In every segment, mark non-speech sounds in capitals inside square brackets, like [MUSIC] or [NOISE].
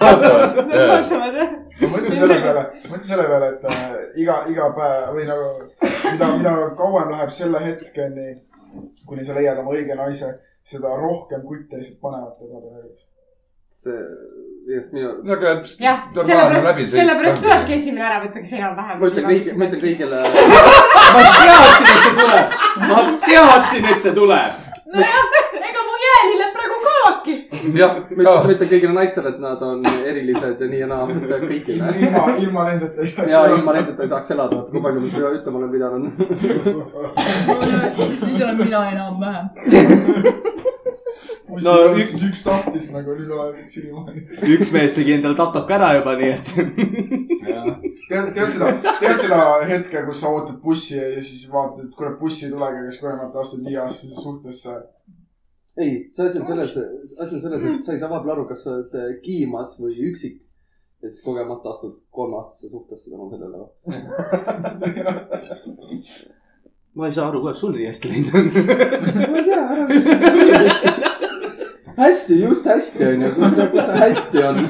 vaatavad Nad vaatavad jah . Ma mõtle selle peale , mõtle selle peale , et äh, iga , iga päev või nagu mida , mida kauem läheb selle hetkeni , kuni sa leiad oma õige naise , seda rohkem kutte lihtsalt panevad teda peale . see , just minu , no aga jah , sellepärast , sellepärast . tulebki esimene ära võetakse enam-vähem . ma ütlen kõigile , ma ütlen . [LAUGHS] kõigile . ma teadsin , et see tuleb , ma teadsin , et see tuleb . nojah , ega mu jääli läheb praegu kaaki . jah , ma jah , ütlen kõigile naistele , et nad on erilised ja nii ja naa , mitte [LAUGHS] kõigile . ilma , ilma nendeta ei ja ilma nendeta ei saaks elada , kui palju ma seda ütlema olen pidanud . [LAUGHS] siis olen mina enam-vähem . no No üks , üks tahtis nagu nüüd oleme siiamaani . üks mees tegi endale tatoka ära juba , nii et [LAUGHS] tead , tead seda , tead seda hetke , kus sa ootad bussi ja siis vaatad , et kurat , bussi ei tulegi , kas kurat astud viieaastasesse suhtesse . ei , see asi on selles , asi on selles , et sa ei saa vahepeal aru , kas sa oled eh, kiimas või üksik . ja siis kogemata astud kolmeaastasse suhtesse tänu sellele . ma ei saa aru , kuidas sul nii hästi läinud on . ma ei tea , ära küsi . hästi , just hästi on ju , kus see hästi on . [LAUGHS]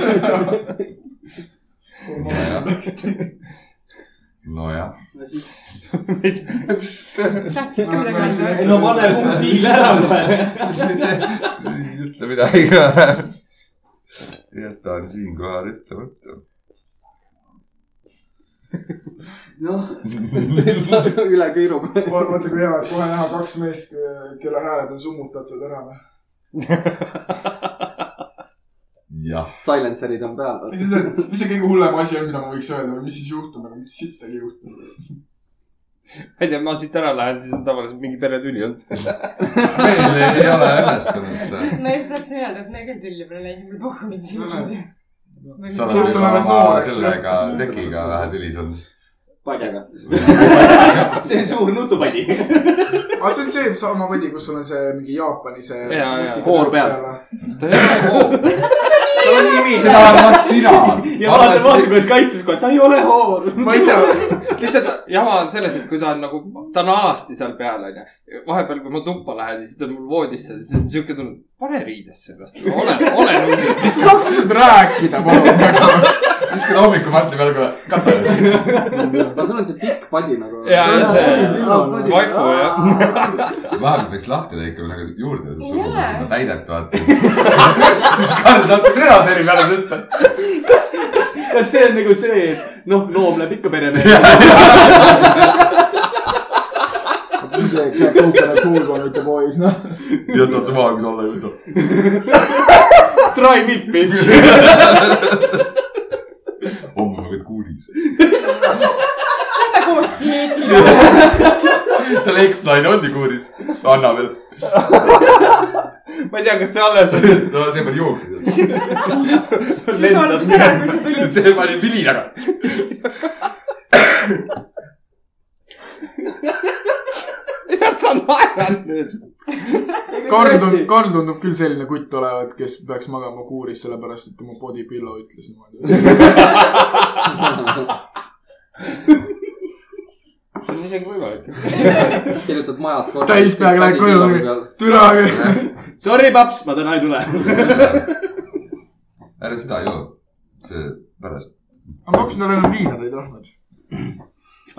nojah . tahtsid ka midagi ei öelda ? no pane see piil ära kohe . ei ütle midagi ka ära . jätan siinkohal ütlemata . noh , see saab üle kõirub . vaata kui hea , et kohe näha kaks meest , kelle hääled on summutatud ära . jah , [LAUGHS] Silencerid on peal mis . see , mis see kõige hullem asi on , mida ma võiks öelda või mis siis juhtub , aga mitte sittagi ei juhtu . ma ei tea , ma siit ära lähen , siis on tavaliselt mingi peretüli olnud . meil ei ole õnnestunud see . ma just tahtsin öelda , et me küll tülli pole läinud , mul pohhu mind siin Ole. sa Tule- oled ju tulemas oma nooreks. sellega tekiga vähe tülis olnud . [LAUGHS] padjaga . see on suur nutupadi . aga see on see sama võdi , kus sul on see mingi Jaapani see . Jaa, jaa. Koor peal. . seda arvad sina . ja vaata , vaata , kuidas kaitses kohe , ta ei ole hoor . ma ise , lihtsalt jama on selles , et kui ta on nagu , ta on alasti seal peal , onju . vahepeal , kui ma tuppa lähen ja siis ta on mul voodisse , siis on siuke tunne , pane riidesse ennast , ole , ole nunnu . mis sa saaksid rääkida , palun ? viskad hommikul Marti peale kohe , katame siin . aga sul on see pikk padi nagu . Jaa, jaa, see- vaipu, jah. . vahepeal peaks lahti lõikama , nagu juurde suruda Jaa. seda täidet , vaata . siis Karl saab terase eri peale tõsta . kas see on nagu see , et noh , loom läheb ikka peremehele . [LAUGHS] siis see kohukene kuulkond ütleb oi , siis noh . [LAUGHS] jätad otse maha , kui sa alla ei võta . Try me [LAUGHS] bitch . homme ma võin kuuris . Lähme koos [LAUGHS] dieedi . tal eksnaine oli kuuris , Annabel . ma ei tea , kas see alles on . no see pani juukseid . siis oleks ära , kui sa tulid . [LAUGHS] see pani vilinaga . [LAUGHS] mida sa naerad nüüd ? Karl tundub , Karl tundub küll selline kutt olevat , kes peaks magama kuuris , sellepärast et tema body pillow ütles niimoodi . see on isegi võimalik . kirjutad majad korda . täis peaga lähed koju .. [LAUGHS] türa . Sorry , paps , ma täna ei tule . ära seda joo , see pärast . ma pakkusin talle enam viina , ta ei tahtnud .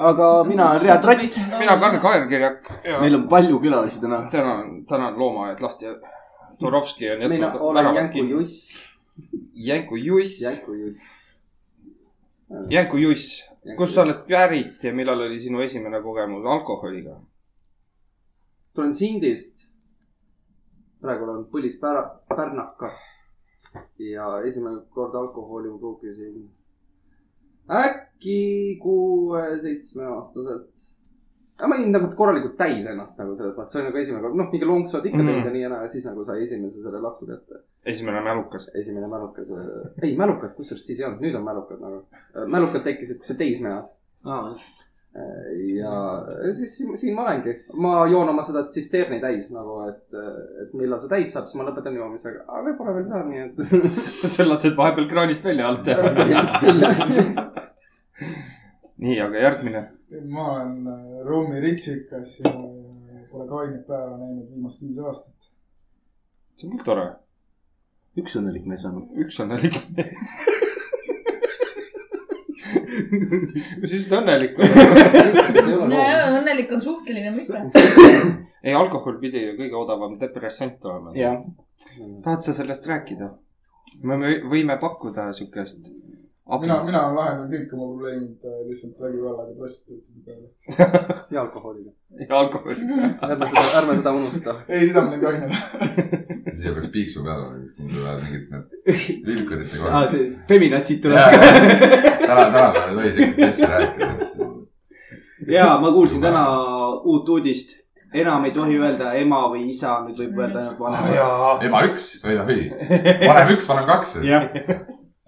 aga mina olen Rea Trott . mina , Karl . Kaevkirjak . meil on palju külalisi täna . tänan , tänan loomaaed lahti . Turovski on mina jätnud olen ära Jänku kinni . Juss . Jänku Juss , Jänku Juss . Jänku Juss , Jänku kust sa oled pärit ja millal oli sinu esimene kogemus alkoholiga ? tulen Sindist . praegu olen põlis pär- , pärnakas . ja esimene kord alkoholi ma pruukisin äkki kuue-seitsmeaastaselt . aga ma olin nagu korralikult täis ennast nagu selles mõttes , see oli nagu esimene kord , noh , mingi lonksud ikka tegid ja nii ja naa ja siis nagu sai esimese selle laksu kätte . esimene mälukas . [LAUGHS] esimene mälukas , ei mälukad , kusjuures siis ei olnud , nüüd on mälukad nagu . mälukad tekkisid , kui sa teismeeas . ja siis siin, siin ma olengi , ma joon oma seda tsisterni täis nagu , et , et millal see täis saab , siis ma lõpetan joomisega , aga pole veel saanud , nii et sa lased vahepeal kraanist välja alt [LAUGHS] ja . Põhjus küll. nii , aga järgmine . ma olen äh, ruumi ritsikas ja pole kainet päeva näinud viimased viis aastat . see on küll tore . üks õnnelik mees vähemalt . üks [LAUGHS] õnnelik mees . mis just õnnelik on ? nojah , õnnelik on suhteline mõiste . ei , alkohol pidi ju kõige odavam depressant olema . jah , tahad sa sellest rääkida ? me võ- võime pakkuda siukest abi mina , mina lahendan kõik oma probleemid äh, lihtsalt vägivallaga prostituutide peale . ja alkoholiga . ja alkoholi . ärme seda , ärme seda unusta . ei , seda ma ei tohi näha . siia peaks piiksu peale olema , siis mul tuleb mingid need vilkurite ah, kohad . see feminatsid tulevad . täna , tänapäeval ei tohi sellist asja rääkida . ja ma kuulsin täna uut uudist . enam ei tohi öelda ema või isa , nüüd võib öelda ainult vanem . ema üks või noh , ei , vanem üks , vanem kaks . jah ,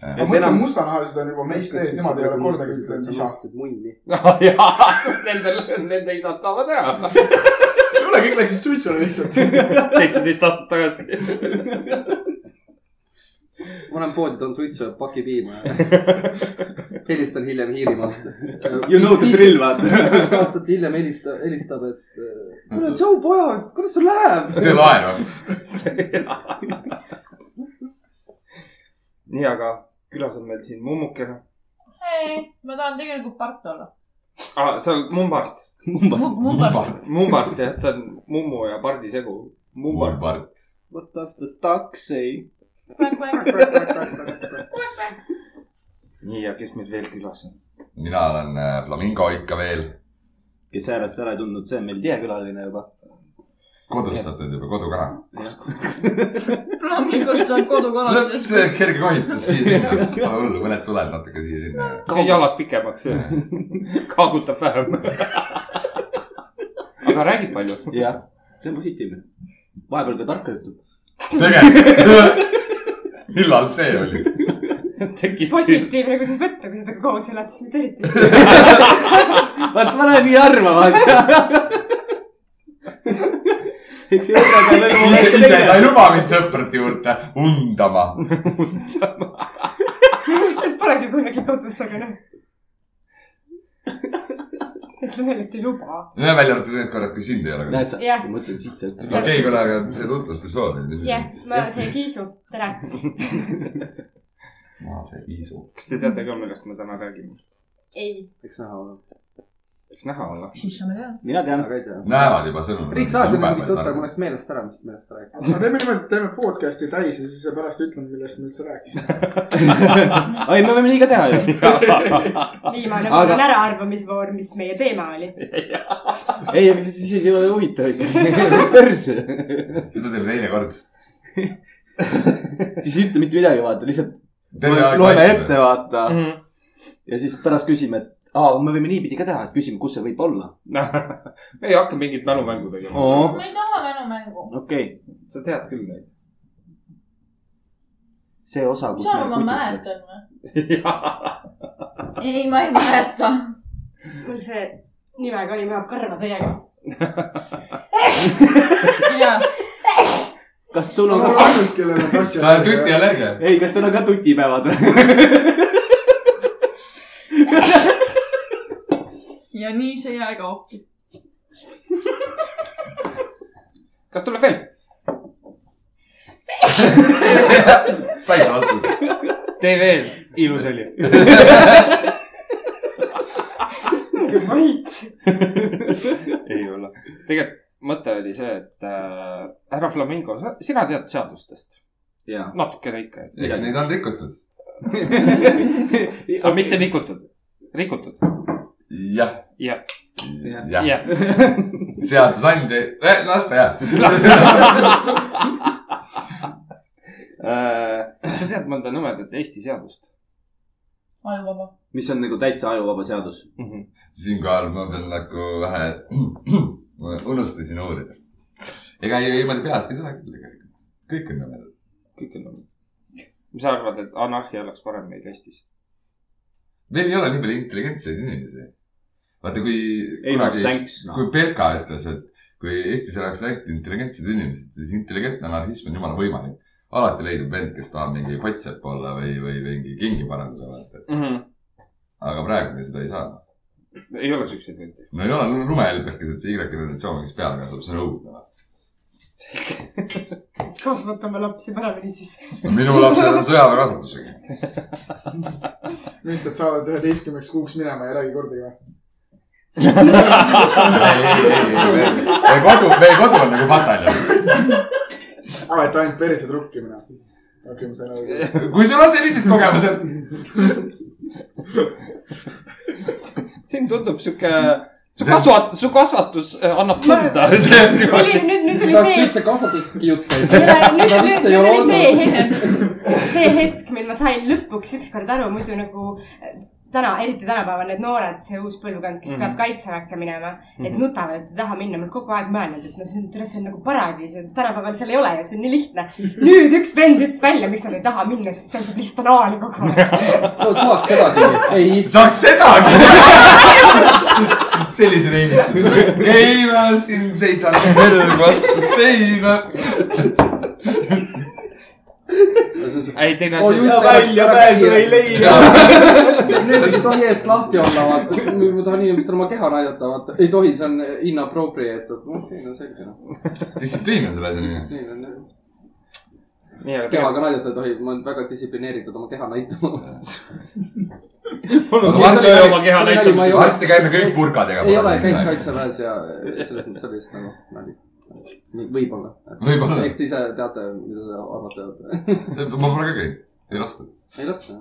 ma mõtlen , mustanahalised on juba meist ees , nemad ei ole kordagi ütlenud isa . munni . Ah, jaa , sest nendel , nende isad tahavad ära . ei ole , kõik läksid suitsule lihtsalt . seitseteist aastat tagasi . ma lähen poodi , toon suitsu ja paki piima [LAUGHS] ja helistan hiljem Iirimaalt . You know the drill, vaata. viisteist aastat hiljem helistab , helistab , et äh, kuule , tšau poja , kuidas sul läheb ? töö laenu . nii , aga külas on meil siin mummukene ma tahan tegelikult part olla . ah, . sa oled mumbart . mu part . mumbart jah , ta on mummu ja pardi segu . mumbart . Mumbart . what does the duck say ? nii , ja kes meil veel külas on ? mina olen äh, flamingo ikka veel kes äärest ära ei tundnud , see on meil tihekülaline juba . kodustatud juba kodukana . flamingust on lõps kodukalastus . kerge kohitsus siia-sinna , pole hullu , mõned suled natuke siia-sinna . jalad pikemaks , [LAUGHS] kaagutab vähem . aga räägib palju . jah , see on positiivne . vahepeal ka tarka juttu . tegelikult , [LAUGHS] millal see oli ? tekkis . positiivne , kuidas võtta , kui sa temaga koos elad , siis mitte eriti . vaat ma olen nii arvav , vaata . eks see õnne peal oli mul ise , väike ise ta ei teine . luba mind sõprade juurde undama . lihtsalt polegi kunagi kodus , aga [LAUGHS] noh . ütlen jälle , et ei luba . no ja välja arvatud need korrad , kui sind ei ole näed kõrval . sa , Jah. ma mõtlen siit sealt . okei , kuule , aga see tutvustus oli . jah , ma olen see Kiisu , tere . maa , see Iisu . kas te teate ka , millest me täna räägime ? ei , eks näha ole , eks näha ole . siis saame teha . mina tean . aga ei tea . näevad juba sõnu . Priit Saas on mingi tuttav , mul läks meelest ära , mis meelest ta [LAUGHS] rääkis . aga teeme niimoodi , teeme podcast'i täis ja siis pärast ütleme , millest me üldse rääkisime . ei , me võime nii ka teha ju . viimane Aga- aga... on äraarvamisvoor , mis meie teema oli . ei , aga siis , [LAUGHS] siis ei ole huvitav ikka . perse . seda teeme teine kord . siis ei ütle mitte midagi , vaata , lihtsalt loeme ette ,. vaata . Mhm. ja siis pärast küsime , et aa , me võime niipidi ka teha , et küsime , kus see võib olla . me ei hakka mingit mälumängu tegema . Noh. okei ma ei taha mälumängu . okay. , sa tead küll neid . see osa , kus mis sa arvad , ma . mäletan või ? jaa . ei , ma ei mäleta . mul see nimega oli , ma pean karva tegema . [LAUGHS] jaa , kas sul mul on [LAUGHS] on ka , ainus , kellel on kassi . ta on tutiallergia . ei , kas teil on ka tutipäevad või ? [LAUGHS] ja nii see jäi ka ohtu . kas tuleb veel ? said vastuse . tee veel . ilus oli . vait . [LAUGHS] ei ole . tegelikult mõte oli see , et äh, härra Flamingo , sina tead seadustest ? jaa . natukene ikka . eks neid on rikutud . [LAUGHS] aga mitte rikutud , rikutud . jah . Jah. . jah . [LAUGHS] jah . seadusandja , las ta jääb . Äh, sa tead mõnda nõmedat Eesti seadust ajuvaba . mis on nagu täitsa ajuvaba seadus . mm ? -hmm. siinkohal ma pean nagu vähe , [CLEARS THROAT] ma unustasin uurida . ega ei- niimoodi peast ei tule küll tegelikult . kõik on nõmedad . kõik on nõmed . mis sa arvad , et anarhia oleks parem meil Eestis ? meil ei ole nii palju intelligentseid inimesi . vaata , kui ei , no thanks , noh . kui Belka ütles , et kui Eestis elaks ainult intelligentsed inimesed , siis intelligentne anarhism on jumala võimalik . alati leidub vend , kes tahab mingi patsep olla või , või mingi kingi parandada , vaata . Mhm. aga praegu me seda ei saa . ei ole siukseid [LAUGHS] vendi . no ei ole lumehelbekesed , see Y generatsioon , kes peale kasvab , see on õudne . kasvatame lapsi paremini siis . minu lapsed on sõjaväekasvatusega . lihtsalt saadad üheteistkümneks kuuks minema ja ei räägi kordagi või ? ei , ei , ei , ei , ei kodu , meie kodu on nagu pataljon . aa , Ah, et ainult perse trukkimine . okei , ma sain aru . kui sul on sellised kogemused . [LAUGHS] siin tundub sihuke , su kasvatus , su kasvatus eh, annab [LAUGHS] tunda . see oli , nüüd , nüüd oli kas see , üldse kasvatusestki juttu ei [LAUGHS] nüüd , tee ? nüüd , vist nüüd ei ole oli see hetk , see hetk , mil ma sain lõpuks ükskord aru , muidu nagu äh, täna , eriti tänapäeval need noored , see uus põlvkond , kes mm -hmm. peab kaitseväkke minema , et nutavad , et ei taha minna , ma olen kogu aeg mõelnud , et no see on , see on nagu paradiis , et tänapäeval seal ei ole ju , see on nii lihtne . nüüd üks vend ütles välja , miks nad ei taha minna , sest seal saab lihtsalt naali kogu aeg . [LAUGHS] no saaks sedagi , ei . saaks sedagi . sellised eelistused . ei , ma siin seisan selg vastu seina . ei , teine oi , asi . just välja pääsu ei leia . Need ei tohi eest lahti olla , vaata . ma tahan inimestele oma keha näidata , vaata . ei tohi , see on inappropriate . okei , no selge noh . distsipliin on selle asja nimi . nii on jah . nii , aga kehaga näidata ei tohi , ma olen väga distsiplineeritud oma keha näitama . mul on Aga varsti varsti- oma keha see oli näitamiseks . ma ju- varsti käime kõik purkadega . ei ole , käid . kaitseväes ja selles mõttes oli lihtsalt nagu nali . võib-olla . Võib-olla. eks te ise teate , mida te arvate olete . ma pole ka käinud , ei lastud . ei lasta .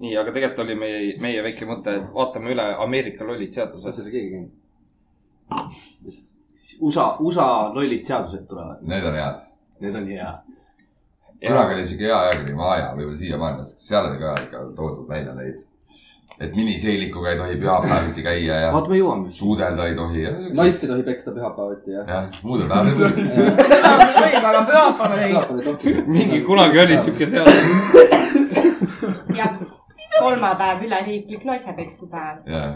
nii , aga tegelikult oli meie , meie väike mõte , et vaatame üle Ameerika lollid sa ei seadused . ole keegi käinud . USA , USA lollid seadused tulevad , Need on head . need on hea . kunagi oli siuke hea ajakiri Maja , võib-olla siiamaani , seal oli ka ikka toodud välja neid . et miniseelikuga ei tohi pühapäeviti käia ja vaata , me jõuame . suudelda ei tohi ja . naist ei tohi peksta pühapäeviti jah . jah , muudel päevadel võib . pühapäeval võib , aga pühapäeval ei . pühapäeval ei tohi . mingi kunagi oli . siuke seadus . jah , kolmapäev üleriiklik naisepeksupäev . jah .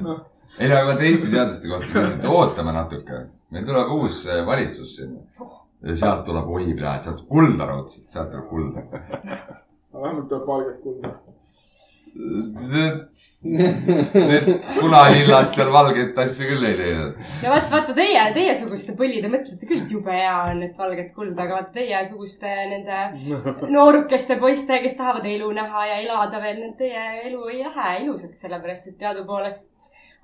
ei no aga teiste seaduste kohta küsiti , ootame natuke . meil tuleb uus eh, valitsus sinna . ja sealt tuleb , oi , näed , sealt kulda raudselt , sealt tuleb kulda . vähemalt tuleb valget kulda . Need punalillad seal valget asja küll ei teinud . ja vaata , vaata teie , teiesuguste põlide mõtlete küll , et jube hea on , et valget kulda , aga vaata teiesuguste nende noorukeste poiste , kes tahavad elu näha ja elada veel , teie elu ei lähe ilusaks , sellepärast et teadupoolest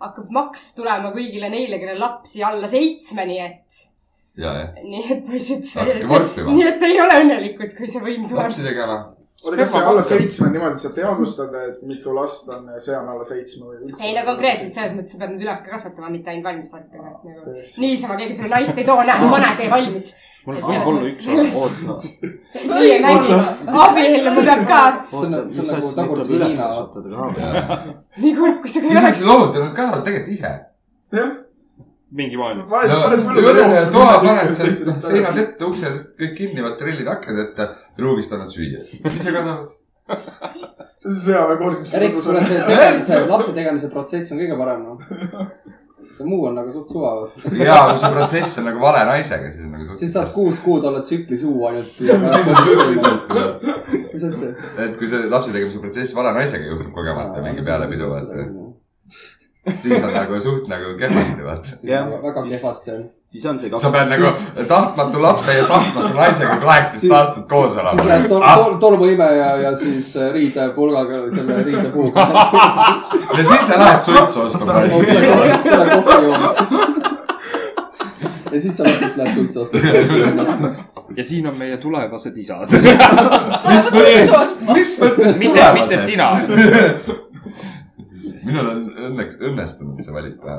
hakkab maks tulema kõigile neile , kellel lapsi alla seitsme , nii et , ja , jah . nii et poisid . Hakake vorpima. nii et ei ole õnnelikud , kui see võim tuleb . lapsi tegema . oota , kas see alla seitsme on niimoodi , et saab teadvustada , et mitu last on , see on alla seitsme või üldse ? ei no konkreetselt selles mõttes , sa pead nad üles ka kasvatama , mitte ainult valmis vorpima , et nagu niisama keegi sulle naist ei too , näe , pane , tee valmis . mul on võib-olla üks olnud , [LAUGHS] oota . nii ei mängi , abiellu ma pean ka see on , see on nagu tagurpidi Hiina . nii kurb , kui see ka ei lisaks oleks . loovutavad kasvavad tegelikult ise . jah , mingi vaene . No, paned ühe toa paned sealt noh, seinad seitse . ette , uksed kõik kinni , materjalid aknad ette , ruugist annad süüa . ise kasvavad . see on see sõjaväekool , mis nagu Erik , kodus sul on see tegemise , lapse tegemise protsess on kõige parem noh . see muu on nagu suht suva . ja kui see protsess on nagu vale naisega , siis on nagu siis saad . kuus kuud olla tsüklis uu ainult . mis asja ? et kui see lapse tegemise protsess vana naisega juhtub kogemata mingi pealepidu , vaata , siis on nagu suht nagu kehvasti , vaata . Jah. väga kehvasti on . siis on see sa pead nagu tahtmatu lapse ja tahtmatu naisega kaheksateist aastat koos Ah! siis lähed tol- elama . tol- , tolmuime ja , ja siis äh, riidepulgaga , selle [LAUGHS] riidepuuga . ja siis sa lähed suitsu ostma . [LAUGHS] [LAUGHS] tuleb kohvi jooma . ja siis sa lõpuks lähed suitsu ostma . ja siin on meie tulevased isad . mis mõttes , mis mõttes mitte , mitte sina . [LAUGHS] minul on õnneks õnnestunud see valik teha .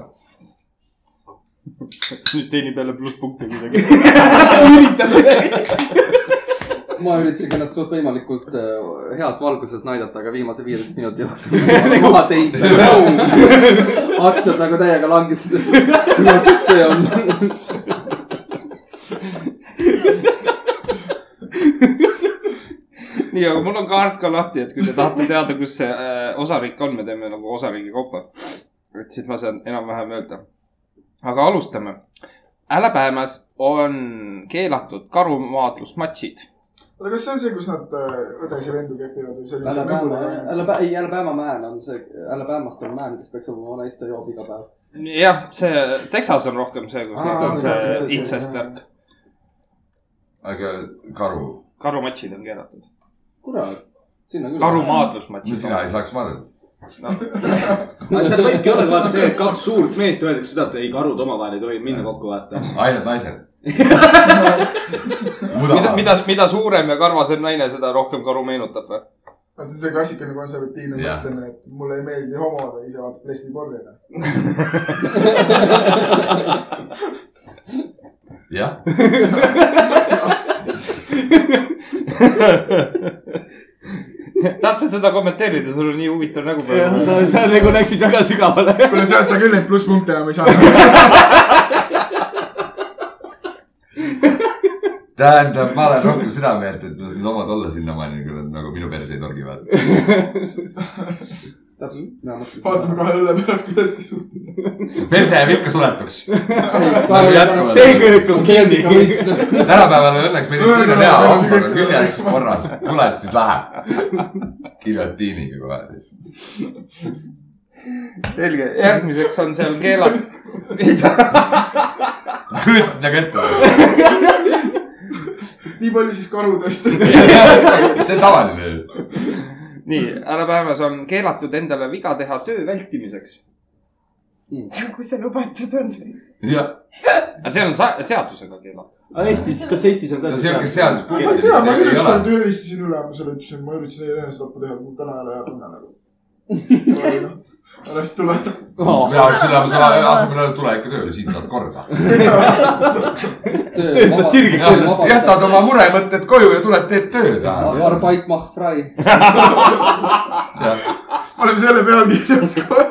nüüd teenib jälle plusspunkte kuidagi . ma üritasin ennast suht võimalikult äh, heas valguses näidata , aga viimase viieteist minuti jooksul ma olen maha teinud selle . aktsiad nagu täiega langesid . kes see on ? nii , aga mul on kaart ka lahti , et kui te tahate teada , kus see äh, osariik on , me teeme nagu osariigi kaupa . et siis ma saan enam-vähem öelda . aga alustame . Alabamas on keelatud karumaadlusmatšid . oota , kas see on see , kus nad äh, õdes ja vendu kepivad või sellise Alabama , Alabama , ei Alabama man on see , Alabamast on man , kes peaks oma naiste joob iga päev . jah , see Texas on rohkem see , kus Aa, nad on okei, see okei, okei, incest jah. värk . aga karu , karumatšid on keelatud . kurat , sinna küll . no karumaadlusmatšid . sina ei saaks vaadata . aga seal võibki olla vaata see , et kaks suurt meest öeldakse seda , et ei , karud omavahel ei tohi minna kokku vaata . ainult [LAUGHS] naised . mida , mida , mida suurem ja karvasem naine , seda rohkem karu meenutab või ? Ah, see on see klassikaline konservatiivne Jah. mõtlemine , et mulle ei meeldi homod , aga ise vaatab lesbiporni . jah , tahtsid seda kommenteerida , sul on nii huvitav nägu peal . sa nagu läksid väga sügavale . kuule , sealt sa küll neid plusspunkte enam ei saa . tähendab , ma olen rohkem seda meelt , et las need omad olla sinnamaani , kui nad nagu minu perse ei torgi vaata . täpselt , mina vaatame mõtlesin . kahe õlle pärast , kuidas see suhtub . [LAUGHS] perse jääb ikka suletuks . see köök on kinni . tänapäeval on õnneks meditsiin on hea , Õnneks- homm on küljes korras , tuled , siis läheb . giljotiiniga kohe siis . selge , järgmiseks on seal keelatud . kujutasid nagu ette ? nii palju siis karudest . [LAUGHS] see on tavaline ju . nii , ärapäevas on keelatud endale viga teha töö vältimiseks . kus see lubatud on ? jah , aga see on sa- seadusega keelatud . aga Eestis , kas Eestis on ka no see on , kas seadus ma ei tea , ma küll ei ükskord ole . töölistasin ülemusele , ütlesin , ma üritasin eile enesetappu teha , mul täna ei ole hea tunne nagu . alles tuleb . Oh, mina oleks selle asemel asemel öelnud , tule ikka tööle , siin saad [LAUGHS] korda . töötad sirgeks sellest . jätad oma muremõtted koju ja tuled , teed tööd . Arbeid mach frei . paneme selle pealkirjaks kohe .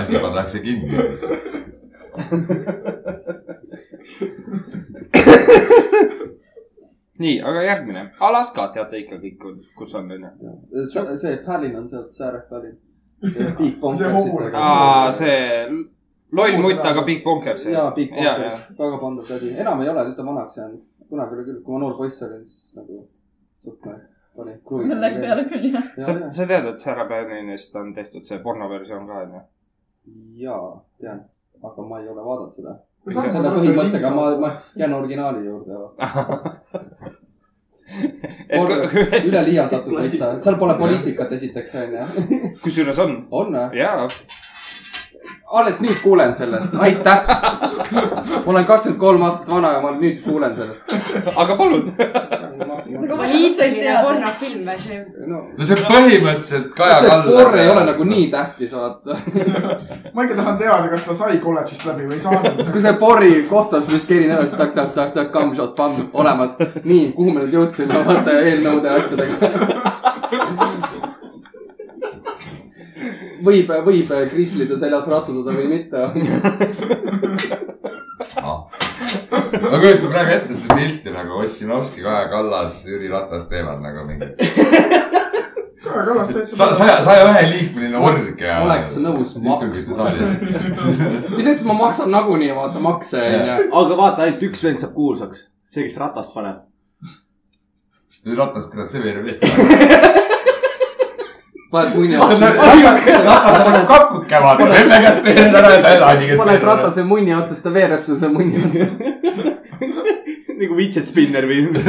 asi pannakse kinni . nii , aga järgmine . Alaska teate ikka kõik , kus on , onju . see , see Pälin on sealt , Säärek Pälin . Big See hobune. aa , see loll mutt , aga Big Bonkers . jaa , Big Jaa, Bonkers , väga pandav tädi . enam ei ole , nüüd ta vanaks jäänud . kunagi oli küll , kui ma noor poiss olin , siis nagu suhtne , pani kruvi . Läks peale küll jah . sa , sa tead , et Sarah Palinist on tehtud see pornoversioon ka , onju ? [LAUGHS] jaa , tean , aga ma ei ole vaadanud seda . Samas selle ma põhimõttega saan ma aru. , ma jään originaali juurde . [LAUGHS] et kui- üle liialdatud täitsa , seal pole poliitikat esiteks , onju . kusjuures on , [LAUGHS] on või ? jaa . alles nüüd kuulen sellest , aitäh . ma olen kakskümmend kolm aastat vana ja ma nüüd kuulen sellest . aga palun . Aga ma ei üldse ei poliitiline tea . pornofilm , see no no see on põhimõtteliselt Kaja see Kallas . porre ei ole nagu nii tähtis , vaata . ma ikka tahan teada , kas ta sai kolledžist läbi või ei saanud . [LAUGHS] kui see porri kohtus , mis kerin edasi , tak , tak , tak , tak , kamm , shot , pamm , olemas . nii , kuhu me nüüd jõudsime , vaata eelnõude ja asjadega . võib , võib krislide seljas ratsutada või mitte . Ah. ma kujutan praegu ette seda pilti nagu Ossinovski , Kaja Kallas , Jüri Ratas teevad nagu mingi Kaja Kallas sa- täitsa . saja , saja ühe liikmeline org ja . oleks nõus istungite maksma . saalis . mis sest , ma maksan nagunii , vaata , makse , onju . aga vaata , ainult üks vend saab kuulsaks . see , kes ratast paneb . [LAUGHS] Jüri Ratas , kurat , see veereb [LAUGHS] hästi ära . paned munni Ratas on nagu kakuke , vaata , emme käest teed ära ja Elani käest . paned . [LAUGHS] ratase munni otsa , siis ta veereb sul selle munni otsa . nagu widget spinner [LAUGHS] või mis .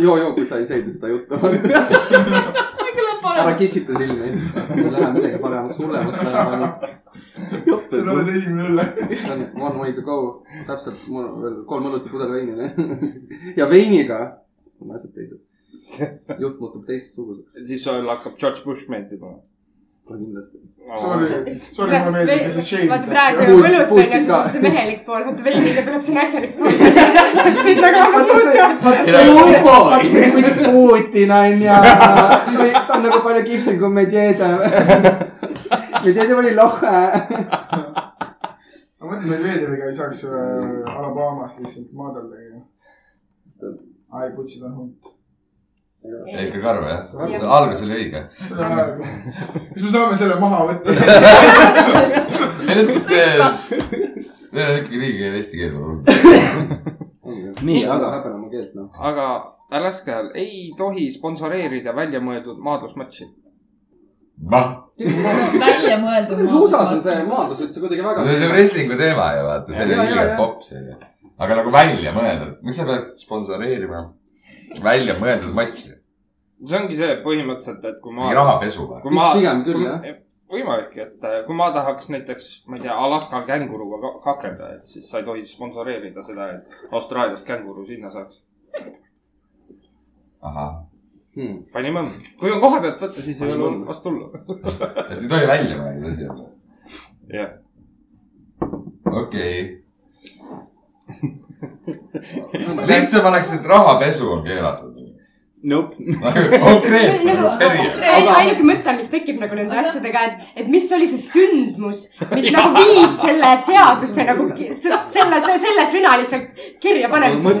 joo , joo , kui sa ei seedi seda juttu . kõlab ära parem . kissita silmi . ei lähe midagi paremaks , hullemaks läheb ainult . see on alles esimene õlle . see on one way to go . täpselt , mul on veel kolm õlut ja pudel veini . ja veiniga on asjad teised . jutt muutub teistsuguseks , siis sul hakkab George Bush meeldima . kohe kindlasti . Sorry , sorry , ma meeldin , et sa vaata shame'id . praegu ju Putin- võlut on Putin ja siis ka. on see mehelik pool , vaata veiniga tuleb see naiselik pool . [LAUGHS] siis nagu asjad muutuvad . see on muidugi Putin onju . ta on nagu palju kihvtim kui Medvedev . Medvedev oli lohe ma mõtlen , Medvedjeviga ei saaks äh, Alabamas lihtsalt maadelda . ai , putsid on hunt . ikka karv jah , algus oli õige . Äh, kas me saame selle maha võtta ? [LAUGHS] [LAUGHS] ei , nüüd siis , meil on ikkagi riigikeel , eesti keel on . Nii, aga- häbenema keelt noh . aga Alaskal ei tohi sponsoreerida väljamõeldud maadlusmatši . mah , välja mõeldud . kuidas USA-s on see maadlus üldse kuidagi väga see on wrestling'u teema ju vaata , see Ja, oli ja, ilge ja. popp see ju . aga nagu välja mõeldud , miks sa pead sponsoreerima välja mõeldud matši ? see ongi see põhimõtteliselt , et kui ma . mingi rahapesu või ? kui ma Vist . pigem küll, jah. . võimalik , et äh, kui ma tahaks näiteks , ma ei tea , Alaska känguruga ka- kakelda , et siis sa ei tohi sponsoreerida seda , et Austraaliast känguru sinna saaks . ahah , hmm. . panime , kui on koha pealt võtta , siis ei Panime ole õnne. vastu hullu . et ei tohi välja mõeldud asi olla . jah , okei okay. . lihtsam oleks , et rahapesu on keelatud . [LAUGHS] Nope . konkreetne , see on ainu- ainuke mõte , mis tekib nagu nende asjadega , et , et mis oli see sündmus , mis Jaa. nagu viis selle seaduse nagu ki- se- selle , selle sõna lihtsalt kirja panemiseni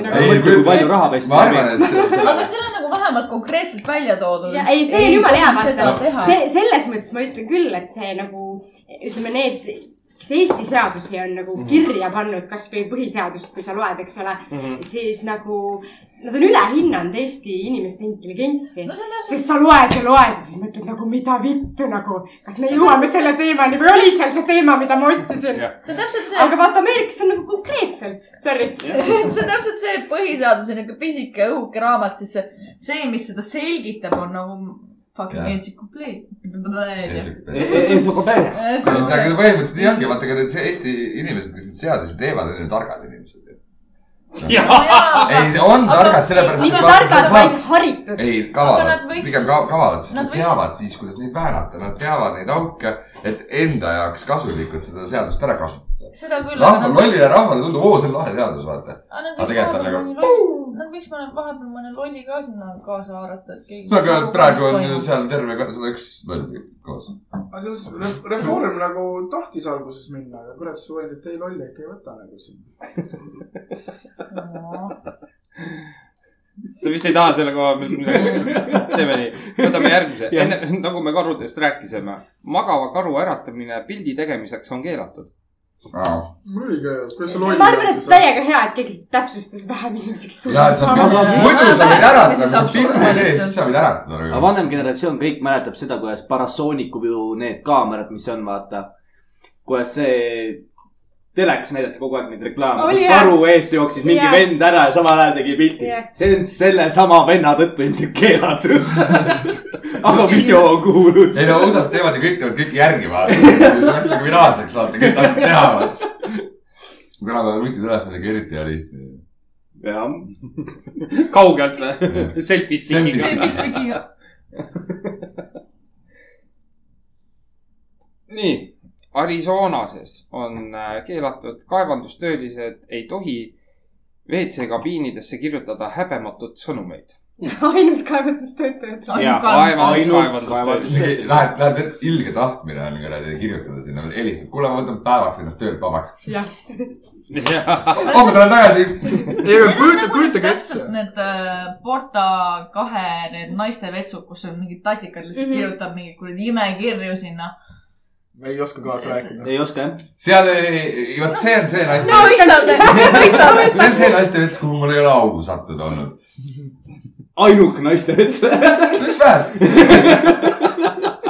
Ei, nagu . mõtle , kui mõtle- palju raha pesti . ma arvan , et see aga seal on nagu vähemalt konkreetselt välja toodud . Ja ei, see on jumala hea, vaata. vaata . see , selles mõttes ma ütlen küll , et see nagu ütleme , need , kes Eesti seadusi on nagu kirja pannud , kasvõi põhiseadust , kui sa loed , eks ole , Mhm. siis nagu nad on ülehinnanud Eesti inimeste intelligentsi no see on jah , see sest sa loed ja loed ja siis mõtled nagu mida vittu nagu , kas me jõuame selle teemani või oli seal see teema , mida ma otsisin . jah . see on täpselt see , aga vaata Ameerikas on nagu konkreetselt , sorry . [LAUGHS] see on täpselt see põhiseaduse niuke pisike õhuke raamat , siis see , see , mis seda selgitab , on nagu Jah. fucking entsüklopeedia . Ensokopeedia . aga põhimõtteliselt nii ongi , vaata , ega need Eesti inimesed , kes neid seadusi teevad , on ju targad inimesed . ei , on targad sellepärast , mitte targad , vaid haritud . ei , Aga kavalad nad , võiks- pigem ka- kavalad , sest nad nad võiks- teavad siis , kuidas neid väänata , nad teavad neid auke , et enda jaoks kasulikult seda seadust ära kasutada . seda küll . rahval , lollile rahvale tundub , oo , see on lahe seadus , vaata . aga aga tegelikult on nagu- nagu . Nad võiks mõne , vahepeal mõne lolli ka sinna kaasa haarata , et keegi . no aga praegu on ju seal terve sada üks loll koos . aga selles re- reform nagu tahtis alguses minna , aga kurat , sa võid , et ei lolli ikka ei võta nagu siin . sa vist ei taha selle koha pealt midagi öelda ? teeme nii , võtame järgmise . enne , nagu me karudest rääkisime , magava karu äratamine pildi tegemiseks on keelatud . muidugi , kuidas sa lolli ma arvan , et täiega hea , et keegi seda täpsustas vähem inimeseks . ja , et sa , muidu sa võid ärata , kui sa pilti ei tee , siis sa võid nagu. aga ärata . vanem generatsioon kõik mäletab seda , kuidas Parasooniku ju need kaamerad , mis on , vaata . kuidas see telekas näidati kogu aeg neid reklaame , Oli kus jah. karu ees jooksis mingi Jah. vend ära ja samal ajal tegi pilti Jah. . see on sellesama venna tõttu ilmselt keelatud . [LAUGHS] aga video on kuulus ei . no USA-s teevad ju kõik , teevad kõiki järgi vaata . see läks nagu viraalseks vaata , kõik tahtsid teha . tänapäeval nutitelefoniga eriti hea lihtne . jah , kaugelt või ? Selfie see , stickiga . mis tegi . nii , Arizonases on äh, keelatud , kaevandustöölised ei tohi WC-kabiinidesse kirjutada häbematut sõnumeid . ainult kaevandustöötajad . ainult kaevandustöölised . Lähed , lähed , ilge tahtmine on kuradi kirjutada sinna , helistad , kuule , ma võtan päevaks ennast töölt vabaks . jah , oh , ma tulen tagasi . ei , kujuta , kujutage ette nagu täpselt . need äh, Porta kahe need naiste vetsud , kus on mingid tatikad , lihtsalt mm Mhm. -hmm. kirjutab mingeid kuradi imekirju sinna . me ei oska kaasa rääkida . ei oska jah . seal oli , vot see on see naiste No, , mõistab. see on see naiste vets , kuhu mul ei ole augu sattuda olnud . ainuke [LAUGHS] naiste vets . üks vähest .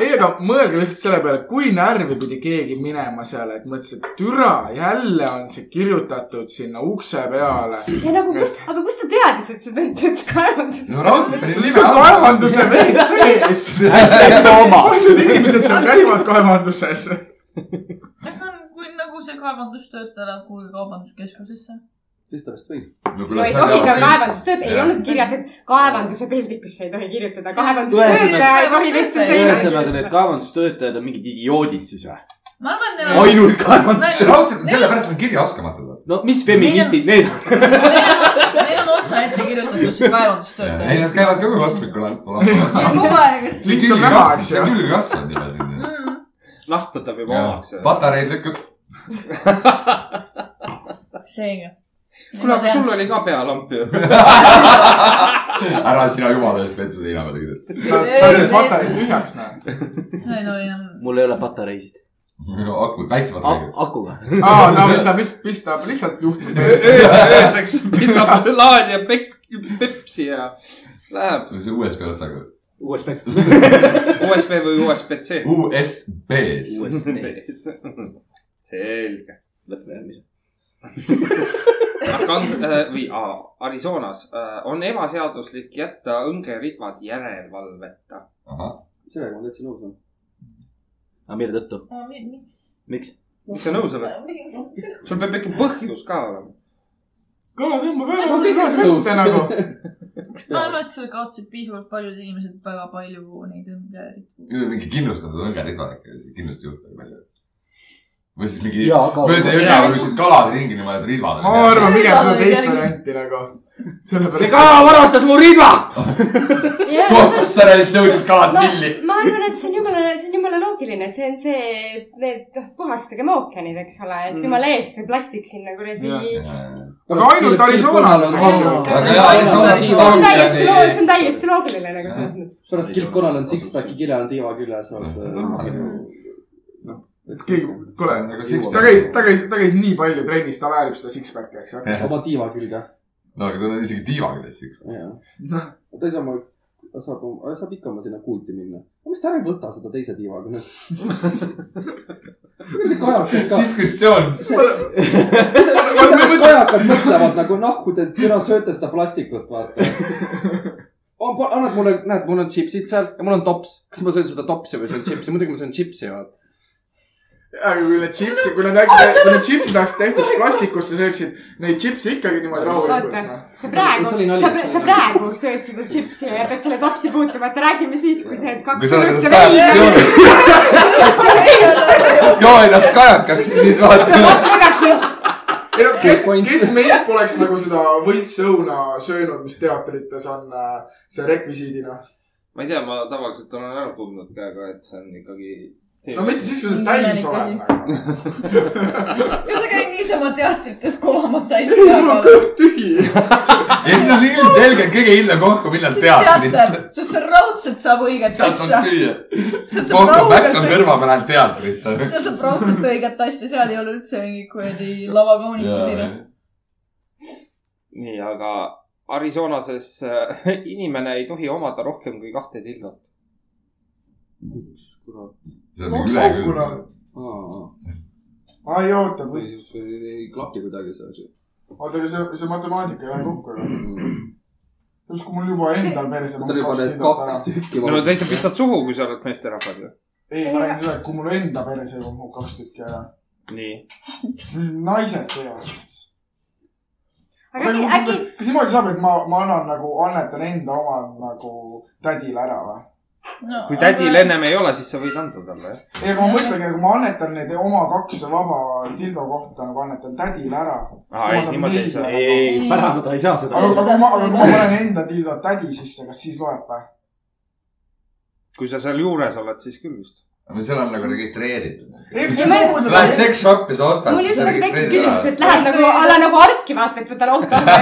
ei , aga mõelge lihtsalt selle peale , kui närvi pidi keegi minema seal , et mõtles , et türa , jälle on see kirjutatud sinna ukse peale . ja nagu kust , aga kust ta teadis , et see vend töötas kaevandus ? no raudselt pani see on kaevanduse WC-s . hästi oma . [LAUGHS] paljud inimesed seal käivad kaevanduses . Need on kui nagu see kaevandustöötaja läheb kuhugi kaubanduskeskusesse . siis ta vist võis . no ei tohi ka . kaevandustöötaja , ei olnud kirjas , et kaevanduse peldikusse ei tohi kirjutada , kaevandustöötaja ei tohi vetsu seinale . ühesõnaga , need kaevandustöötajad on mingid idioodid siis või ? ma arvan , et neil on , ainult kaevandustöötajad . raudselt on sellepärast , et me kirjaoskamatud oleme . no mis feministid need on ? neil on otsa ette kirjutatud see kaevandustöötaja . ei , nad käivad ka kogu otsmikul ja alt . kogu aeg , et see Lihtsalt külg näha, kasvab , eks see ju. külg kasvab juba sinna . mm, nahk võtab juba omaks . patareid lükkab . seega . kuule , aga sul oli ka pealamp ju . [LAUGHS] ära sina jumala eest vetsu seina peale kirjuta . ta teeb patareid tühjaks , näed . sa ei tohi enam . mul ei ole patareisid . akud , väiksemad kõigil . akuga . aa , ta pistab , pistab lihtsalt juhtme täis . ööseks pistab laadi ja pek- , pepsi ja läheb see USB otsaga . USB . USB või USB-C . USB-s . USB . selge . võtme järgmise . äh, või aa, Arizonas äh, on ebaseaduslik jätta õngeritmad järelevalveta . ahah , sellega ma täitsa nõus noh. olen . aga Ah, mille tõttu ? miks ? miks sa nõus oled ? sul peab ikka põhjus ka olema . kõla tõmbab Ma ära , olen mul ei kõigega ole sõita nagu . ma arvan , et selle kaotasid piisavalt paljud inimesed väga palju neid õnge . nüüd on mingi kindlustatud õngerida ikka , kindlustusjuht oli palju . või siis mingi jaa , aga . mööda jõge võisid kalad ringi niimoodi , et rilvad ma olid . [LAUGHS] arvan pigem seda teist varianti nagu . see sellepärast , kala varastas mu riba . kohtus ära ja siis nõudis kalad ma, pilli . ma arvan , et see on jumala , see on jumala loogiline , see on see , need , noh , puhastagem ookeanid , eks ole , et Mm. jumala eest see plastik sinna kuradi Jah. . aga ainult Arizonas on see asi. Aga jaa, Arizonas see on täiesti Tiiva- loo- , see on täiesti loogiline nagu selles mõttes . pärast kilpkonnal on six-packi kirja on tiiva küljes . noh. see on normaalne ju . et keegi , kuule , Aga ta käis , ta käis , ta käis nii palju trennis , ta väärib seda six-packi , eks ju . oma tiiva külge . no aga tal on isegi tiiva küljes üks . noh , ta ei saa oma , ta saab , saab ikka oma sinna kuuti minna . miks ta ära ei võta seda teise tiivaga nüüd ? kajakad ka , diskussioon . [LAUGHS] kajakad mõtlevad nagu nahku , te türa sööte seda plastikut , [LAUGHS] vaata . annad mulle , näed , mul on tšipsid seal ja mul on tops . kas ma söön seda topsi või söön tšipsi ? muidugi ma söön tšipsi , vaata . aga kui need tšipsid , kui need äkki , kui need tšipsid oleks tehtud plastikust , sa sööksid neid tšipse ikkagi niimoodi vaata rahulikult ., noh. sa See- see oli praegu , sa nali, see , oli sa nali. praegu sööd seda tšipsi ja jätad selle topsi puutumata , räägime siis , kui see kui kaks sa oled minutit ennast kajakaks , joo ennast kajakaks ja siis vaata . ei no kes Point. , kes meist poleks nagu seda võltsõuna söönud , mis teatrites on äh, see rekvisiidina ? ma ei tea , ma tavaliselt olen ära tundnud ka , aga et see on ikkagi . no mitte siis , kui sa täis oled . nagu. ja sa käid niisama teatrites kolamas täis . ei , mul on kõht tühi . ja siis on ilmselgelt kõige hiljem koht , kui minna teatrisse . teater , sest sa raudselt saab õiget seal saab asja . süüa . sa saad kohtu päkk on raudselt , kõrva peal teatrisse . sa saad raudselt õiget asja , seal ei ole üldse mingit kuradi noh. lavakaunistusi . nii , aga Arizonases äh, [LAUGHS] inimene ei tohi omada rohkem kui kahte tildot . see on nagu üle küll . ai , oota , ei klapi kuidagi see asi . oota , aga see , see matemaatika ei lähe kokku ju . justkui mul juba endal perse . tal juba need kaks . tükki . no täitsa . [LAUGHS] pistad suhu , kui sa oled meesterahvas ju . ei , ma räägin seda , et kui mul enda perse juba mul kaks tükki ära , nii . siis mis naised teevad siis . aga äkki , äkki kas , kas niimoodi saab , et ma , ma annan nagu , annetan enda oma nagu tädile ära või ? kui tädil . ennem ei ole , siis sa võid anda talle , jah . ei , aga ma mõtlengi , kui ma annetan need oma kaks vaba tildo kohta nagu annetan tädile ära . Aa, ei, niimoodi ei saa. aga , ei , pärama ta ei saa seda . aga kui ma , aga kui ma panen enda tildo tädi sisse , kas siis loeb või ? kui sa seal juures oled , siis küll vist . no seal on nagu registreeritud . Sa ei , see on samamoodi lähed seksvappi , sa ostad . mul just nagu tekkis küsimus , et lähed nagu , ala nagu arki vaata , et võtan [LAUGHS] ohtu arki .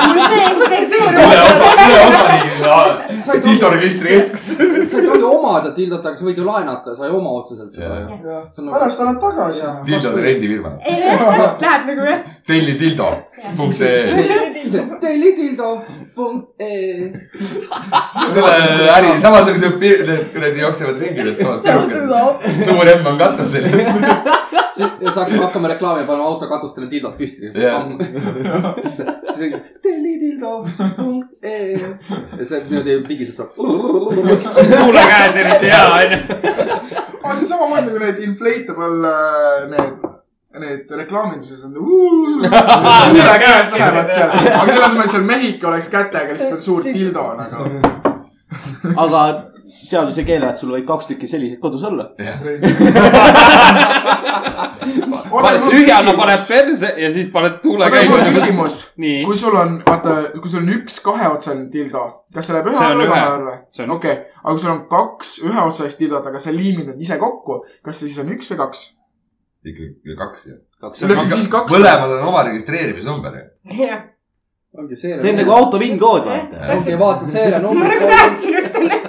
mul see , see suur üleosariigi tildoregistrikeskus . sa ei tohi omada tildot , aga sa võid ju laenata , sa ei oma otseselt seda . See on nagu . nagu- pärast annad tagasi Jah. . tildode . rendifirma , ei , täpselt lähed nagu jah . tellitildo.ee , tellitildo.ee . selle äri , samasugused pi- need kuradi jooksevad ringi , need samad pirukad . suur M on katusel . [LAUGHS] ja sa hakkad hakkama reklaami panema auto katustele tildot püsti Jah. . [LAUGHS] siis tellitildo.ee . ja see niimoodi pigiseb seal . kuule käes eriti hea , onju . aga see on samamoodi nagu need inflatable äh, need , need reklaaminduses on . [LAUGHS] üle käest lähevad seal , aga selles mõttes seal mehik oleks kätega , lihtsalt on suur tildo [LAUGHS] nagu . aga seadus ei keela , et sul võib kaks tükki selliseid kodus olla . paned tühjana , paned perse ja siis paned tuule aga mul on käima . küsimus , nii , kui sul on , vaata , kui sul on üks kaheotsaline tildo , kas see läheb ühe See on arve või ühe. kahe arve ? see on okei . okei okay. , aga kui sul on kaks üheotsalist tildot , aga sa liimid need ise kokku , kas see siis on üks või kaks ? ikkagi kaks ju . kuidas see siis kaks ? mõlemal on oma registreerimisnumber ju . ongi seere . see on nagu auto VIN kood , vaata . ma Eh? ongi vaata seere nagu number . säästsin just enne .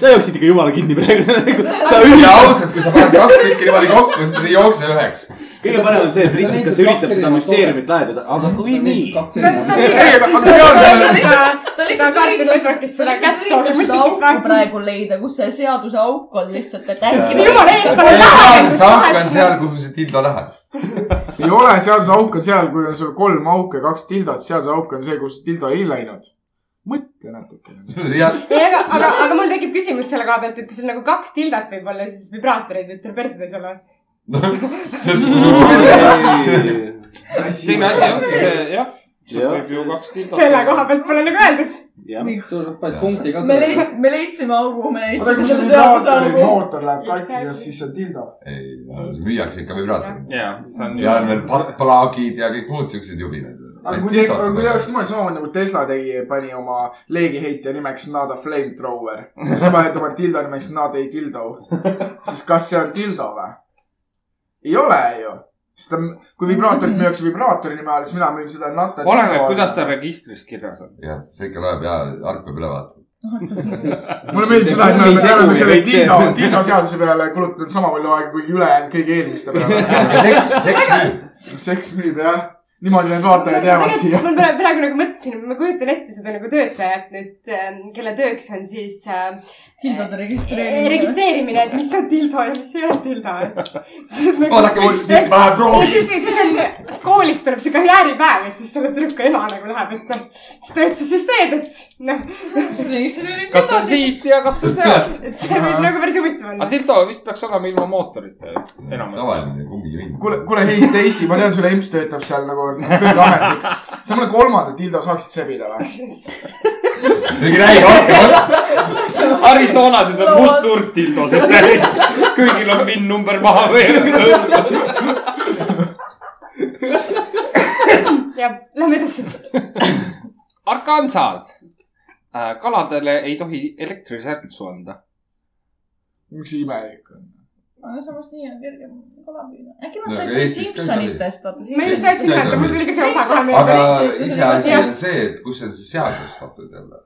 sa jooksid ikka jumala kinni [LAUGHS] praegu . sa ja üritad , ausalt , kui sa paned kaks tükki niimoodi kokku , siis nad ei jookse üheks . kõige parem on see , et Ritsikas Sa näitasid üritab kaks seda erinevat müsteeriumit lahendada , aga kui nii . ei , aga see on see , ta lihtsalt kartub üritas , pesakest ta seda lihtsalt kätt üritas seda auku kaotama. praegu leida , kus see seaduse auk on lihtsalt , et See- äkki . jumala eest , ta see ei lähe . seaduse auk on seal , kuhu see tilda läheb . ei ole , seaduseauk on seal , kui on sul kolm auke , kaks tildat , seaduseauk on see , kus tilda ei läinud . mõtle natukene . jah , ei , aga , aga , aga mul tekib küsimus selle koha pealt , et kui sul nagu kaks tildat võib-olla , siis vibraatoreid võib tal perses olla . teine asi ongi see , Jah. jah . sul võib ju kaks tilda . selle koha pealt pole nagu öeldud . sul paned punkti ka me . leidsime , me leidsime augu , me oota , kui sul leidsime selle seaduse vibraatori augu . mootor läheb katki , kas siis see on tilda ? ei , müüakse ikka vibraatorit . ja , see on ja on veel pa- plaagid ja kõik muud siuksed jubinad . aga kui te , kui oleks niimoodi samamoodi nagu Tesla tegi , pani oma leegiheitja nimeks Nada Flamethrower ja sa paned oma tilda nimeks Nada ei tildo , siis kas see on tildo või ? ei ole ju , sest ta , kui vibraatorit müüakse vibraatori nime all , siis mina müün seda Nata . oleneb , kuidas ta . registris kirjas on . jah , see ikka loeb ja Ark peab üle [LAUGHS] vaatama . mulle meeldib seda , et me oleme , me oleme selle tildo , tildo seaduse peale kulutanud sama palju aega kui ülejäänud kõigi eelmiste [LAUGHS] peale . aga seks , seks müüb . seks müüb jah , niimoodi need vaatajad jäävad siia . tegelikult ma praegu, praegu nagu mõtlesin , ma kujutan ette seda nagu töötajat nüüd , kelle tööks on siis äh, sildade eh, registreerimine . registreerimine , et mis on tildo ja mis ei ole tildo . vaadake , Nagu, mis siis mitte vähe ja proovi . siis , siis on , koolis tuleb see karjääripäev ja siis selle tüdruku ema nagu läheb , et noh , mis tööd sa siis teed , et noh , registreerimine . katsu . siit ja katsu sealt . et see võib nagu päris huvitav aga olla . tildo vist peaks olema ilma mootorita ju , enamasti . tavaline kummiring . kuule , kuule , hei Stacy , ma tean , sul emps töötab seal nagu on kõrgeametnik . sa mulle kolmanda tildo saaksid sebida või ? mingi näiga rohkem otsa . Arizonases on must nurk tildo sees täis . kõigil on PIN number maha veeretud . jah , lähme edasi . Arkansas . kaladele ei tohi elektrisärtsu anda . mis imelik on . aga samas nii on kergem kala püüda . äkki No, nad aga said sellest Eestis ka Simsonitest , vaata ma just tahtsin öelda , mul tuli ka see osa kohe aga meelde . iseasi on see , et kus on see seadustatud jälle .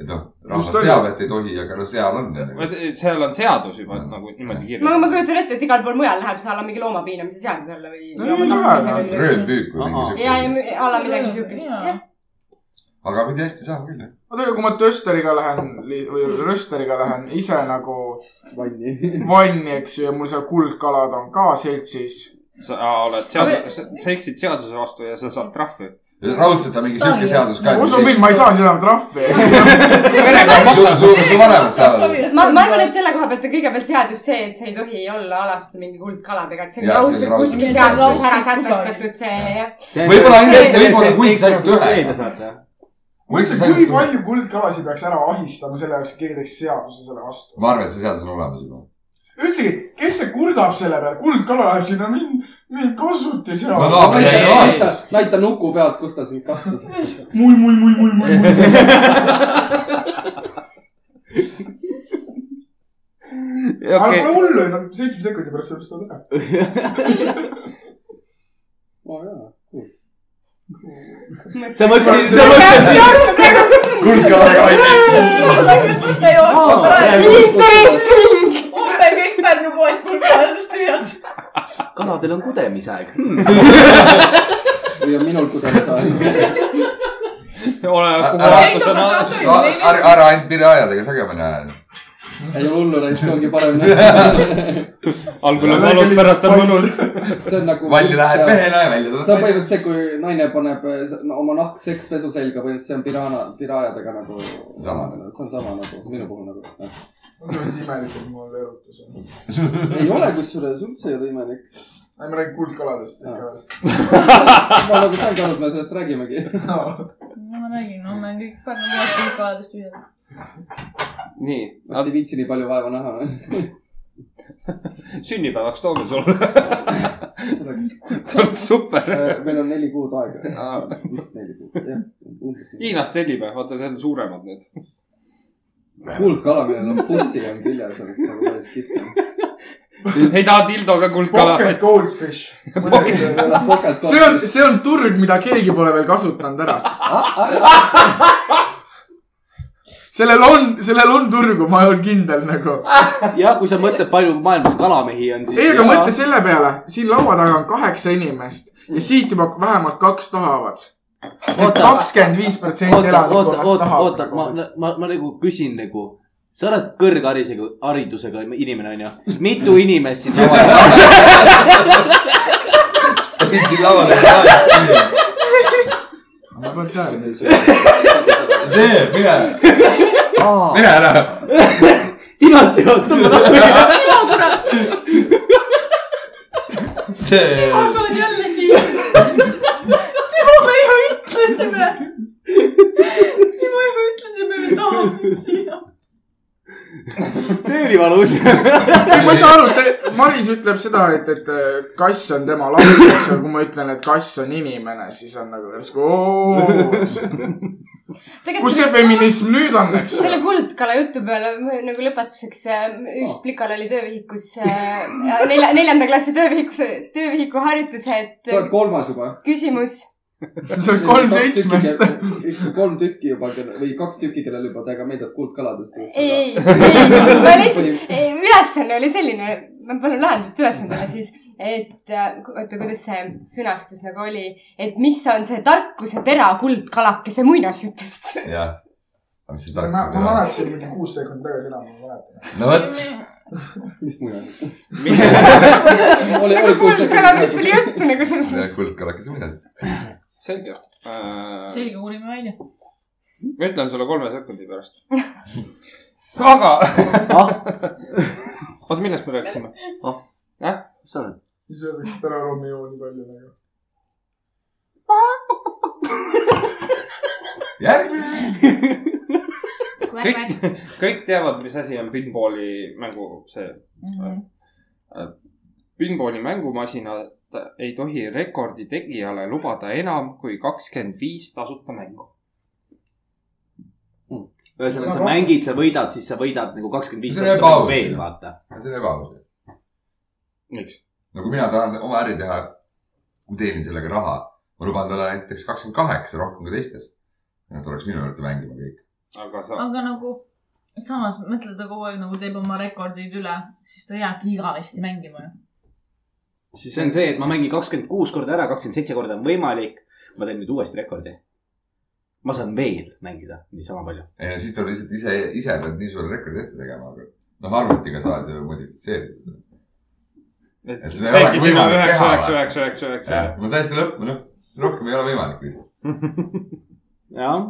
et noh , rahvas Just oli. teab , et ei tohi , aga no seal on . eh, seal on seadus juba nagu niimoodi ma , ma kirjas . kujutan ette , et igal pool mujal läheb see alla mingi looma piinamise seaduse alla või . No ei ole, röövpüük või mingi Ahah. ja , ja siuke . mü- alla midagi siukest . Jaa. aga pidi hästi saama küll , jah . oota , aga kui ma tösteriga lähen li- või rösteriga lähen ise nagu vanni . vanni , eks ju , ja mul seal kuldkalad on ka seltsis . sa oled seadus , sa eksid seaduse vastu ja sa saad trahvi . raudselt on mingi siuke seadus ka . usu mind , ma ei saa siis enam trahvi , eks ju . su , su , su vanemad saavad . [LAUGHS] ma , ma arvan , et selle koha pealt on kõigepealt seadus see , et see ei tohi olla alasta mingi kuldkaladega , et see on Jaa, see raudselt on kuskil raudselt. seaduses ära Raudselt sätestatud see jah . Võib-olla ainult- võib-olla kuis ainult ühe. ühe . kui kui palju kuldkalasid peaks ära ahistama selle jaoks , et keegi teeks seaduse selle vastu ? ma arvan , et see seadus on olemas juba . üldsegi , kes see kurdab selle peale , kuldkala läheb sinna mind , mind kasuti seal . No naabri- Ei, ei, ei. näita , näita nuku pealt , kus ta sind katsus . mul , mul , mul , mul , mul , mul . aga okei pole , hullu , no seitsme sekundi pärast saab seda teha . sa mõtlesid , sa mõtlesid . interest kuldkalaga mõte jooksma praegu . ring . homme kõik Pärnu poed kulkaladest tühjad . kanadel on kudemisaeg . või on minul kuidagi saanud . [LAUGHS] oleneb kuhu Ära- autos on . ainult . ära , ära ainult pere ajadega sagemini aja . ei ole hullu , raisk ongi parem näha . [LAUGHS] algul on valus , pärast on mõnus . see on nagu . valli läheb mehena ja välja see on tuleb põhimõtteliselt see , naiseks . kui naine paneb eh, s- no, oma nahk sekspesu selga , põhimõtteliselt see on piraana , piraajadega nagu . Sama. see on sama nagu minu puhul nagu . kuidas imelikult mul erutus on ? ei ole kusjuures üldse ei ole imelik . ei , ma räägin kuldkaladest ikka veel . ma nagu sain ka aru , et me sellest räägimegi . no ma nägin , homme on kõik Pärnu poed kulkaladest tühjad . nii , vast ei viitsi nii palju vaeva näha . sünnipäevaks toome [LAUGHS] sulle . see oleks super . Eh, meil on neli kuud aega . vist neli kuud , jah . umbes nii . Hiinast tellime , vaata , seal on suuremad need . kuldkala , millel on bussi on küljes , oleks nagu päris kihvt . ei taha tildoga kuldkala . Pocket goldfish . see pokalt on , see on turg , mida keegi pole veel kasutanud ära . sellel on , sellel on turgu , ma olen kindel nagu . ja kui sa mõtled , palju maailmas kalamehi on , siis . ei , aga mõtle selle peale , siin laua taga on kaheksa inimest Mm. ja siit juba vähemalt kaks tahavad . kakskümmend viis protsenti oota , oota , elanikkonnast oota , tahab . oota , ma , ma , ma nagu küsin nagu , sa oled kõrgharidusega , haridusega inimene onju . mitu inimest siin [LAUGHS] tavaliselt siin laval ei ole . ma polnud teadnud . see , mine , mine ära . igati on , tõmba lahku . see , sa oled jälle siin . Timo , me ju ütlesime . Timo juba ütlesime , me tahame siia . see oli [LAUGHS] valus . ei , ma ei saa aru , Maris ütleb seda , et , et äh, kass on tema laps , eks ole , kui ma ütlen , et kass on inimene , siis on nagu järsku oo. kus see feminism nüüd on , eks selle kuldkala jutu peale ma nagu lõpetuseks , üks plikal oli töövihikus , nelja , neljanda klassi töövihikus , töövihiku harjutuse , sa oled et kolmas juba . küsimus . see on kolm seitsmest .. kolm tükki juba , või kaks tükki , kellel juba täiega meeldib kuldkaladest . ei , ei , ei , ma lihtsalt , ülesanne oli selline , ma palun lahendust ülesandele siis , et äh, oota , kuidas see sõnastus nagu oli , et mis on see tarkuse tera kuldkalakese muinasjutust ? jah . aga mis see ma ma tarkus ei ole ? mäletasin mingi kuus sekundit tagasi enam , ma ei mäleta . no vot , mis mul on ? oli , oli kuus kuldkaladest oli . juttu nagu selles mõttes . kuldkalakas mina . selge äh, . selge , uurime välja . ma ütlen sulle kolme sekundi pärast . aga ah , oota , millest me rääkisime ? mis sa oled ? siis öeldakse , et ära loomi joo nii palju nagu . järgmine . kõik , kõik teavad , mis asi on pinballi mängu see Mhm. pinballi mängumasinad ei tohi rekordi tegijale lubada enam kui kakskümmend viis tasuta mängu . ühesõnaga , sa mängid , sa võidad , siis sa võidad nagu kakskümmend viis See on aastat ebaaus. veel , vaata . see on ebaaus . miks ? no kui mina tahan oma äri teha , ma teenin sellega raha , ma luban talle näiteks kakskümmend kaheksa rohkem kui teistes . Nad tuleks minu juurde mängima kõik . aga sa , aga nagu samas mõtle , ta kogu aeg nagu teeb oma rekordid üle , siis ta jääbki igavesti mängima ju . siis see on see , et ma mängin kakskümmend kuus korda ära , kakskümmend seitse korda on võimalik . ma teen nüüd uuesti rekordi . ma saan veel mängida niisama palju . ja siis tuleb lihtsalt ise , ise pead nii suure rekordi ette tegema , aga noh , arvutiga saad ju modifitseerida . et seda ei ole äkki sinna võimalik üheksa , teha, üheksa , või? üheksa , üheksa , üheksa . mul täiesti lõpp , noh , rohkem ei ole võimalik lihtsalt . jah ,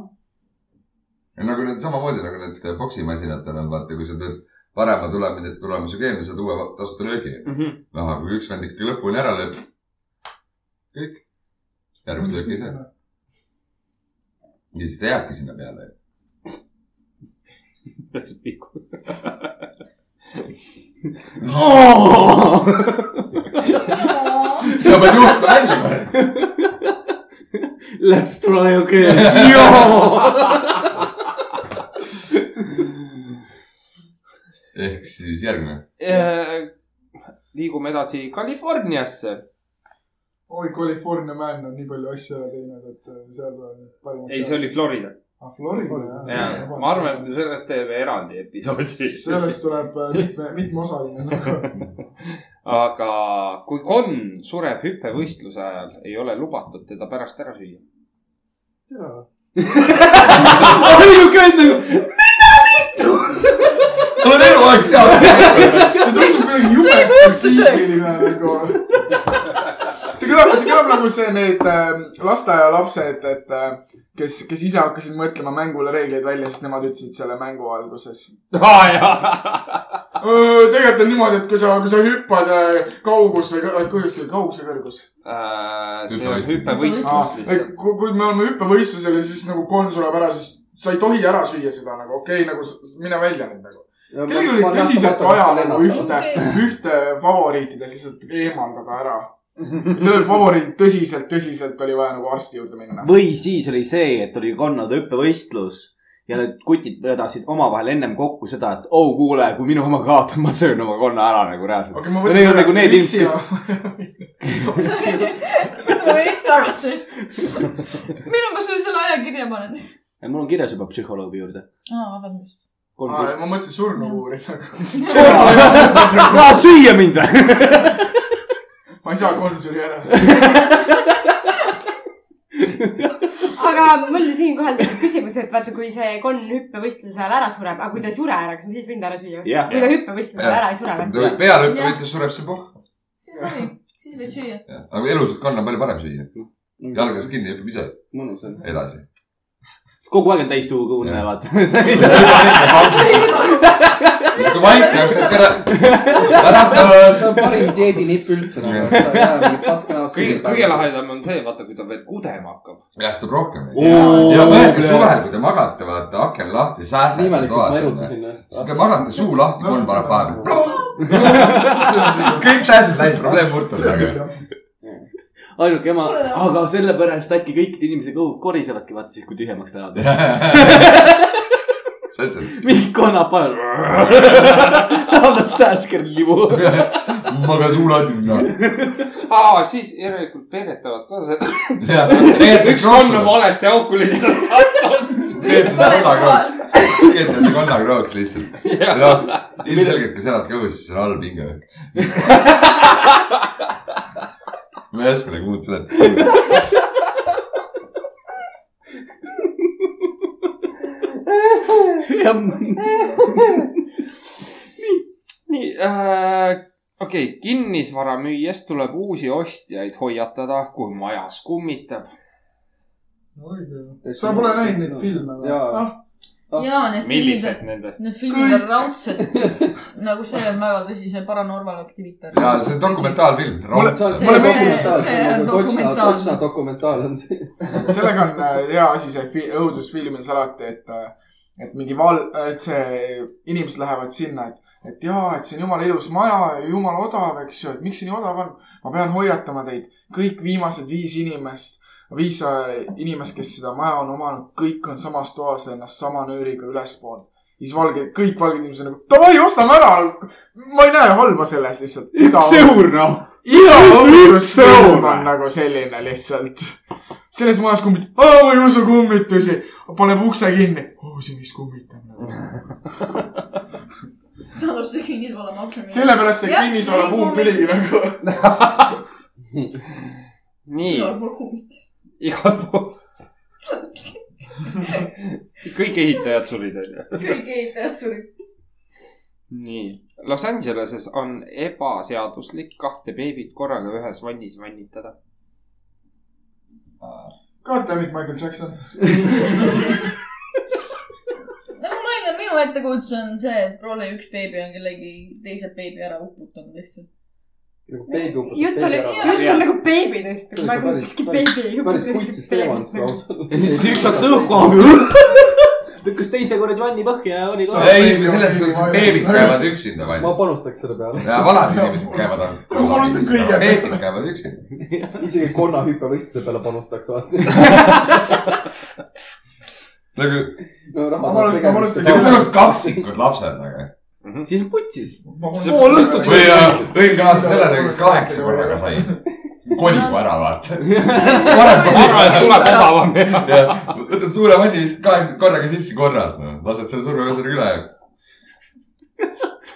ja nagu need samamoodi nagu need poksimasinad täna , vaata , kui sa teed parema tulemine , tulemuse keemia , saad uue tasuta löögi . Mhm. noh , aga kui üks vend ikkagi lõpuni ära lööb , kõik , järgmist lööki ei saa . ja siis ta jääbki sinna peale . üheksa pikku . [LAUGHS] [LAUGHS] ja pead juhtme välja . Let's try again . ehk siis järgmine . Äh, liigume edasi Californiasse . oi , California man on nii palju asju ära teinud , et äh, seal on parimad . ei , see oli . Florida . ah , Florida jah . ma arvan , et . sellest teeme eraldi episoodi . sellest tuleb äh, mitme , [LAUGHS] mitmeosaline nagu . aga kui konn sureb hüppevõistluse ajal , ei ole lubatud teda pärast ära süüa . ainuke enda . ma olen eluaeg seal . see tundub kuidagi jubesti psiihiline nagu . see kõlab , see kõlab nagu see , need äh, lasteaialapsed , et äh, kes , kes ise hakkasid mõtlema mängule reegleid välja , siis nemad ütlesid selle mängu [LAUGHS] alguses . aa Ah, jaa . tegelikult on niimoodi , et kui sa , kui sa hüppad äh, kaugus või , kuidas see oli , kaugus või kõrgus ? Äh, see on hüppevõistlus lihtsalt . kui , kui me oleme hüppevõistlusel ja siis nagu konn sureb ära , siis sa ei tohi ära süüa seda nagu , okei okay, , nagu s- mine välja nüüd nagu . kellelgi oli tõsiselt vaja nagu ühte Okei. , ühte favoriitidest lihtsalt eemaldada [LAUGHS] ära . sellel favoriidil tõsiselt , tõsiselt oli vaja nagu arsti juurde minna . või siis oli see , et oli konnade hüppevõistlus ja need kutid vedasid omavahel ennem kokku seda , et oh kuule , kui minu oma kaotab , ma söön oma konna ära nagu reaalselt okei , ma No need on nagu need miks inimesed, ja . ma veits arvasin . millal ma sulle selle aja kirja panen ? mul on kirjas juba psühholoogi juurde . aa , vabandust . kolmteist . ma mõtlesin surnu uurida , [LAUGHS] tahad süüa mind või ? aga [LAUGHS] ma ei saa konsuli [LAUGHS] ära . aga mul siinkohal tekib küsimus , et vaata , kui see konn hüppevõistluse ajal ära sureb , aga kui ta ei sure ära , kas me siis mind ära süüa ? jah , kui ta hüppevõistluse ajal ära ei sure või ? peale hüppamist sureb see pohh . siis võib , siis võib süüa . aga elusat kanna on palju parem süüa . jalgades kinni hüppab ise mõnus on . edasi . kogu aeg on täis tuukuune , Jah. [LAUGHS] vaata . kui vait jääb , siis ära , ära see on parim dieedinipp üldse nagu , et sa ei lähe mingi paskanavast . kõige , kõige . lahedam on see , vaata , kui ta veel kudema hakkab . päästab rohkem . ja mõelge suvel , kui te magate , vaata aken lahti , sääsed on imelikult ma toas . erutasin . siis te magate suu lahti , kolm paneb vahepeal . [LAUGHS] kõik sääsed läinud , probleem murtud . [LAUGHS] ainuke ema , aga sellepärast äkki kõikide inimese kõhud korisevadki , vaata siis , kui tühjemaks lähevad . täitsa , mingi kannab palju . annab sääsker limu . [LAUGHS] maga suu lahti . aa , siis järelikult peeretavad ka [LAUGHS] seda . üks üks konn on valesse auku [LAUGHS] lihtsalt sattunud . teed seda kannakrooks , teed seda kannakrooks lihtsalt . noh , ilmselgelt , kui sa elad kõhus , siis on halb [LAUGHS] hinge . ma ei oska nagu muud seletada . nii äh, , okei okay. , kinnisvaramüüjast tuleb uusi ostjaid hoiatada , kui majas kummitab . sa pole näinud neid filme või ? jaa , ah , ja need filmid millised on , nendest ? need filmid on [LAUGHS] raudsed . nagu see on väga tõsise paranormal aktivitar . ja see on . dokumentaalfilm . see on , See- see on see- dokumentaal , see see on on nagu Totsna , dokumentaal. Totsna dokumentaal on see . sellega on äh, hea asi see fi- õudusfilmis alati , et , et mingi val- , et see , inimesed lähevad sinna , et , et jaa , et see on jumala ilus maja , jumala odav , eks ju , et miks see nii odav on . ma pean hoiatama teid , kõik viimased viis inimest , viis äh, inimest , kes seda maja on omanud , kõik on samas toas ennast sama nööriga ülespoolt . siis valge , kõik valged inimesed on nagu davai , ostame ära . ma ei näe halba selles lihtsalt . üks eur noh . iga õudusfilm õudne. on nagu selline lihtsalt . selles majas kummit- , aa ma ei usu kummitusi , paneb ukse kinni , oo see vist kummitab . nagu." saadab see kinnisvara maksimum . sellepärast see Jah, kinnisvara ei buum kummita. tuligi nagu . nii , igal pool kummitas . igal pool . kõik ehitajad surid onju . kõik ehitajad surid . nii , Los Angeleses on ebaseaduslik kahte beebit korraga ühes vannis vannitada . God damn it , Michael Jackson . nagu naine , minu ettekujutus on see , et proole üks beebi on kellegi teise beebi ära uputanud lihtsalt . nagu beebi jutt oli , uputab . jutt on nagu beebidest , ma ei mõtlekski beebi . päris putsis teema on see . [LAUGHS] siis üks ausalt . läks õhku , aga lükkas teise korra vanni põhja ja oli kohe . ei , selles suhtes , et beebid käivad üksinda ma vaid . panustaks selle peale . ja vanad inimesed käivad Ma unustan kõige. . beebid käivad üksinda . isegi konnahüppevõistluse peale panustaks vaata . nagu , no Ma raha panust- ma panustaks nagu mul on kaksikud lapsed , aga . Mhm. siis putsis . pool õhtut või äh, õige aasta sellele , kes kaheksa korraga sai . koligu ära , [LAUGHS] vaata . parem kui arvan , et tuleb odavam . jah , võtad suure vanni , viskad kaheksakümmend korraga sisse korras , noh , lased selle survevesele üle .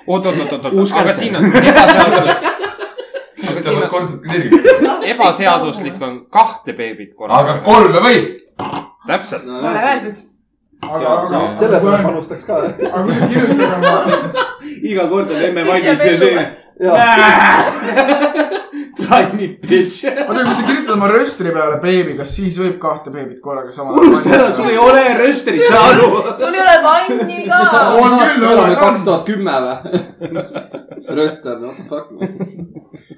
oot , oot , oot , oot , Uus oot , aga kärbse. siin on ebaseaduslik . aga sa siin pead on kordselt sirgeks . [LAUGHS] ebaseaduslik on kahte beebit aga korraga . kolme võib . täpselt . Pole öeldud . aga , aga , selle peale aga panustaks ka . kui sa kirjutad oma , iga kord on emme Kes valmis jääb ja ellu teine . [LAUGHS] Tiny bitch . oota , kui sa kirjutad oma röstri peale beebi , kas siis võib kahte beebit korraga samal unusta ära , sul ei ole röstrit , sa aru . [LAUGHS] sul ei ole vanni ka . On küll, oleme on. kaks tuhat kümme või ? röster , what the fuck .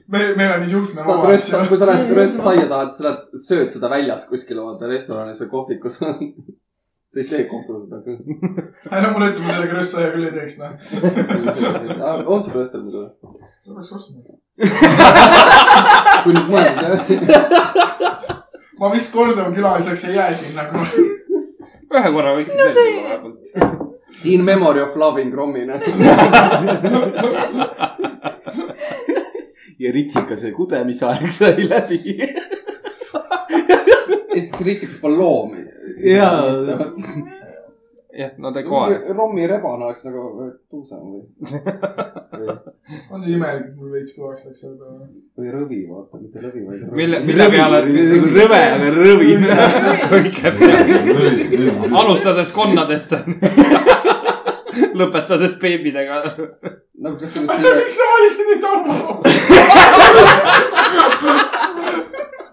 meil , meil on juhtme sa oled röst , kui sa lähed röstsaia taha , sa lähed , sööd seda väljas kuskil vaata restoranis või kohvikus . [LAUGHS] sa ei tee kohtu [LAUGHS] ei no mulle üldse , ma sellega röstsaia küll ei teeks , noh . seda . Ah, on sul röster muidu [LAUGHS] sa või ? peaks ostma . kui nüüd mõelda , see ma vist kordava külaliseks ei jää siin nagu . ühe korra võiksid veel tulla vahepeal . In memory of loving Romi , noh . ja ritsikase kudemisaeg sai läbi . esiteks ritsikas pole loomi . Jaa. jah , no ta ei koale . Romi rebane oleks nagu tuusam või või, on see imelik , et mul veits kõvaks läks selle peale . või rõvi , vaata , mitte lõvi , vaid rõvi . mille , mille peale ? nagu rõve või rõvi . kõike peale . alustades konnadest . [LAUGHS] lõpetades beebidega . nagu kas sa nüüd selle , miks sa valisid nüüd sammu ?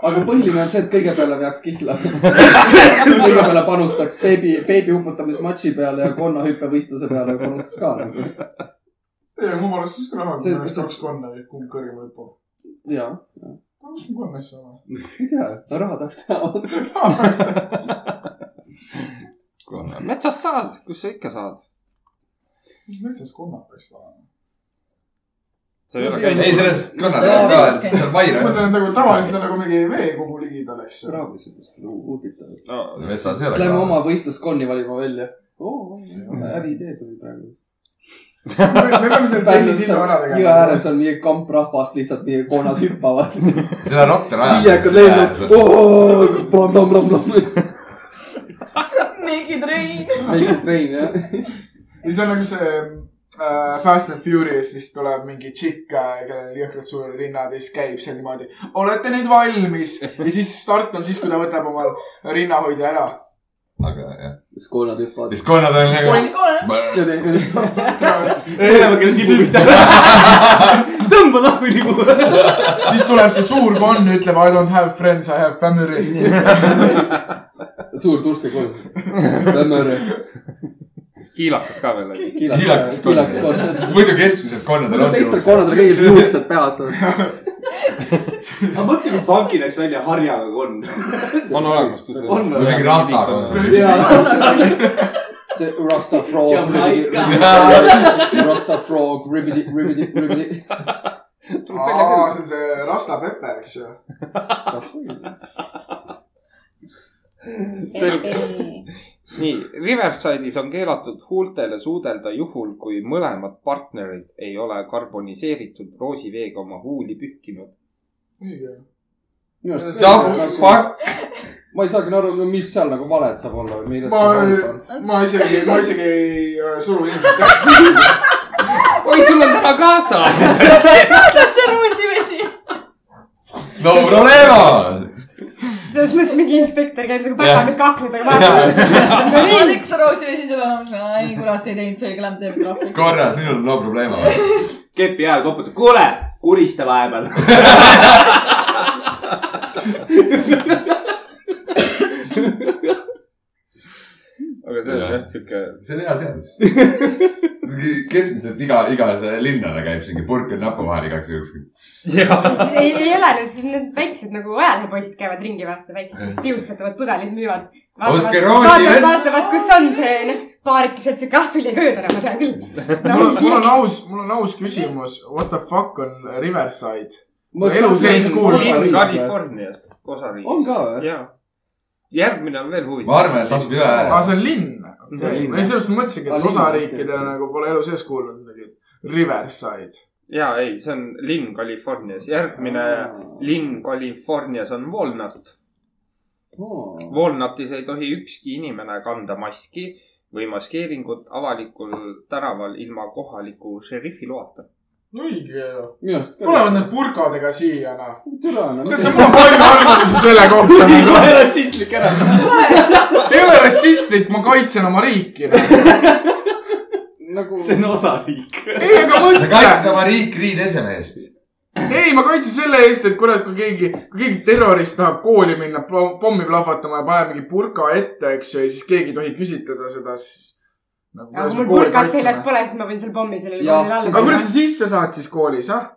aga põhiline on see , et kõige peale peaks kihla . [LAUGHS] kõige peale panustaks beebi , beebi uputamismatši peale ja konnahüppevõistluse peale panustaks ka nagu . ei , mu meelest siis ka raha , kui See- mul oleks see- kaks konna , kumb kõrgem hüppab . jaa , aga kus mu konna eest saab ? ei tea , no raha tahaks teha . metsast saad , kus sa ikka saad . mis metsas konnad peaks olema ? sa ei ole käinud . ei , sellest kannad ära ka , lihtsalt seal ma Vaira mõtlen , et nagu tavaliselt on nagu mingi veekogu ligidal , eks ju . raha küsimus , huvitav . metsas ei siis ole lähme . oma võistluskonni valima välja . äriidee tuli praegu . me peame selle Tallinna linna ära iga tegema . ääres on mingi kamp rahvast , lihtsalt mingi koonad hüppavad . selle rattarajal . viiekad lennud , blablablablab . mingi trein . väike trein jah . ja see on nagu see äh, Fast and Furious , siis tuleb mingi tšikk , kellel on jõhkralt suured rinnad ja siis käib seal niimoodi . olete nüüd valmis ? ja siis start on siis , kui ta võtab oma rinnahoidja ära . aga jah , siis koonad hüppavad . siis konnad on kolm , nagu . kolm . mõlemad kellel niisugune . [LAUGHS] tõmba lahku nagu . siis tuleb see suur konn , ütleb I don't have friends , I have family . suur turstikolm . Lämmere . kiilakas ka veel . hiilakas kiilakas konn kolm .. muidu keskmised konnad on nagu- teistel . koonadel käib juuksed peas . aga mõtle , kui pangi läks välja harjaga konn . on olemas . On või? või mingi rastakonnad . see Rastafrog , Rastafrog , ribidi , ribidi , ribidi . aa , see on see Rasta Pepe , eks ju . nii , Riverside'is on keelatud huultele suudelda juhul , kui mõlemad partnerid ei ole karboniseeritud roosiveega oma huuli pühkinud . õige . Fuck , ma ei saagi aru , no mis seal nagu valet saab olla või milles Ma- see valet on . ma isegi , ma isegi ei äh, suru inimesi kätte . oi , sul on täna kaasas . kuidas see roosivesi ? no problema . selles mõttes mingi inspektor käib nagu Jah. päkapikk aknadega vaatamas . no mul on nii , üks roosivesi seal olemas . ai , kurat ei teinud , see oli klamm teeb graafik . korras , minul on no problema . kepi ajal koputab , kuule , kurista vahepeal . aga see on jah siuke , see on hea seadus . keskmiselt iga , iga see linnale käib mingi purk on näpu vahel igaks juhuks . jah , ei , ei ole , need väiksed nagu ajalehepoisid käivad ringi , vaata väiksed siuksed kiustatavad pudelid müüvad . Ostke roosi vaatavad , vett. vaatavad , kus on see , noh , paarikesed , siuke , ah , sul jäi kööd ära , ma tean [LAUGHS] mul on , mul on küll . aus , mul on aus küsimus . What the fuck on Riverside ? Ma Elu just sees tahtsin- kuulsin. Californias , osariigis . on ka või ? jaa . järgmine on veel huvitav . ma arvan , et tasub ühe aa , ääres . see on linn . See on linn, ma sellepärast mõtlesingi , Aa, et linn, osariikide okei. nagu pole elu sees kuulnud midagi . Riverside . jaa , ei , see on linn Californias . järgmine linn Californias on Walnut . Walnutis ei tohi ükski inimene kanda maski või maskeeringut avalikul tänaval ilma kohaliku šerifi loata . õige ju . minu arust ka . tulevad need purkadega siia , noh . türa on . tead , mul on palju arvamusi selle kohta . rassistlik ära . see ei ole rassistlik , ma kaitsen oma riiki . ei , nagu . [LAUGHS] see on osariik . aga sa kaitsid mõtle . oma riik riideseme eest . ei , ma kaitsen selle eest , et kurat , kui keegi , kui keegi terrorist tahab kooli minna plo- pommi plahvatama ja paneb mingi purka ette , eks ju , ja siis keegi ei tohi küsitleda seda , siis . nagu aga kui mul purkat seljas pole , siis ma võin selle pommi sellele Jah. koolile alla aga kuidas sa sisse saad siis koolis , ah ?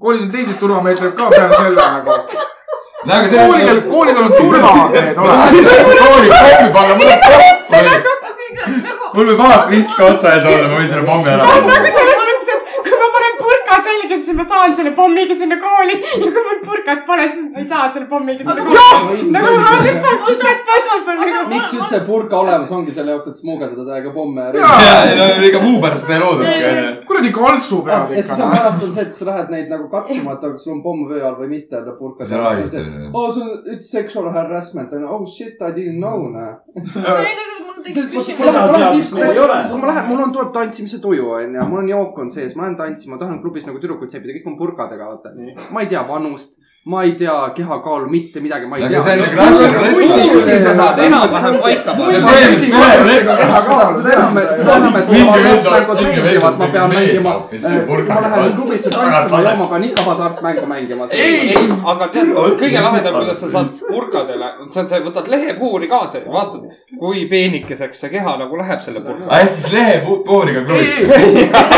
koolis on teised turvameetrid ka peale selle nagu . no aga koolidel , see . nagu- koolidel on turvamehed olemas . kooli pommi panna , mul on kopp . nagu , mul võib alati viska otsa ees olla , ma võin selle pommi ära Aga nagu panna . selles mõttes , et kui ma panen purka selga , siis ma saan selle pommiga sinna kooli ja kui mul purkat pole , siis ma ei saa selle pommiga sinna kooli . nagu what the fuck is that possible nagu ? miks üldse purka olemas ongi selle jaoks , et smugeldada täiega pomme ja Jaa. relvi ? ja , ja no, ega muu pärast ei loodudki , onju . kuradi kaltsu ja pead siis ikka ah. noh. on . pärast on Ah, see , et sa lähed neid nagu katsuma , et kas sul on pomm vöö all või mitte , enda purka . see on ahistamine . oh , see on üks sexual harassment , oh shit , I didn't know , näe . ei , aga mul tekkis mul küsimus . on- mul on seadust disko- meil ei ole. kui ma lähen , mul on , tuleb tantsimise tuju , onju , mul on jook on sees , ma lähen tantsima , tahan klubis nagu tüdrukuid seppida , kõik on purkadega , Nii. vaata . ma ei tea vanust , ma ei tea kehakaalu , mitte midagi , ma ei aga see on tea . nagu . sa saad enam-vähem paika see panna . probleem , see probleem . seda seda enam , seda enam , et kui ma sealt nagu trendivad , ma pean mängima . kui ma lähen klubisse tantsima ja ma pean ikka hasartmängu mängima . ei , aga tead , Türa ütles kõige lahedam , lihtsalt. kuidas sa saad purkadele , see on see , võtad lehepuuri kaasa ja vaatad , kui peenikeseks see keha nagu läheb selle purka . ehk siis lehepooriga klubis . [LAUGHS] nagu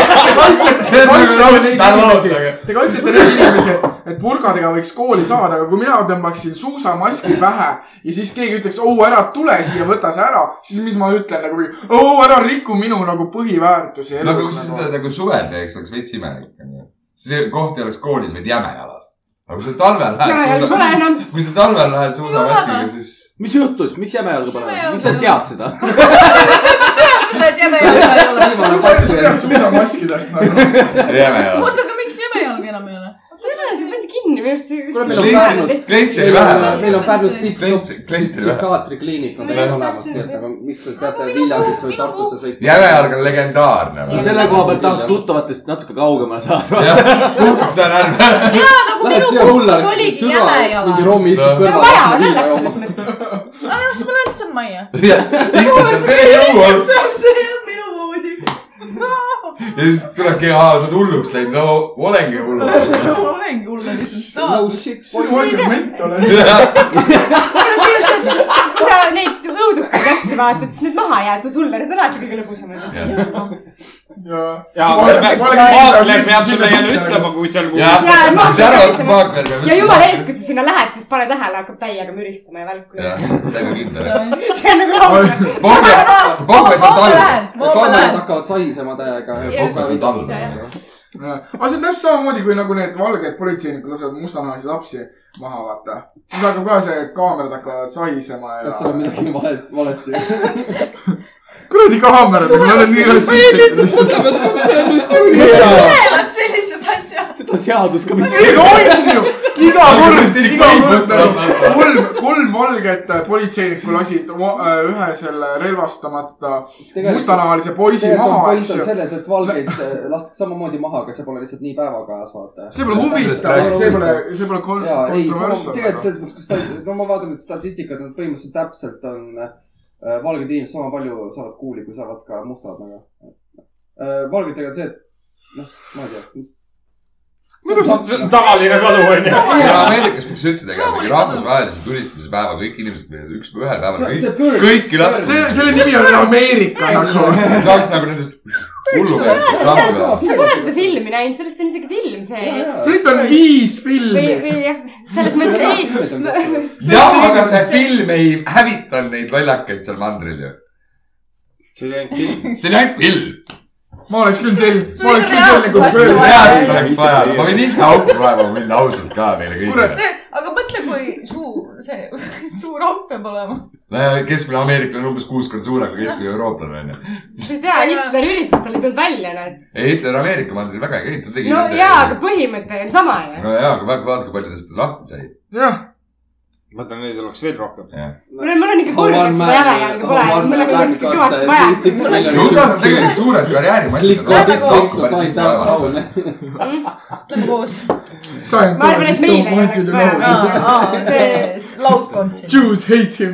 Te ära oota , kaitsete neid inimesi , et purgadega võiks kooli saada , aga kui mina tõmbaksin suusamaski pähe ja siis keegi ütleks , oo ära tule siia , võta see ära , siis mis ma ütlen nagu , oo ära riku minu nagu põhiväärtusi no aga kui sa elus seda nagu . nagu suvel teeks , oleks veits imelik , onju . see koht ei oleks koolis , vaid jäme jalas . aga kui sa talvel ja , ja lähed ei ole suusa , enam . kui sa talvel lähed suusamaskiga , siis mis juhtus , miks jäme jalga Mis jäme panema , [LAUGHS] miks sa tead seda ? jalga panema? seda , et jäme jalga ei ole . viimane nagu palju sa tead pats . suusamaskidest [LAUGHS] nagu ? jäme jalas . oota , aga miks jäme jalga enam ei ole ? tere , sa paned kinni minu arust Kuule, see kliente meil on Pärnus- oli meil on , vähe . meil on Pärnus tippstopp kliente , kliente oli vähe . psühhiaatrikliinik on täitsa olemas , nii et aga miks te peate Viljandisse või Tartusse sõitma ? jäme jalg on legendaarne . No selle koha pealt tahaks tuttavatest natuke kaugemale saada . [LAUGHS] jah , puhkab seal ärme . [LAUGHS] jaa , nagu Lähed minu siia puhkus Kullarisse , oligi türa jäme , mingi jalas . Roomi istub on vaja , on õnneks kõrval . selles mõttes . aga minu arust mul üldse on maja . istud see jõu all see on see minu moodi . ja siis tuleb keegi , aa , sa oled hulluks läinud , no olengi hulluks . [LAUGHS] [LAUGHS] olengi Kullaris , sest no shit , sinu asi on ment ole . kui sa neid õudukaid asju vaatad , siis need mahajäetud hullerid on alati kõige lõbusamad . ja maakler peab sulle jälle nagu. ütlema , kui seal ja , kuhugi . Jaa, ma- kui sa ära ostad maakler peab . ja jumala eest , kui sa sinna lähed , siis pane tähele , hakkab täiega müristama ja välkuma . jah , see on kindel . see on nagu laul . Pohvet , Pohvet on talvel . kaamad hakkavad saisema täiega . Pohvet on talvel . aga see on täpselt samamoodi , kui nagu need valged politseinikud lasevad mustanahalisi lapsi maha , vaata . siis hakkab ka see , kaamerad hakkavad sahisema kas seal on ja . midagi valet , valesti ? kuradi kaamerad , ma olen nii rassistlik . kõnelad sellised asjad . seda seadust ka ei mitte . no on ju , iga kord , iga kord nagu Kolm- kolm , kolm valget äh, politseinikku lasid oma- äh, ühe selle relvastamata mustanahalise poisi maha , point eks on ju . selles , et valgeid äh, lastakse samamoodi maha , aga see pole lihtsalt nii päevakajas , vaata . see pole huvitav , see pole , see pole kol- jaa , ei , tegelikult kontroversne . selles mõttes , kui sta- , no ma vaatan nüüd statistikat , nad põhimõtteliselt täpselt on äh, , valged inimesed sama palju saavad kuuli , kui saavad ka mustad , aga äh, valgetega on see , et noh , ma ei tea , mis . Minu arust see on tavaline kodu onju . ja Ameerikas peaks üldse tegema mingi rahvusvahelise tulistamise päeva , kõik inimesed peavad üks , ühel päeval see , kõik , see pöörd , kõiki lasta . see , selle nimi on Ameerika nagu . [LAUGHS] saaks nagu nendest hullumeelsetest lahti see on peale . sa pole seda filmi näinud , sellest on isegi film see . sellest on viis filmi või ,. või jah , selles mõttes ei . jah , aga see film ei hävitanud neid lollakaid seal mandril ju . see oli ainult film . ma oleks küll selline , ma oleks küll nagu selline Reaalsus kui asju pöörd . peaasi oleks vaja , ma võin ise auku praegu minna ausalt ka neile kõigile . aga mõtle , kui suur see suur auk peab olema . nojah , keskmine ameeriklane on umbes kuus korda suurem kui keskmine eurooplane onju . sa ei tea , Hitler üritas , tal ei tulnud välja , näed . ei , Hitler Ameerika mandril väga ei käinud , ta tegi . no jaa , aga põhimõte on sama ju . no jaa , aga vaadake , vaadake , palju ta seda lahti sai . jah , ma mõtlen , neid oleks veel rohkem . mul on , mul on ikka kurb , et seda jalajälge pole , mul on kindlasti kõvasti vaja . ja USA-s on tegelikult suured karjäärimassid . Lähme koos . sain . ma arvan , et meile ei oleks nagu vaja . see laudkond siin . Jews hate him .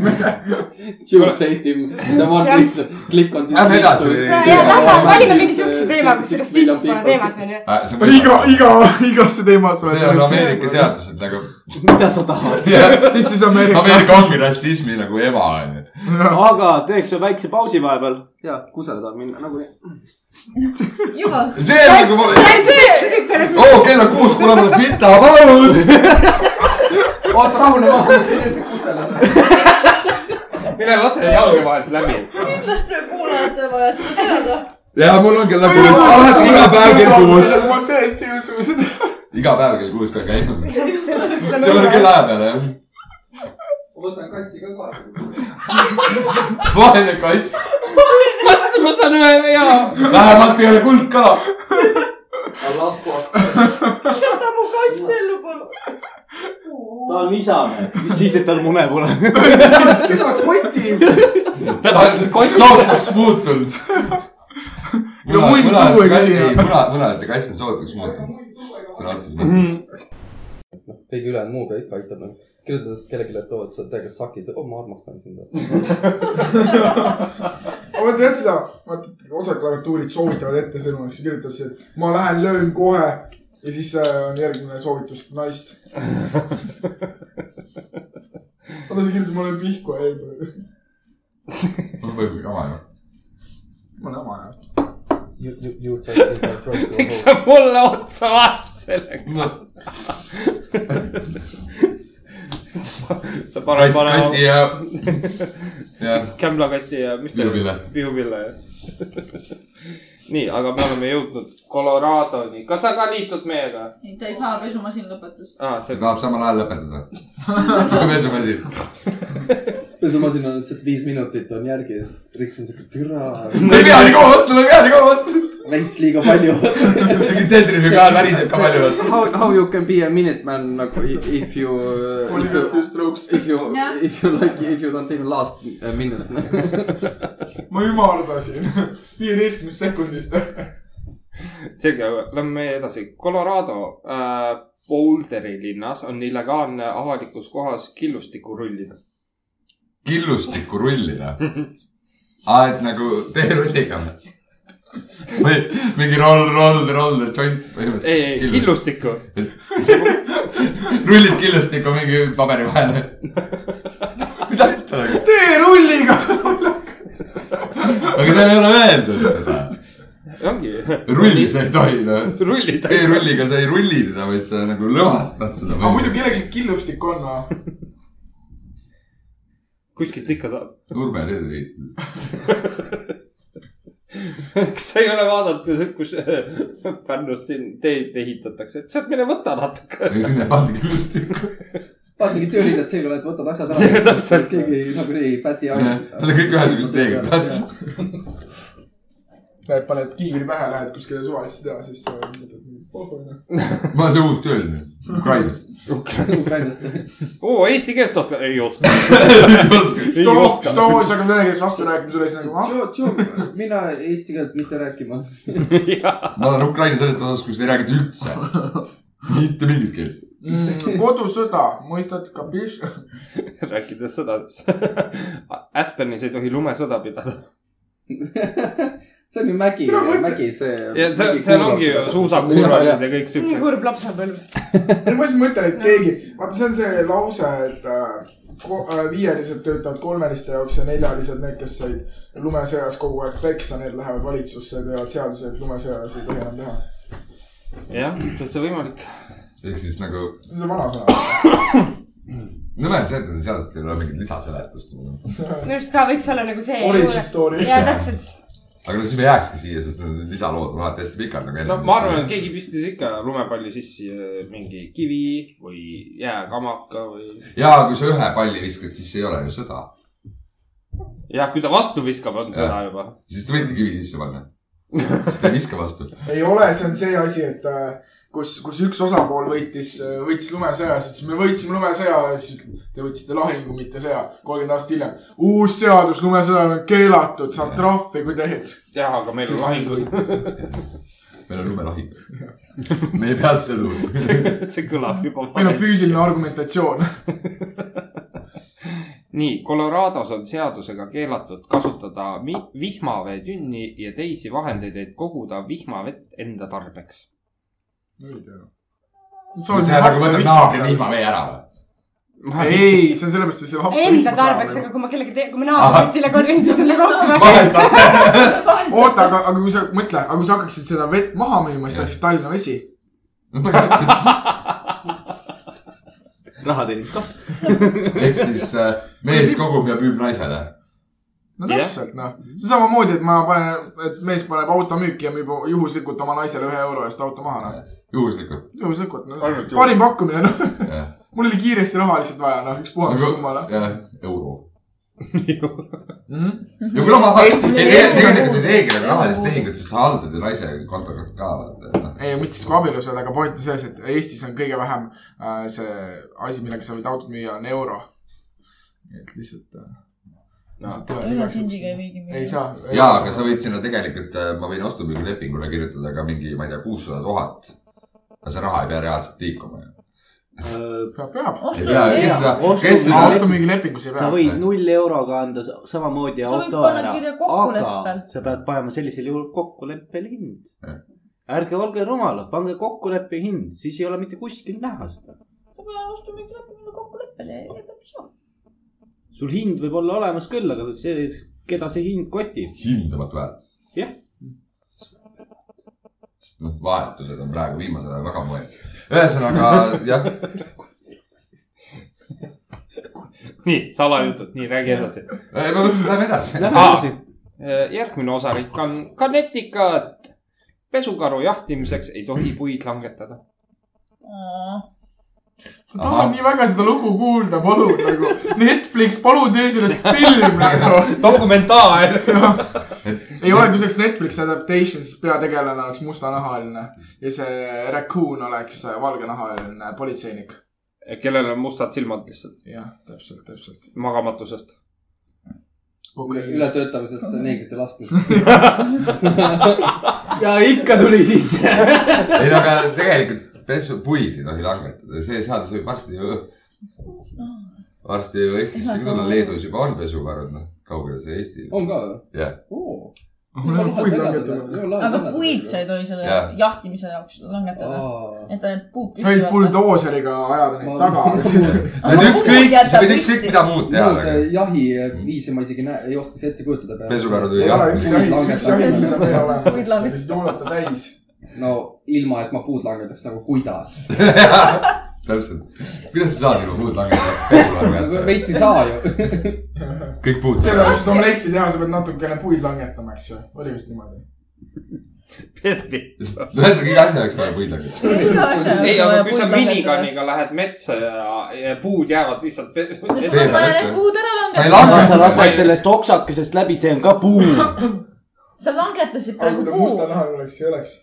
Choose hate him , the one which click on this . Lähme edasi. ja lähme valime mingi siukse teema , mis sellest viisid pole teemas onju . Ah, iga , iga , igasse teemasse . see on Ameerika . seadus , et nagu mida sa tahad ? This is America . Ameerika ongi rassismi nagu ema onju . aga teeks ju väikse pausi vahepeal . jaa , kusagile tahab minna Nagu- nagunii . jumal . see on nagu , ütlesid selles mõttes , oo kell on kuus , kuule mul on sita valus . oota , rahune maha , kusagile . mine lase jalge vahelt läbi . kindlasti on kuulajate vaja seda teada . ja mul on kella kuus , alati iga päev kell kuus . ma tõesti ei usu seda . iga päev kell kuus peab käima . selles mõttes see on pole õige . kella aja peale jah . ma võtan kassi ka kaasa . [LAUGHS] vaene kass , kas ma saan ühe hea ? vähemalt ei ole kuldkala . Alaska . jäta mu kass ellu palun . ta on isane , mis siis , et tal mune pole . [LAUGHS] seda koti . ta on sootuks muutunud . Ja mull suuga siia. muna , munade kass on sootuks muutunud . sõna otseses mõttes . noh , kõige ülejäänud muu peab ikka aitama . kirjutad kellelegi , et oo , et sa oled täiega sakid . oh , ma armastan sind . aga vaata , tead seda , vaata osa klaviatuurid soovitavad ette sõnu , siis kirjutatakse , et ma lähen löön kohe ja siis äh, on järgmine soovitus naist . [LAUGHS] oota , sa kirjutasid , ma olen Mihku ja Heido . mul võib kama ju . ma olen oma jah . You , you , you just need to approach your miks sa mulle otsa vaatasid sellega ? sa parem pane Kati ja , ja kämblakoti ja mis ta Vihupille. vihupille jah [LAUGHS] nii , aga me oleme jõudnud Coloradoni , kas sa ka liitud meiega ? ei , ta ei saa , pesumasin lõpetas . aa , ta see ka . tahab samal ajal lõpetada . kui pesumasin . pesumasin on lihtsalt viis minutit on järgi ja siis rikkusin siuke türa , ma ei pea nagu- nii kaua vastu , ma ei pea nii kaua vastu . veits liiga palju . mingi tsentrifügaal väriseb ka palju . How , how you can be a minute man nagu i- if you , if you , strokes . if you Jah. , if you like , if you don't even last a minute . ma ümardasin [LAUGHS] viieteistkümnest sekundist . [LAUGHS] selge , lähme meie edasi . Colorado äh, Boulderi linnas on illegaalne avalikus kohas killustikku rullida . killustikku rullida . aa , et nagu teerulliga või mingi roll , roll , roll , joint ei , ei , põhimõtteliselt . killustikku . rullid killustikku mingi paberi vahele . mida ütelda , teerulliga . aga seal ei ole öeldud seda . ongi . [LAUGHS] rullid sa ei tohi noh . rullida . teerulliga sa ei rulli teda , vaid sa nagu lõvastad seda . aga muidu kellelgi killustik on noh. või ? kuskilt ikka saab . Urve teed ei . [LAUGHS] kas sa ei ole vaadanud , kus äh, Pärnus siin teid ehitatakse , et sealt mine võta natuke . ei , sinna ei panda killustikku . vaata mingid tööriided selga , et võtad asjad [LAUGHS] Jah, ära . täpselt. keegi ei- nagunii ei päti . Nad on kõik ühesugused teegad, vaata. . Lähed , paned kiigri pähe , lähed kuskile suvalisse tehasesse ja mõtled , oh , onju . ma olen see uus tööline [LAUGHS] Ukrainast . [LAUGHS] Ukrainast . oo , eesti keelt oskad , ei oska . ei tooks , oska . tooks , aga midagi , kes vastu räägib sulle , siis nagu , Tšo , tšo , mina eesti keelt mitte rääkima . ma olen Ukraina selles osas , kus ei räägita üldse . mitte mingit keelt . ah , [LAUGHS] kodusõda , mõistad , kapiš ? [LAUGHS] [LAUGHS] rääkides sõdadest . [LAUGHS] Aspenis ei tohi lumesõda pidada . see on ju mägi Mina , mõtlen- mägi see . ja seal , seal ongi ju . suusakurvasid ja kõik nii siuksed . kurb lapsepõlv . ei , ma just mõtlen , et keegi , vaata , see on see lause , et äh, ko- äh, viielised töötavad kolmeliste jaoks ja neljalised , need , kes said lumesõjas kogu aeg peksa , need lähevad valitsusse ja teevad seaduse , et lumesõjas ei tohi enam teha . jah , täitsa võimalik . ehk siis nagu see on see vanasõna . nõmed seadused on seadused , ei ole mingit lisaseletust . noh. aga minu arust ka võiks olla nagu see . Origin story. jaa , täpselt . no siis me jääkski siia , sest need lisalood on alati hästi pikad nagu . no ma arvan , et keegi pistis ikka lumepalli sisse äh, mingi kivi või jääkamaka või . ja kui sa ühe palli viskad , siis ei ole ju sõda , jah , kui ta vastu viskab , on sõda juba . siis te võite kivi sisse panna . siis ta ei viska vastu . ei ole , see on see asi , et äh, kus , kus üks osapool võitis , võitis lumesõjas , ütles , me võitsime lumesõja ja siis ütleb , te võitsite lahingu , mitte sõja . kolmkümmend aastat hiljem , uus seadus , lumesõjal on keelatud , saab trahvi , kui teed . jah , aga [LAUGHS] meil on lahingud . [LAUGHS] meil on lumelahing . me ei pea [LAUGHS] sõdu . see kõlab juba . meil on füüsiline argumentatsioon . nii , Colorados on seadusega keelatud kasutada mi- vihmaveetünni ja teisi vahendeid , et koguda vihmavett enda tarbeks . see nagu võtab naabri vihmavee ära [LAUGHS] või ? ei , see on sellepärast , et see hakkab . Enda tarbeks , aga . kui ma kellegi , kui ma naabrikotile korjan , siis on nagu [LAUGHS] kokku . vahetab . oota , aga , aga kui sa , mõtle , aga kui sa hakkaksid seda vett maha müüma , siis Jah. saaksid Tallinna vesi . no põhimõtteliselt , raha teenib ka . ehk siis äh, mees kogub ja püüab naisele . no Jah. täpselt , noh . see on samamoodi , et ma panen , et mees paneb auto müüki ja müüb juhuslikult oma naisele ühe euro eest auto maha , noh . juhuslikult , juhuslikult , noh . ainult ju . parim pakkumine , noh . [LAUGHS] jah . mul oli kiiresti raha lihtsalt vaja , noh , ükspuha mis summa , noh . jah , euro . jah , ja kui raha , Eestis- Eestis on- tegelikult ei teegi nagu rahalist tehingut , sest sa haldad ju naise kontoga ka , vaata , noh . ei , mitte siis kui abielus oled , aga point on selles , et Eestis on kõige vähem äh, see asi , millega sa võid autot müüa , on euro . et lihtsalt äh, . lihtsalt ühe üle igaks sindiga ei juhuks- noh. viigi ei saa . ja , aga sa võid sinna tegelikult , ma võin ostu-müügilepingule kirjutada ka mingi , ma ei tea , kuussada tuhat . aga see raha ei pea reaalselt liikuma ju . Äh, peab , peab . ei pea , kes seda , kes Ostu- seda Ostu- ostu-müügilepingus ei sa pea . võid võid null euroga anda samamoodi Sa võid auto panna ära , kirja aga kokkuleppel. sa pead panema sellisel juhul kokkuleppele hind Jah. . ärge olge rumalad , pange kokkuleppe hind , siis ei ole mitte kuskil näha seda . ma pean ostma mingi lepingu kokkuleppele ja jätab siis on . sul hind võib olla olemas küll , aga see , keda see hind kotib . hindamat väärt . Jah. . sest noh , vahetused on praegu viimasel ajal väga moel . ühesõnaga jah , nii , salajutud , nii räägi edasi . ei ma mõtlesin , et läheme edasi . Lähme Aa. äh, edasi . järgmine osariik on kanetikad . pesukaru jahtimiseks ei tohi puid langetada . ma tahan Ahah. nii väga seda lugu kuulda , palun nagu Netflix , palun tee sellest film nagu . dokumentaal . ei ole , kui see oleks Netflix adaptation , siis peategelane oleks mustanahaline ja see raccoon oleks valgenahaline politseinik . [LAUGHS] kellel on mustad silmad lihtsalt jah , täpselt , täpselt . magamatusest . ületöötamisest , neegrite [LAUGHS] laskmisest . ja ikka tuli sisse . ei no aga tegelikult pesu , puid ei tohi langetada , see seadus võib varsti ju , varsti ju Eestisse ka tulla , Leedus juba on pesukarud , noh , kaugel see Eesti . on ka või ? Jah. . Ah, aga puid sa ei tohi selle Jah. jahtimise jaoks langetada . et ta need puud sa võid . buldooseriga ajada neid Ma- taga , aga siis sa võid ükskõik , sa võid ükskõik mida muud teha , [LAUGHS] muud aga jahiviisi ma isegi näe, ei oska ette kujutada . pesukarud ei ei ole üks jahti . jahi , üks jahi , mis on meil olemas , Puid eks ole , langetada. lihtsalt joonata täis . no ilma , et ma puud langetaks nagu kuidas . täpselt , kuidas sa saad juba puud langetada , pesu langetada , Nagu veits ei saa ju . kõik puud selle saavad jaoks , et omletti teha , sa pead natukene puid langetama , eks ju . oli vist niimoodi ? ühesõnaga iga asja jaoks vaja puid langetada . ei , aga kui sa miniganiga lähed metsa ja, ja puud jäävad lihtsalt . Tee ma peale panen need ette. puud ära Sa ei langetama lange- . sa lased sellest oksakesest läbi , see on ka puu . sa langetasid aga praegu kui ta puu . mustanahaline oleks , siis ei oleks .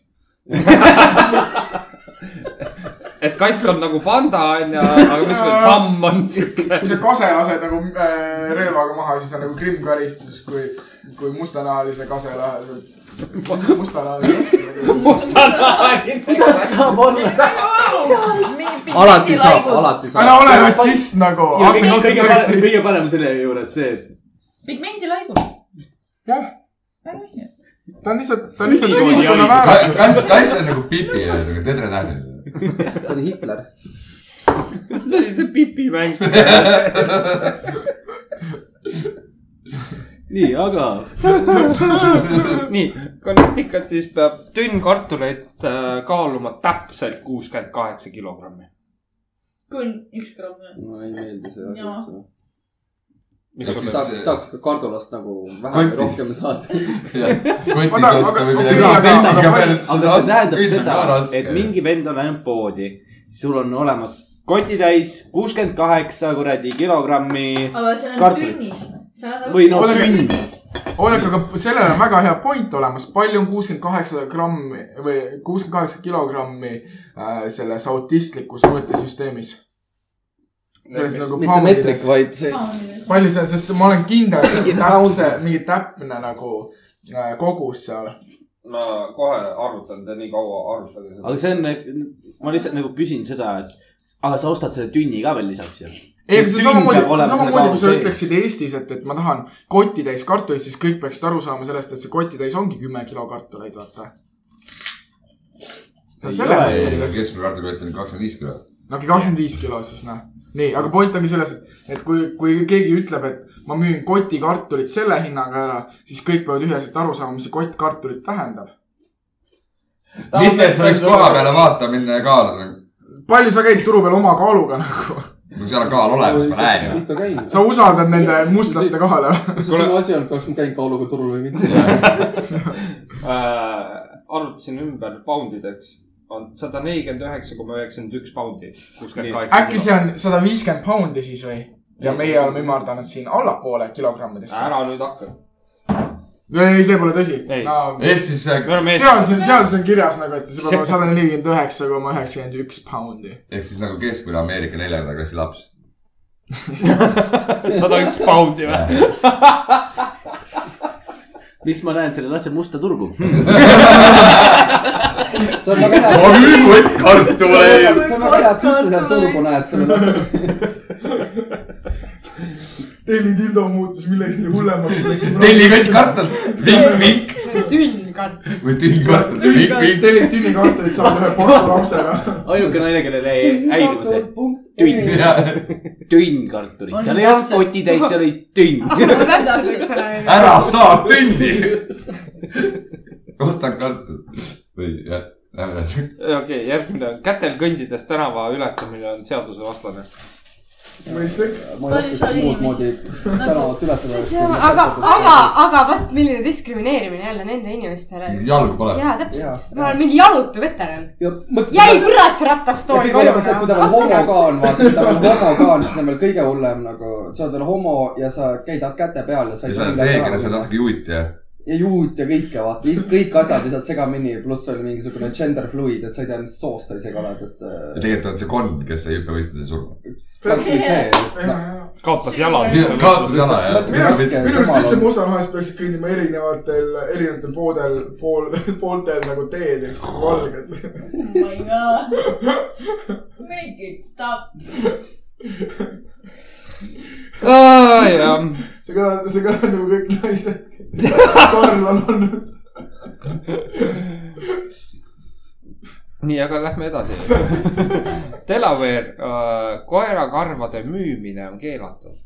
[LAUGHS] et kask on nagu panda onju , aga mis meil tamm on siuke . [LAUGHS] kui sa kase lased nagu äh, relvaga maha , siis on nagu krimkaristus , kui , kui mustanahalise kase lased . mustanahaline . [LAUGHS] mustanahaline . kuidas saab olla ? [LAUGHS] alati saab , alati ära saab . ole rassist nagu . kõige parem , kõige parem selle juures see , pigmendilaigud . jah , väga lihtne . ta on lihtsalt , ta on lihtsalt Nii, ühiskonna oli. määratlus . kass , kass on nagu pipi ja siis nagu tedretähniline . ta oli Hitler . see oli see Pipi mäng . et nii , aga nii , Connecticutis peab tünnkartuleid äh, kaaluma täpselt kuuskümmend kaheksa kilogrammi . kui on üks gramm . no ei meeldi see asi Jaa. üldse . mis Ehk sul siis on ? tahaks , tahaks ka kardulast nagu vähem Kotti. või rohkem saada . kotid Oota, osta aga- või okei, aga- aga- aga see tähendab seda , midagi . et mingi vend on läinud poodi , sul on olemas kotitäis kuuskümmend kaheksa kuradi kilogrammi . aga see on Kartulid. tünnist . Või nagu no tünn. tünnist . oodake , aga sellel on väga hea point olemas . palju on kuuskümmend kaheksa grammi või kuuskümmend kaheksa kilogrammi äh, selles autistlikus mõõtesüsteemis ? selles nagu mitte meetrik , poundides . vaid see . palju see , sest ma olen kindel , et Mingid täpse ounce'id. , mingi täpne nagu äh, kogus seal . ma kohe arvutan , te nii kaua arvutage aga see on , ma lihtsalt nagu küsin seda , et aga sa ostad selle tünni ka veel lisaks ju . ei , aga see on Tünn samamoodi , see peab on olema samamoodi , kui sa selle ütleksid Eestis , et , et ma tahan kotitäis kartuleid , siis kõik peaksid aru saama sellest , et see kotitäis ongi kümme kilo kartuleid , vaata . no Ei selle ole, mõttes ei , oleks- keskmine kartulikott on kakskümmend viis kilo . no okei , kakskümmend viis kilo siis noh . nii , aga point ongi selles , et , et kui , kui keegi ütleb , et ma müün koti kartulit selle hinnaga ära , siis kõik peavad üheselt aru saama , mis see kott kartulit tähendab . mitte , et sa võiks koha peale vaatama minna ja kaaluda . palju sa käid turu peal oma kaaluga nagu ? kui seal on kaal olemas , ma näen ju . ikka käin . sa usaldad nende mustlaste kohale ? kas see sinu asi on , kas ma käin kaaluga turul või mitte ? äh, arvutasin ümber poundideks , on sada nelikümmend üheksa koma üheksakümmend üks poundi . äkki see on sada viiskümmend poundi siis või ? ja meie oleme ümardanud siin allapoole kilogrammidesse . ära nüüd hakka . ei , see pole tõsi Ei. no, . ehk siis äh, me oleme ees , seadus , seadus on kirjas nagu , et see peab olema sada nelikümmend üheksa koma üheksakümmend üks poundi . ehk siis nagu keskmine Ameerika neljanda klassi laps . sada üks poundi või ? miks ma näen sellel asjal musta turgu ? see on väga hea , kott kartuleid . see on väga hea , et sa üldse seal turgu näed , nagu sellel asjal . tellitildo muutus millekski hullemaks . tellikott kartulit , vink-vink tünn kart . või tünn kartulit , vink-vink . tellid tünnikartulit , saad ühe portsu lapsega . ainuke naine , kellel jäi häirima see tünn , tünn kartulit , seal ei olnud kotitäis , seal oli [LAUGHS] tünn . ma täpselt täpselt selle välja . ära saa tünni . ostan kartulit või jah , ära saa . Äh, okei okay, , järgmine on kätel kõndides tänava ületamine on seadusevastane . mõistlik . ma ei oska seda muud moodi tänavat ületada . aga , aga , aga vaat milline diskrimineerimine jälle nende inimestele . jalg pole . jaa , Jaa, täpselt . ma olen mingi jalutu veteran . jäi jäi kurat see ratastool kõige hullem on see , kui tal on koju . homo ka on , vaata , kui tal on homo ka on , siis on veel kõige hullem nagu , sa oled veel homo ja sa käid alt käte peal ja sa ja sa oled teekene , sa oled . natuke juut ja . ja juut ja kõike , vaata , kõik asjad lihtsalt segamini , pluss oli mingisugune gender fluid , et sa ei tea , mis soost sa isegi oled , ja et . äh, tegelikult oled see konn , kes sai hüppevõistlusel surma . kasvõi see . kaotas jala . kaotas jala ja . Minu arust- minu arust üldse mustanahas peaksid kõndima erinevatel , erinevatel poodel , pool , [LAUGHS] pooltel nagu teel , eks , valged . Oh my god . Make it stop . jah , see kõlab , see kõlab nagu kõik naised , kes Karl on olnud . nii , aga lähme edasi . Delaware äh, , koerakarvade müümine on keelatud .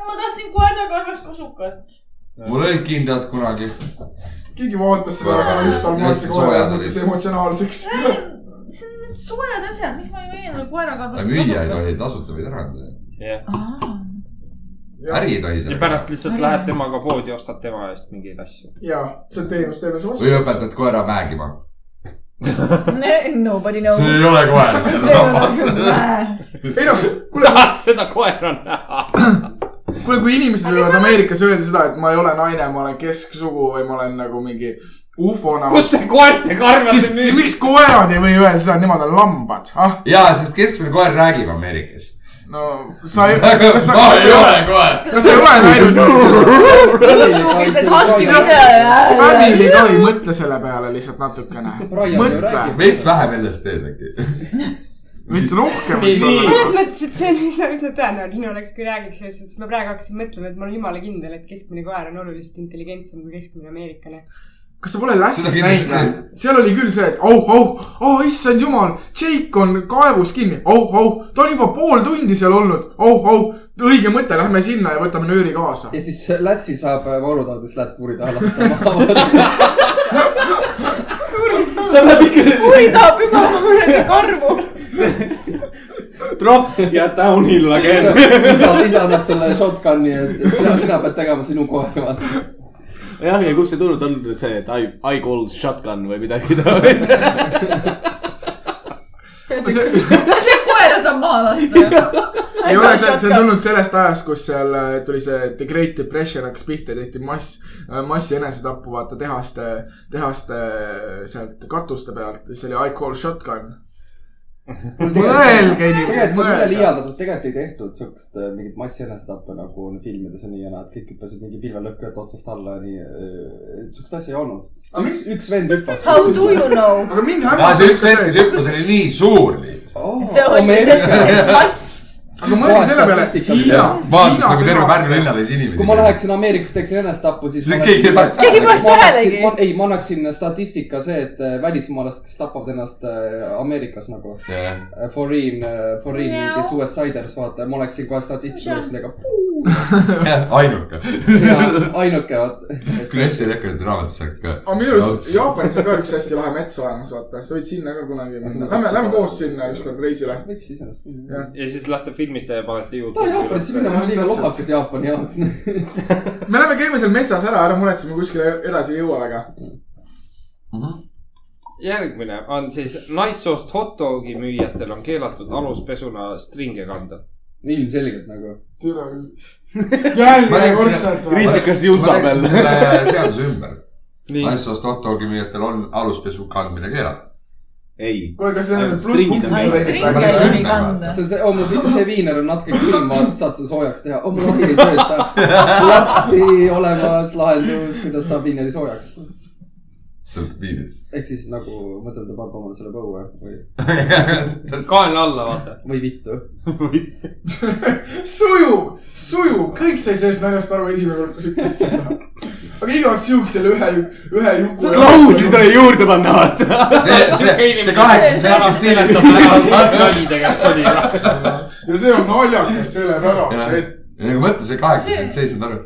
ma tahtsin koerakarvast kasukat . mul olid kindad kunagi . keegi vaatas seda sada just Hästi armassi kohe soojad , muutus olid. emotsionaalseks . see on need soojad asjad , miks ma ei või endale koerakarvast müüa ei tohi , tasuta võid ära anda . jah , äri ei tohi ja seal . pärast lihtsalt lähed temaga poodi , ostad tema eest mingeid [LAUGHS] asju . ja , see on teenus , teenuse või vastu . õpetad koera määgima . Nobody knows . see ei ole koer , [LAUGHS] see on nagu- hammas . ei noh , kuule , tahad ah, seda koera näha ? kuule , kui inimesed võivad Ameerikas öelda seda , et ma ei ole naine , ma olen kesksugu või ma olen nagu mingi ufona , kus see koerte siis , karvade siis müük ? miks koerad ei või öelda seda , et nemad on lambad ? ah , ja , sest keskmine koer räägib Ameerikas . no sa ei , ma kas sa , kas ei sa , ole koer . kas sa ei ole [LAUGHS] näinud ? [LAUGHS] Youtube'is need husky videod . Family Guy , mõtle selle peale lihtsalt natukene . Brian ju mõtle , räägib. veits vähem LSD-d äkki . veits rohkem Nii, võiks nii. olla . selles mõttes , et see on üsna , üsna tõenäoline oleks , kui räägiks sellest , sest ma praegu hakkasin mõtlema , et ma olen jumala kindel , et keskmine koer on oluliselt intelligentsem kui keskmine ameeriklane . kas sa pole Seda lässid kindlasti näinud ? seal oli küll see , et auh , auh , oh issand jumal , Jake on kaevus kinni , auh , auh , ta on juba pool tundi seal olnud , auh , auh , õige mõte , lähme sinna ja võtame nööri kaasa . ja siis Lassi saab äh, vaurutades läheb puuri taha lasta . nagu seal läheb ikka see kui tahab hüppama kuradi karvu . drop ja downhill again . isa , isa annab sulle shotgun'i , et sina , sina pead tegema sinu koer , vaata . jah , ja kust see tulnud on see , et I , I call shotgun või midagi taolist . see koera saab maha lasta . ei ole , see , see on tulnud sellest ajast , kus seal äh, tuli see The Great Depression hakkas pihta , tehti mass , massi enesetappu , vaata tehaste , tehaste äh, sealt katuste pealt , see oli I call shotgun . mõelge inimesed , tegelikult see on üle mõelge . liialdatud , tegelikult ei tehtud siukest äh, mingit massi-enesetappe nagu on filmides ja nii ja naa , et kõik hüppasid mingi pilvelõhkujate otsast alla ja nii . siukest asja ei olnud . Aga üks , üks vend hüppas . How do you know ? aga mind ja see üks hetk , hämmastab kes hüppas , oli nii suur lihtsalt . see oli see mass . aga mõelge selle peale , et Statistika- Hiina , vaadus nagu terve Pärnu . linna täis inimesi . kui ma läheksin Ameerikasse , teeksin enesetapu , siis . See keegi ei paneks Keegi ei paneks tähelegi. ei , ma annaksin statistika see , et äh, välismaalased , kes tapavad ennast äh, Ameerikas nagu . tähele . Foreign , foreign Miau. yeah. suiciders , vaata , ma oleksin kohe statistika juures nendega . ainuke . ainuke , vaata . küll hästi ei hakka nende raamatust saanud ka . aga minu arust . Jaapanis on ka üks hästi lahe mets olemas , vaata , sa võid sinna ka kunagi minna . Lähme , lähme koos sinna ükskord reisile . võiks iseenesest . Jah. ja siis lähete filmite ja panete ta Jaapanisse juurde . minema on liiga lobakas Jaapani jaoks . noh. me läheme , käime seal metsas ära , ära muretse , me kuskile edasi ei jõua väga . järgmine on siis naissoost hot dogi müüjatel on keelatud aluspesuna stringe kanda . ilmselgelt nagu . türa . jälle kordselt või ? ritsikas jutab jälle . jälle . selle seaduse ümber . nii , naissoost hot dogi müüjatel on aluspesu kandmine keelatud . [LAUGHS] ei , kuule , kas see on Stringid plusspunktid on ai , mees. või ? stringi ei tohi kanda . see on see , oo , mul see viiner on natuke külm , vaata , saad seda soojaks teha . oo , mul ahi ei tööta . lapsi olemas lahendus , kuidas saab viineri soojaks . sõltub [LAUGHS] viinist . ehk siis nagu mõtlen , ta paneb omale selle põue või , kaela alla , vaata . või vittu . sujuv , sujuv , kõik sai sellest naljast aru esimene kord , kui sa ütlesid seda . aga igaks juhuks selle ühe , ühe juku . klausi tuli juurde panna , vaata . see , see , see kaheksa , see hakkas sellest [LAUGHS] ära . ja see on naljakas sellepärast , et ei , aga mõtle , nagu see kaheksa sent seisab ära .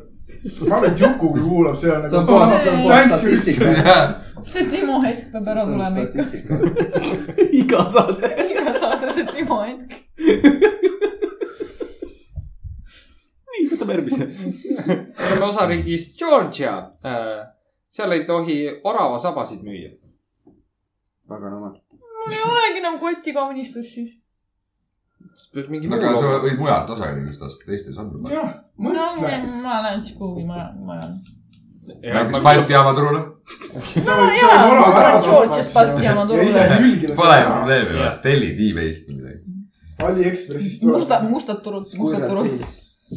ma arvan , et Juku , kui kuulab , see on see on nagu . puhas , see on puhas Thanks, statistika . Jussi. see Timo hetk peab ära see on tulema ikka . statistika . [LAUGHS] iga saade . iga saade see Timo hetk . nii , võtame järgmise . oleme osariigis Georgia . seal ei tohi oravasabasid müüa . paganama . mul ei olegi enam kotikaunistus nagu siis . siis peaks mingi aga muu sa looma . võid mujalt osa inimest osta , teistes on . jah , no mõtle . ma lähen siis kuhugi maja , maja . näiteks Balti jaama turule . no jaa , ma olen Georgias Balti jaama turule . Pole ju . probleemi , tellid e-base'ist või midagi . Aliekspressist musta , mustad turud , mustad turud .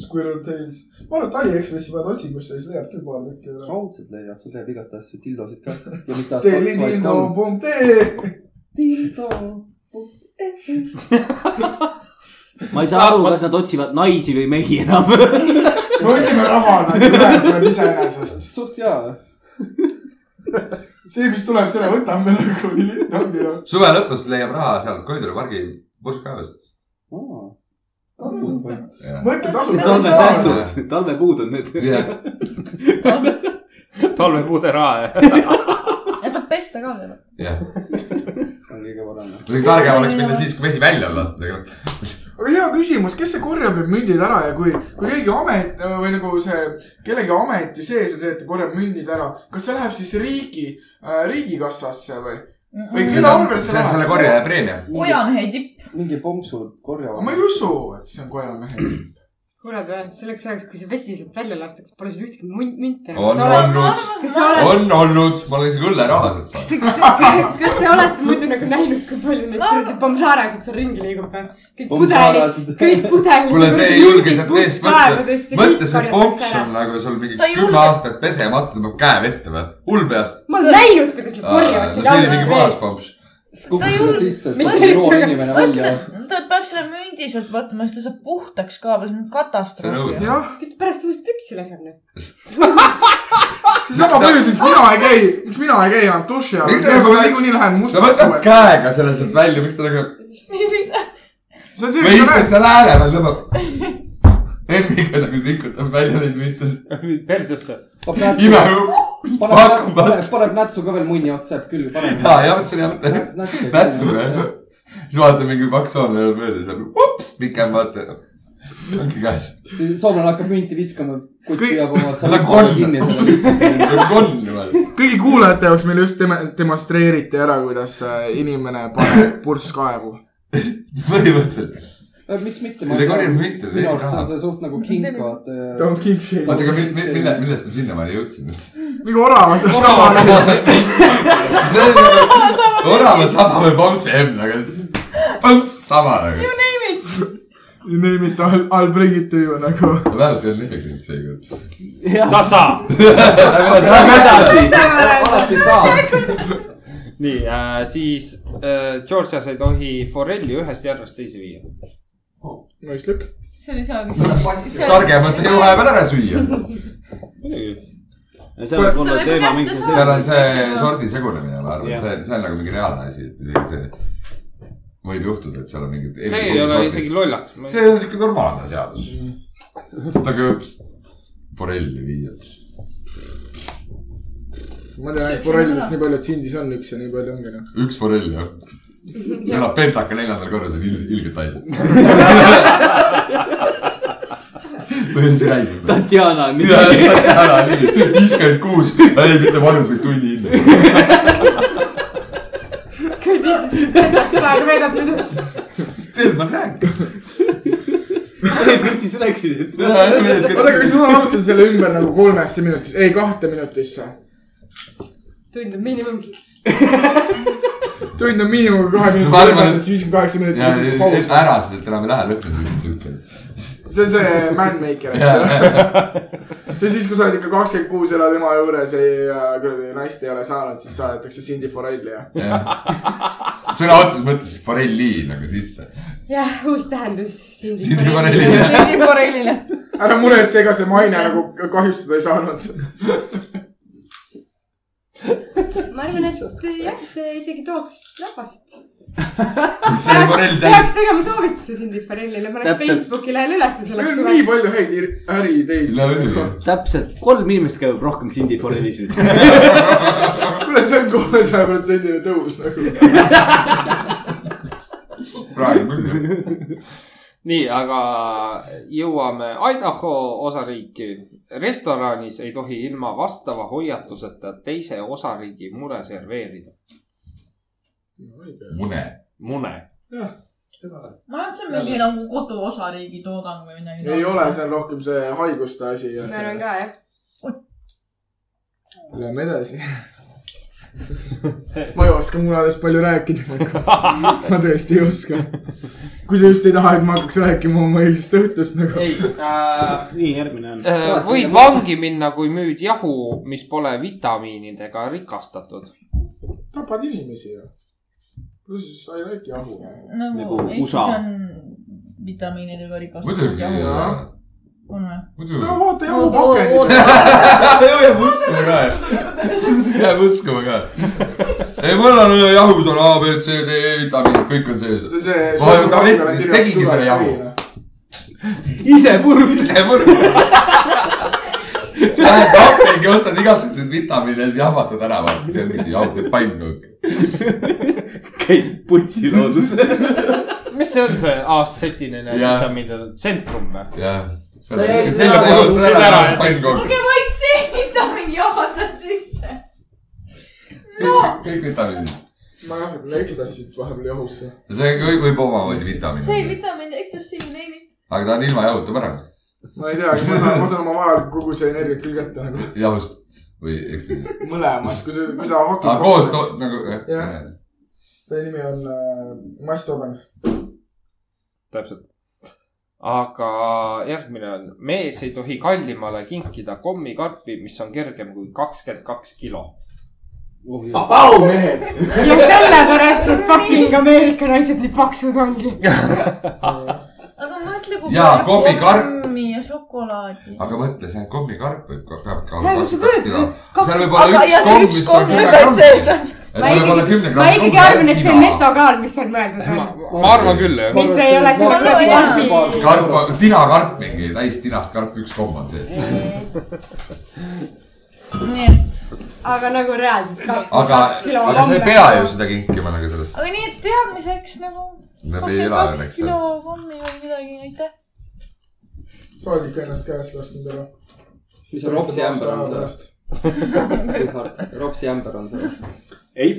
Squirrel Tales . ma arvan , et Aliekspressi paned otsingusse , siis leiad küll paar tükki . raudselt leiab , sealt leiab igast asju , dildosid ka . ja mitte asfalt . tellidildo.ee dildo . ma ei saa aru , kas nad otsivad naisi või mehi [LAUGHS] enam . me otsime raha , nad ülejäänud tuleb iseenesest . suht hea . see , mis tuleb , selle võtame nagu nii lihtne ongi ju . suve lõpus leiab raha sealt Koidula pargi purskkaevast . mõtle , tasub . säästud. talvesäästud , talvepuud on need . talvepuude [LAUGHS] rae . ja saab pesta ka veel . jah , see on kõige parem . muidugi targem oleks minna siis , kui vesi välja on lastud . aga hea küsimus , kes see korjab need mündid ära ja kui , kui keegi amet või nagu see , kellegi ameti sees on see , et ta korjab mündid ära , kas see läheb siis riigi , riigikassasse või ? Või see Mille arvel see on raha? selle korjaja preemia . kojamehe tipp . mingi pomksud korjavad . ma ei usu , et see on kojamehe . kurat , selleks ajaks , kui see vesi sealt välja lastakse , pole sul ühtegi mun- münti nagu on enam . olnud , kas sa oled , on olnud , ma olen isegi õllerahaselt kas saanud . te , kas te , kas te olete muidu nagu näinud , kui palju neid Ma arvan- kuradi pomraarasid seal ringi liigub või ? kõik pudelid , Pomsarasid. kõik pudelid . kuule , see ei julge sealt eest mõtle , mõtle see pomps on . nagu sul mingi Ta ei kümme julge. aastat pesemata , tõmbab käe vette või , ulbeast . ma olen näinud , kuidas nad see korjavad sind oli mingi puhas . pomps . Ta kukkus sinna ei julge- sisse , siis Ma tuli ei noor julge- inimene välja . mõtle , ta peab selle mündi sealt võtma , siis ta saab puhtaks ka , See see on on õudne. katastroof . jah , kuidas pärast uust püksi laseb nüüd ? seesama põhjus , miks mina ei käi , miks mina ei käi enam duši all , Miks see sa- on , kui ma niikuinii lähen ta mustaks võtab uueks . käega selle sealt välja , miks ta nagu see on see , või mis ma istub näen . seal ääre peal , tõmbab . Enniga nagu sikutab välja neid mitte persesse . imeõu . paneb , paneb , paneb nätsu ka veel munni otsa , et külge paneb . jaa , jah , see on hea mõte . Nätsu- nätsu jah . siis vaata mingi paks soomlane läheb mööda , siis on ups , pikem vaata . ongi käes . siis soomlane hakkab münti viskama , kutt Kõik- püüab oma Nad on kolm. salmi kinni selle [LAUGHS] lihtsalt . konn Nagu niimoodi . kõigi kuulajate jaoks meile just dem- , demonstreeriti ära , kuidas äh, inimene paneb purskkaevu . põhimõtteliselt . Äh, miks mitte ? Ei, ta korjab münte, ta minu teenib arust raha. on see suht nagu kink , vaata . ta on kingshame . oota , aga mi- mi- mille , millest me sinnamaani jõudsime ? mingi orav on sama nagu . see on nagu orava saba või pomps emm , aga pomps sama nagu . Name it , I'll bring it to you nagu . vähemalt ei olnud nimekirjad seekord . tasa . aga alati saab . nii , siis äh, Georgias ei tohi forelli ühest järvest teise viia . mõistlik . see oli see , mis sa , targem on see ju vahepeal ära süüa . muidugi . see oleks olnud See oli teema kätte mingis saadud. seal on see sordi segunemine , ma arvan , Jah. see , see on nagu mingi reaalne asi , et isegi see võib juhtuda , et seal on mingid . see ei ole isegi . lollakas . see on siuke normaalne seadus . seda kööb forelli viia . ma tean ainult forellidest nii palju , et Sindis on üks ja nii palju ongi noh . üks forell jah . see elab pentaka neljandal korrusel , ilgelt naised . või on see räägib ? [LAUGHS] Tatjana on nii . viiskümmend kuus , ei mitte vanus , vaid tunnihind . praegu veedab nüüd . tead , ma rääkisin . Kertsi , sa rääkisid , et oota , aga kas sa saad arvutada selle ümber nagu kolmesse minutisse , ei kahte minutisse ? tundub miinimumgi . tund on miinimum [LAUGHS] kahe minuti Ma arvan, kolmandaks , viiskümmend kaheksa ja minutit paus . ära siis , et enam ei lähe lõppetunnisse üldse . see on see man-maker , eks ole . see on siis , kui sa oled ikka kakskümmend kuus , elad ema juures ja kuradi naist ei ole saanud , siis saadetakse Cindy Forelli ja . sõna otseses mõttes Borrelli nagu sisse . jah , uus tähendus . Cindy Borrelli . Cindy Borrellile . ära muretse , ega see maine nagu kahjustada ei saanud . ma arvan , et äh, jah , see isegi tooks rahvast . mis see Borrell seal peaks ? tegema soovituse Cindy Farellile , ma läks Täpselt. Facebooki lehel üles ja see meil läks on nii suveks . palju häid ir- äriideid . No muidugi. täpselt kolm inimest käib rohkem Cindy Forelis nüüd . kuule , see on kolmesaja protsendine tõus nagu . praegu küll . nii , aga jõuame Idaho osariiki . restoranis ei tohi ilma vastava hoiatuseta teise osariigi mure serveerida . mune . mune . ma arvan , et see on mingi nagu koduosariigi toodang või midagi . ei ole , see on rohkem see haiguste asi ja ma arvan see . ka [LAUGHS] jah . Lähme edasi . ma ei oska munadest palju rääkida [LAUGHS] nagu. . ma tõesti ei oska . kui sa just ei taha , et ma hakkaks rääkima oma eilsest õhtust nagu . ei äh, , [LAUGHS] nii , järgmine on . võid vangi minna , kui müüd jahu , mis pole vitamiinidega rikastatud . tapad inimesi ju . pluss sa ei räägi jahu . Nagu nagu Eestis USA. on vitamiinidega rikastatud muidugi äh, jahu ., on muidugi no . vaata jahu pakendit . või ? jääb uskuma ka , jääb uskuma ka . ei , mul on äh, jahus on A , B , C , D , E-vitamiinid , kõik on sees . see on see . Ma olen tablettides tegigi selle jahu. . ise purjus . ise murd . Lähed apteegi , ostad igasuguseid vitamiine ja siis jahvatad ära , vaata , see on mingi jahu , pannu . käib putsi loodus . mis see on see aastasetiline Jah. vitamiinide tsentrum või ? jah . See jäi ära, see jäi ära, jah. kõik olge vait , see vitamiin jahvatab sisse . kõik vitamiinid . ma jahvatan ekstasid vahepeal jahusse . see kõik võib omamoodi see vitamiin . vitamiin , ekstasiin ei vit- . aga ta on ilma jahuta parem , ma ei tea , ma saan , ma saan oma vajaliku koguse energiat küll kätte nagu . jahust või . mõlemas , kui sa , kui sa hakkad . aga koos to- nagu , Jah. jah . selle nimi on äh, masstoodang . täpselt . aga järgmine on , mees ei tohi kallimale kinkida kommikarpi , mis on kergem kui kakskümmend kaks kilo . Oh, vau , ja sellepärast need fucking Ameerika naised nii paksud [LAUGHS] ongi . aga mõtle , kui Jaa, palju kommikarp. kommi ja šokolaadi . aga mõtle , see kommikarp võib , peab ka . Jah, kus sa kujutad, seal võib olla üks komm , mis on kümme grammi . ja seal võib olla kümne ma grammi . ikkagi arvan , et see on . netokaal , mis seal mõeldud on . ma arvan küll , jah . Mitte ei ole see kuradi karbi. karp , tinakarp mingi , täis tinast karp , üks komm on sees . nii et , aga nagu reaalselt kakskümmend aga kaks , kilo . aga sa ei pea ju . seda kinkima nagu sellest . aga nii , et teadmiseks nagu . Nad ei ela ju , eks kilo ole . kommi või midagi , aitäh . sa oled ikka ennast käest lasknud ära . mis see ropsi ämber on seal ?? ropsi ämber on seal . ei ,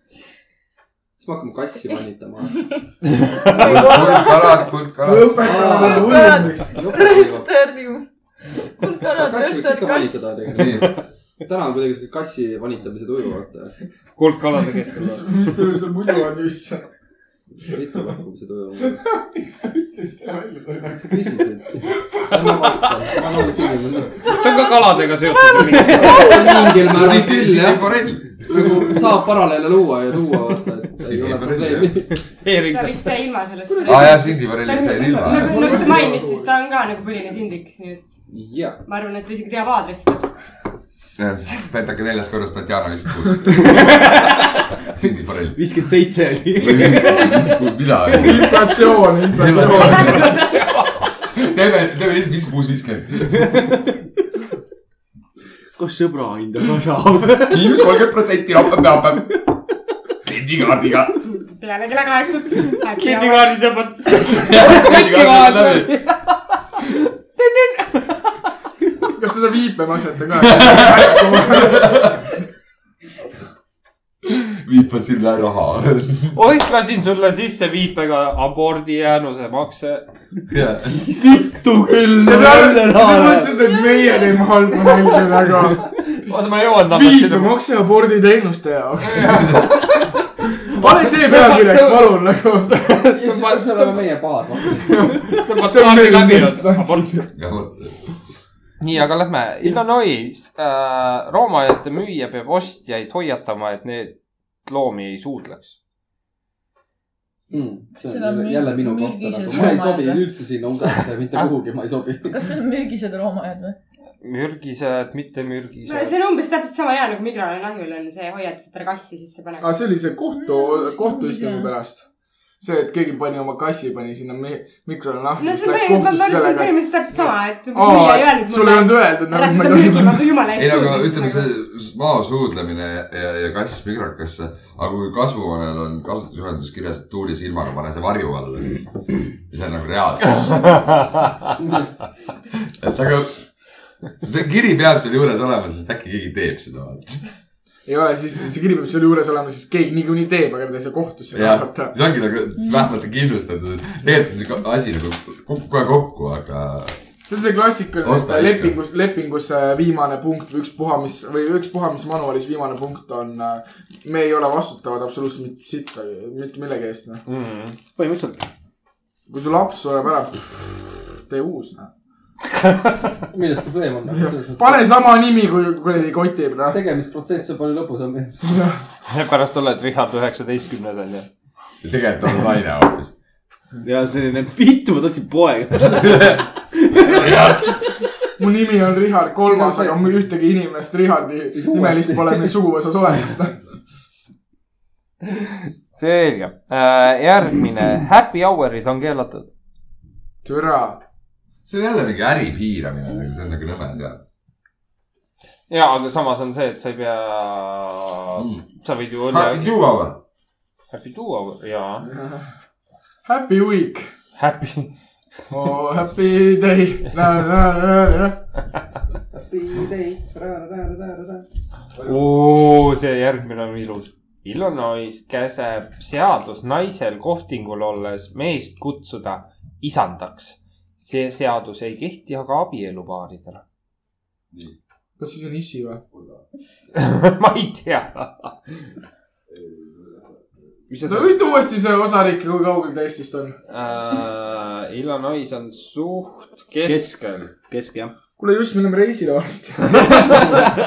siis me hakkame kassi manitama . kuldkalad , me kuldkalad . õpetame Aa. nagu ujumist . rööster ju . kassi võiks ikka kuldkalad , vanitada tegelikult . nii , täna on kuidagi siuke kassi vanitamise tuju , vaata . kuldkalade keskel mis , mis töö sul muidu on issand ? mitu pakkumise tuju on . miks sa ütlesid selle välja ? sa [LAUGHS] küsisid . ma vastan , ma olen uus inimene . see on ka kaladega seotud . mingil määral siin , küll siin jah on . forell . nagu saab paralleele luua ja tuua , vaata , et ei ole [LAUGHS] probleemi . ta E-ringest vist . jäi ilma sellest . aa jaa , Cindy Forellis jäid ilma . nagu nagu ta mainis , siis ta on ka nagu põline sindiks , nii et jah . ma arvan , et ta isegi teab aadressi täpselt . Petake neljas korrus Tatjana viiskümmend kuus . Cindy Forell . viiskümmend seitse oli . [LAUGHS] mina . inflatsioon , inflatsioon . [LAUGHS] teeme , teeme esimene viiskümmend kuus , viiskümmend . kas sõbra hinda ka saab ? miinus kolmkümmend protsenti rohkem peab . krediitkaardiga . peale kella kaheksat . kinnivaadi tõmbad . kas seda viipe maksate ka ? viipad sinna raha . oih , lasin sulle sisse viipega abordi jäänuse makse . vittu küll . Te mõtlesite , et meie teeme halba nalja väga . oota , ma jõuan tagasi viipe . makse aborditeenuste [LAUGHS] jaoks . pane see pealkirjaks , palun nagu . ja siis peaks olema meie paar . Mm, tõmbad See on kaardi meil läbi , nüüd. abort . nii , aga lähme Illinois äh, . loomaaedade müüja peab ostjaid hoiatama , et need loomi ei suudleks . see Seda on müür- jälle minu koht mürgised nagu , ma ei sobi loomaaeda. üldse sinna USA-sse , mitte Ah. kuhugi ma ei sobi . [LAUGHS] kas see on mürgised loomaaiad või ? mürgised , mitte no [LAUGHS] mürgised . see on umbes täpselt sama hea nagu migralnahjul on see hoiatus , et ära kassi sisse pane . aga see oli see kohtu , kohtuistungi pärast . see , et keegi pani oma kassi , pani sinna mi- mikrolahti , no siis see on läks põhimõtteliselt , ma arvan , et kohtusse see on sellega . põhimõtteliselt täpselt sama , et müüja ei aa , öelnud sulle ei olnud öeldud ära nagu seda ma müügi , tohin . ma jumala ei , eest . nagu." aga ütleme , see maa suudlemine ja , ja kass migrakasse , aga kui kasvuhoonel on kasutusjuhendus kirjas , et tuulis ilmaga pane see varju alla , siis see on nagu reaalsus . [LAUGHS] et aga see kiri peab seal juures olema , sest äkki keegi teeb seda . ei ole , siis see kiri peab seal juures olema , siis keegi niikuinii teeb , aga ta ei saa kohtusse jah , kaevata . see ongi nagu siis vähemalt on kindlustatud , tegelikult on see ka- asi nagu kukub kohe kokku , aga see on see klassikaline Osta et ikka. lepingus , lepingus äh, viimane punkt või ükspuha , mis või ükspuha , mis manuaalis viimane punkt on . me ei ole vastutavad absoluutselt mitte sitta , mitte millegi eest , noh . põhimõtteliselt . kui su laps sureb ära , tee uus , noh . milles probleem on ? pane sama nimi , kui kuradi kotib , noh . tegemisprotsess on palju lõbusam . [LAUGHS] pärast oled Richard üheksateistkümnes onju . tegelikult on naine [LAUGHS] hoopis . ja [LAUGHS] selline pitu , ma tahtsin poega . mu nimi on Richard Kolmas , Siis on see- aga mul ühtegi inimest Richardi Siis nimelist uuesti. pole meil suguvõsas olemas , noh . selge äh, , järgmine , happy hour'id on keelatud . türa . see on jälle mingi äri piiramine , see on nagu nõme seal ja , aga samas on see , et sa ei pea , mm. . sa võid ju Happy õlle , two hour . happy two hour ja Happy week happy . [LAUGHS] oh, , happy day na, . Na, na, na. see järgmine on ilus . Illinois käseb seadus naisel kohtingul olles meest kutsuda isandaks . see seadus ei kehti aga abielupaaridele . kas siis on issi või ? [LAUGHS] ma ei tea . mis sa no ütle uuesti see osariik , äh, kui kaugel ta Eestist on . äh, . Illinois on suht keskel . kesk jah . kuule , just me oleme reisile varsti . [LAUGHS]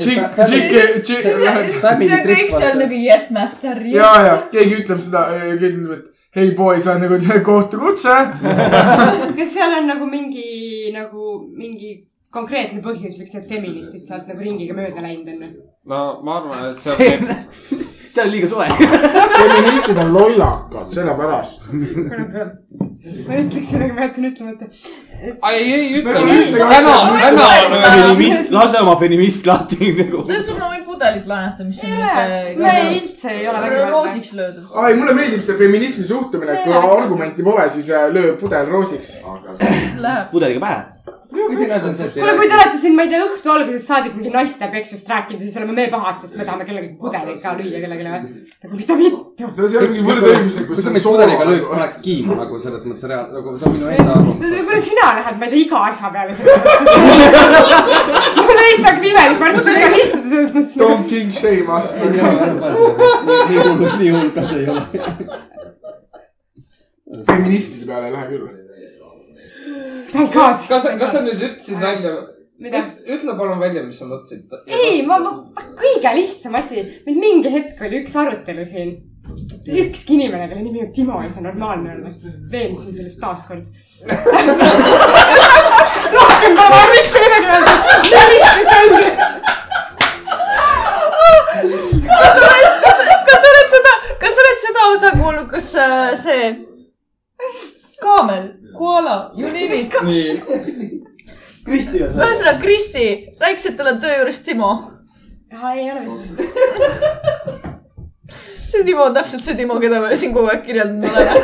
Tšik , tšik . tšik , tšik . see on kõik seal nagu yes master , ja yes ., ja keegi ütleb seda , keegi ütleb , et hei boy , sa oled nagu [LAUGHS] kohtukutse . kas seal on nagu mingi nagu mingi konkreetne põhjus , miks need feministid sealt nagu ringiga mööda läinud on ? no ma arvan , et see on [LAUGHS] seal on liiga [LAUGHS] soe . feministid on lollakad , sellepärast . ma ütleks midagi , ma jätan ütlemata . ei , ei ütle Nagu ütle, . kas- täna , täna on Aga nagu feminist , lase oma feminist lahti nagu . selles suhtes ma võin pudelit laenata , mis ei ole , me ei- üldse ei ole on vägivaldne . roosiks löödud . ai , mulle meeldib see feminismi suhtumine , et kui argumenti pole , siis äh, löö pudel roosiks . Läheb . pudeliga pähe . kuule , kui te olete siin , ma ei tea , õhtu algusest saadik mingi naistepeksust rääkinud , siis oleme me pahad , sest me tahame kellelgi pudeliga lüüa kellelegi või ? nagu mida vittu ? see ei ole mingi kui võrdõiguslikkus , sa see on meid pudeliga lööks , soolo . paneks kiima nagu selles mõttes reaal- , nagu see on minu enda arvamus . kuule , sina lähed , ma ei tea , iga asja peale selle . mul ei saa pimelik , ma lihtsalt ei saa istuda selles mõttes nagu . Don't king shame us . nii hull , nii hull ka see ei ole . feministide peale ei lähe küll . Thank God . kas , kas sa nüüd ütlesid välja ? mida ? ütle palun välja , mis sa mõtlesid . ei , ma , ma , kõige lihtsam asi , meil mingi hetk oli üks arutelu siin . ükski inimene , kelle nimi on Timo , ei saa normaalne olla . veendusin sellest taaskord . rohkem pole vaja mitte midagi öelda . mis see on ? kas sa oled , kas , kas sa oled seda , kas sa oled seda osa kuulnud , kus äh, see kaamel , koala , you name it . Kristi ja sa . ühesõnaga , Kristi , rääkisid talle töö juures Timo . aa , ei ole vist . see see Timo on täpselt see Timo , keda me siin kogu aeg kirjeldanud oleme .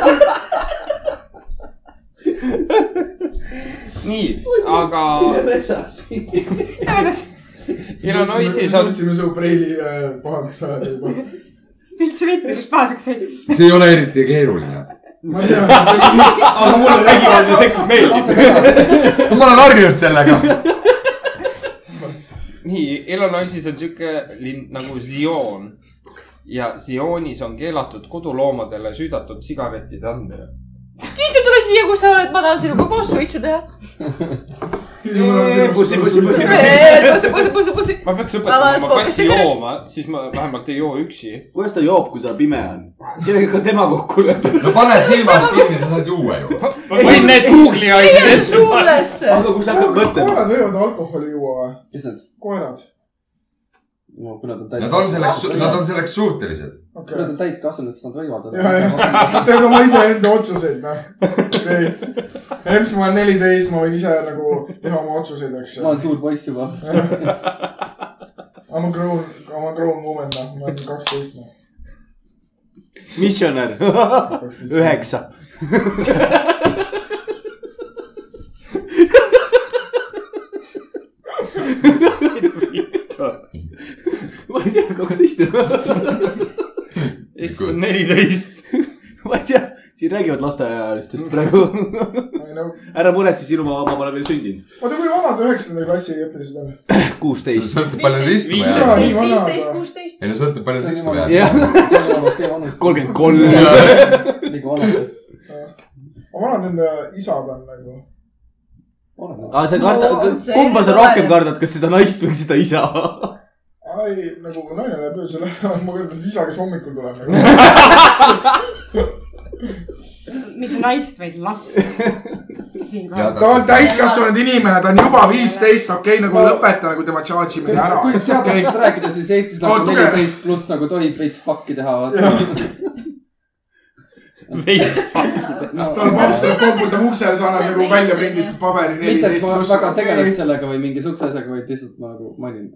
nii , aga edasi . Illinoisis on , suutsime su preili äh, pahaseks ajada [LAUGHS] juba . üldse mitte , mis pahaseks sai . see ei ole eriti keeruline . ma ei tea , aga [LAUGHS] mulle vägivaldne seks meeldib . [LAUGHS] ma olen harjunud sellega . [LAUGHS] nii , Illinoisis on sihuke linn nagu Zion ja Zionis on keelatud koduloomadele süüdatud sigaretide andmine . Kriisi , tule siia , kus sa oled , ma tahan sinuga koos suitsu teha . bussi , bussi , bussi , bussi . pussi , pussi , pussi , pussi . ma peaks Ma õpetama vaatan oma kassi fookusi. jooma , siis ma vähemalt ei joo üksi . kuidas ta joob , kui ta pime on ? kellega tema kokku lööb ? no pane silmad kinni , sa saad juua ju . ma panin need Google'i asjad pigem ette . suulesse . aga kui sa kas hakkad mõtlema , koerad võivad alkoholi juua või ? mis need , koerad , no kui nad on Nad on selleks , nad täiskasvanud , on selleks suutelised . kui okei nad on täiskasvanud , siis nad võivad ja , ja see on oma iseenda otsuseid , noh . Ems , ma olen neliteist , ma võin ise nagu teha oma otsuseid , eks ma ju olen . suur poiss juba . [LAUGHS] I m a grown , I m a grown woman , noh , ma olen kaksteist , noh . missionär [LAUGHS] üheksa . ma ei tea , kaksteist . issand , neliteist . [LAUGHS] ma ei tea , siin räägivad lasteaialistest praegu . [LAUGHS] ei no , ära muretse , sinu ma pole veel sündinud . oota , kui vanad üheksanda klassi õpilased on ? kuusteist . sõltub palju nad istuma Viisteist. jäävad . nii vana, viisteist , aga- kuusteist . ei no sõltub palju nad istuma Jah. jäävad . kolmkümmend kolm . [LAUGHS] [LAUGHS] jah , liiga vana . aga vanad nende isad on nagu . oleme . aga sa No, kardad see , kumba sa ei ole. rohkem kardad , kas seda naist või seda isa ? ai , nagu naine läheb öösel ära , [LAUGHS] ma kõrvaldan isa , kes hommikul tuleb nagu. . mitte naist , vaid last . siinkohal . [LAUGHS] ta on täiskasvanud inimene , ta on juba viisteist , okei okay, , nagu Ma- lõpeta nagu tema tšaatšimine ära . kui [LAUGHS] seadusest rääkida , siis Eestis No nagu tugev. neliteist pluss nagu tohib veits pakki teha . tal paps tuleb , koputab uksele , sa annad See on nagu välja veits prinditud selline. paberi mitte , et neliteist ma pluss . väga tegeleks sellega või mingi sihukese asjaga , vaid lihtsalt ma nagu mainin .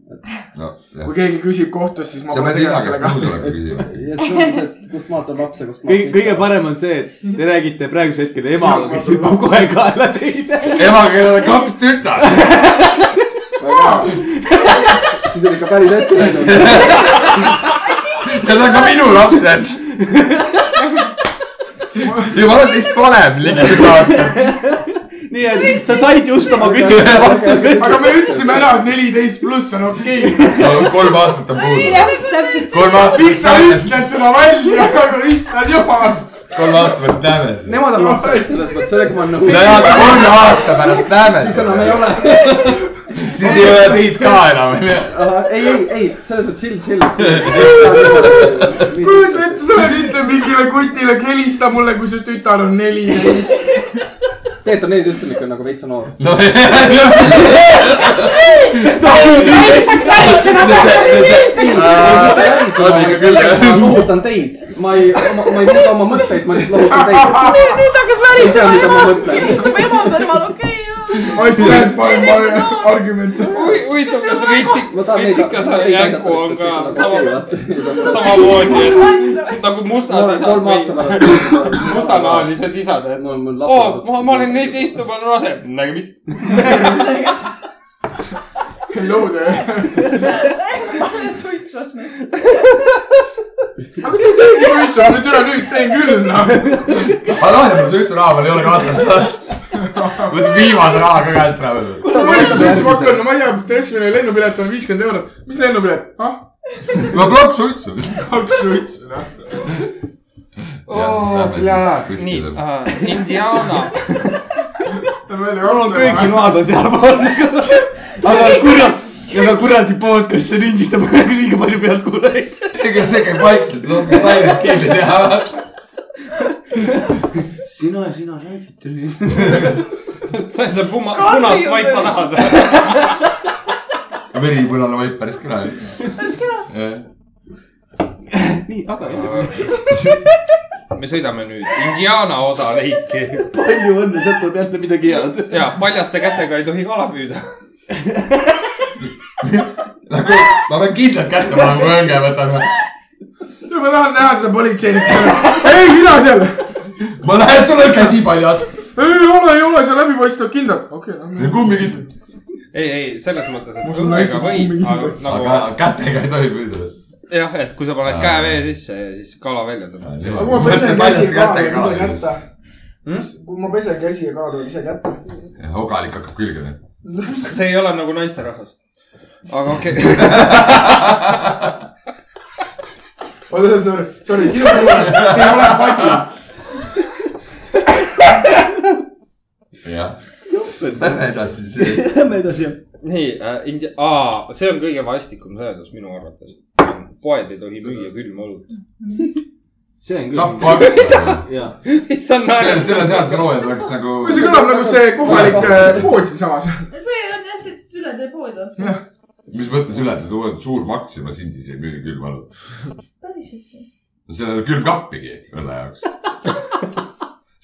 kui keegi küsib kohtus , siis ma sa pole pead isa tegelenud käest sellega . nõusoleku küsima . [LAUGHS] ja siis tundus , et kust maalt on laps ja kust kõige , Noh, kõige parem on see , et te räägite praegusel hetkel emaga , kes See on- hüppab kohe kaela teile . ema , kellel on kaks tütart . [LAUGHS] parem . siis oli ikka päris hästi läinud . Need on ka minu lapsed . ja ma olen teist vanem ligi kümme aastat . nii et sa said just oma küsimuse aga vastuse . me ütlesime ära , et neliteist pluss on okei okay. . kolm aastat on puudu . jah , täpselt . kolm aastat miks peaks sa ütled näeme . seda välja , nagu issand jumal . kolme aasta pärast näeme siis . Nemad on lapsed , selles mõttes , sellega ma olen nõus . nojah , kolme aasta pärast näeme siis enam ei siis . ole . siis ei ole teid ka enam . ei , ei , ei , selles mõttes chill , chill . kujuta ette , sa oled , ütled mingile kutile , et helista mulle , kui su tütar on neliteist . Teet on neliteist , on ikka nagu veits noor . no [LAUGHS] jah . ma lohutan teid , ma ei , ma ei muuda oma mõtteid , ma lihtsalt lohutan teid . nüüd hakkas ei tea , mida ma värisema ema , mõtlen . kiristame ema kõrval , okei okay, . ma ütlen , et parem ar- argument . huvitav , kas Veitsik , ma tahan neid , Veitsikas Jänku on ka sama , samamoodi , et nagu mustad olen kolm isad aasta või pärast . mustanahalised isad , et mul , mul oo , ma , ma olen neliteist , ma olen rase , nägemist . Hello there . ma olen suitsuastmes . aga sa ei teegi suitsu , aga nüüd ära nüüd teen küll , noh . ma tahan , et mul see üldse raha peal ei ole kaasas . võtad viimase raha ka käest ära . ma ei suitsu pakkunud , no ma ei tea , keskmine lennupilet on viiskümmend eurot . mis lennupilet ? ah , ma plokk suitsu . kaks suitsu , noh . oo , Oh, jaa , nii , [LAUGHS] Indiana . mul on kööginoad on sealpool . aga kurat , aga kuradi podcast , see lindistab praegu liiga palju pealtkuulajaid . ega see käib vaikselt , ta oskab sairet [LAUGHS] kinni teha . sina , sina räägid nüüd . sa enda puma , Kalju punast vaipa veel. tahad või ? veripunane vaip päris kena . päris kena . nii , aga jah. [LAUGHS] me sõidame nüüd Indiana osa leiki . palju õnne , sealt tuleb jälle midagi head . ja paljaste kätega ei tohi kala püüda . nagu ma pean kindlalt kätte panema , kui õnge võtan . ja ma tahan näha seda politseinikku . ei , sina seal . ma lähen sulle käsi paljas . ei ole , ei ole , see on läbipaistev kindel . okei okay, , lähme . kummi kinni . ei , ei selles mõttes , Ma et usun, õllega näitas võib , kummi aga aga nagu kätega ei tohi püüda . jah , et kui sa paned Aa. käe vee sisse , siis kala välja tuleb . Aa, kui ma pesen käsi ka , tuleb ise kätte . Hmm? kui ma pesen käsi ka , tuleb ise kätte . ogalik hakkab külge . see ei ole nagu naisterahvas . aga [LAUGHS] okei okay. , oota , sorry , sorry , sinu puhul see ei ole padi . jah . Lähme edasi , eh, see . Lähme edasi . nii äh, , India , aa , see on kõige vastikum seadus minu arvates . poed ei tohi müüa külma õlut . see on noh , küll . fuck . selle , jaa . [LAUGHS] mis on selle seaduse looja tuleks nagu . see kõlab nagu see kohalik eh, pood siinsamas . see on jah , siit üle tee pood on . mis mõttes üle , et uued suur Maxima sindis ei müü külmvalut . päriselt või ? no seal ei ole külmkappigi õlle jaoks .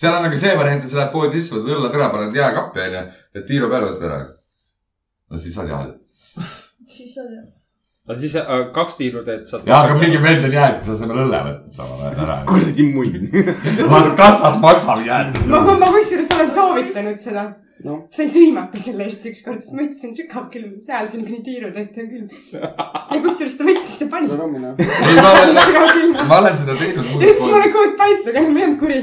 seal on nagu see variant , et sa lähed poodi sisse , võtad õllatõra , paned jääkappi onju ja tiiru peale võtad ära . no siis on jah . siis on jah . aga siis äh, kaks tiiru teed saad . ja aga mingi meeldiv jäätis asemel õlle võtad samal ajal ära . kuradi munn . [LAUGHS] vaata kassas maksab jäätis . ma , ma kusjuures olen soovitanud seda Noh. sain tuimata selle eest ükskord , siis ma ütlesin , sügav külm , seal siin kuni tiirud ette on külm . ja kusjuures ta võttis ja pani . rammina . ei , ma olen , sügav külm . ma olen seda teinud ja muudes ütles mulle poodides , good point , aga enam ei olnud kuri .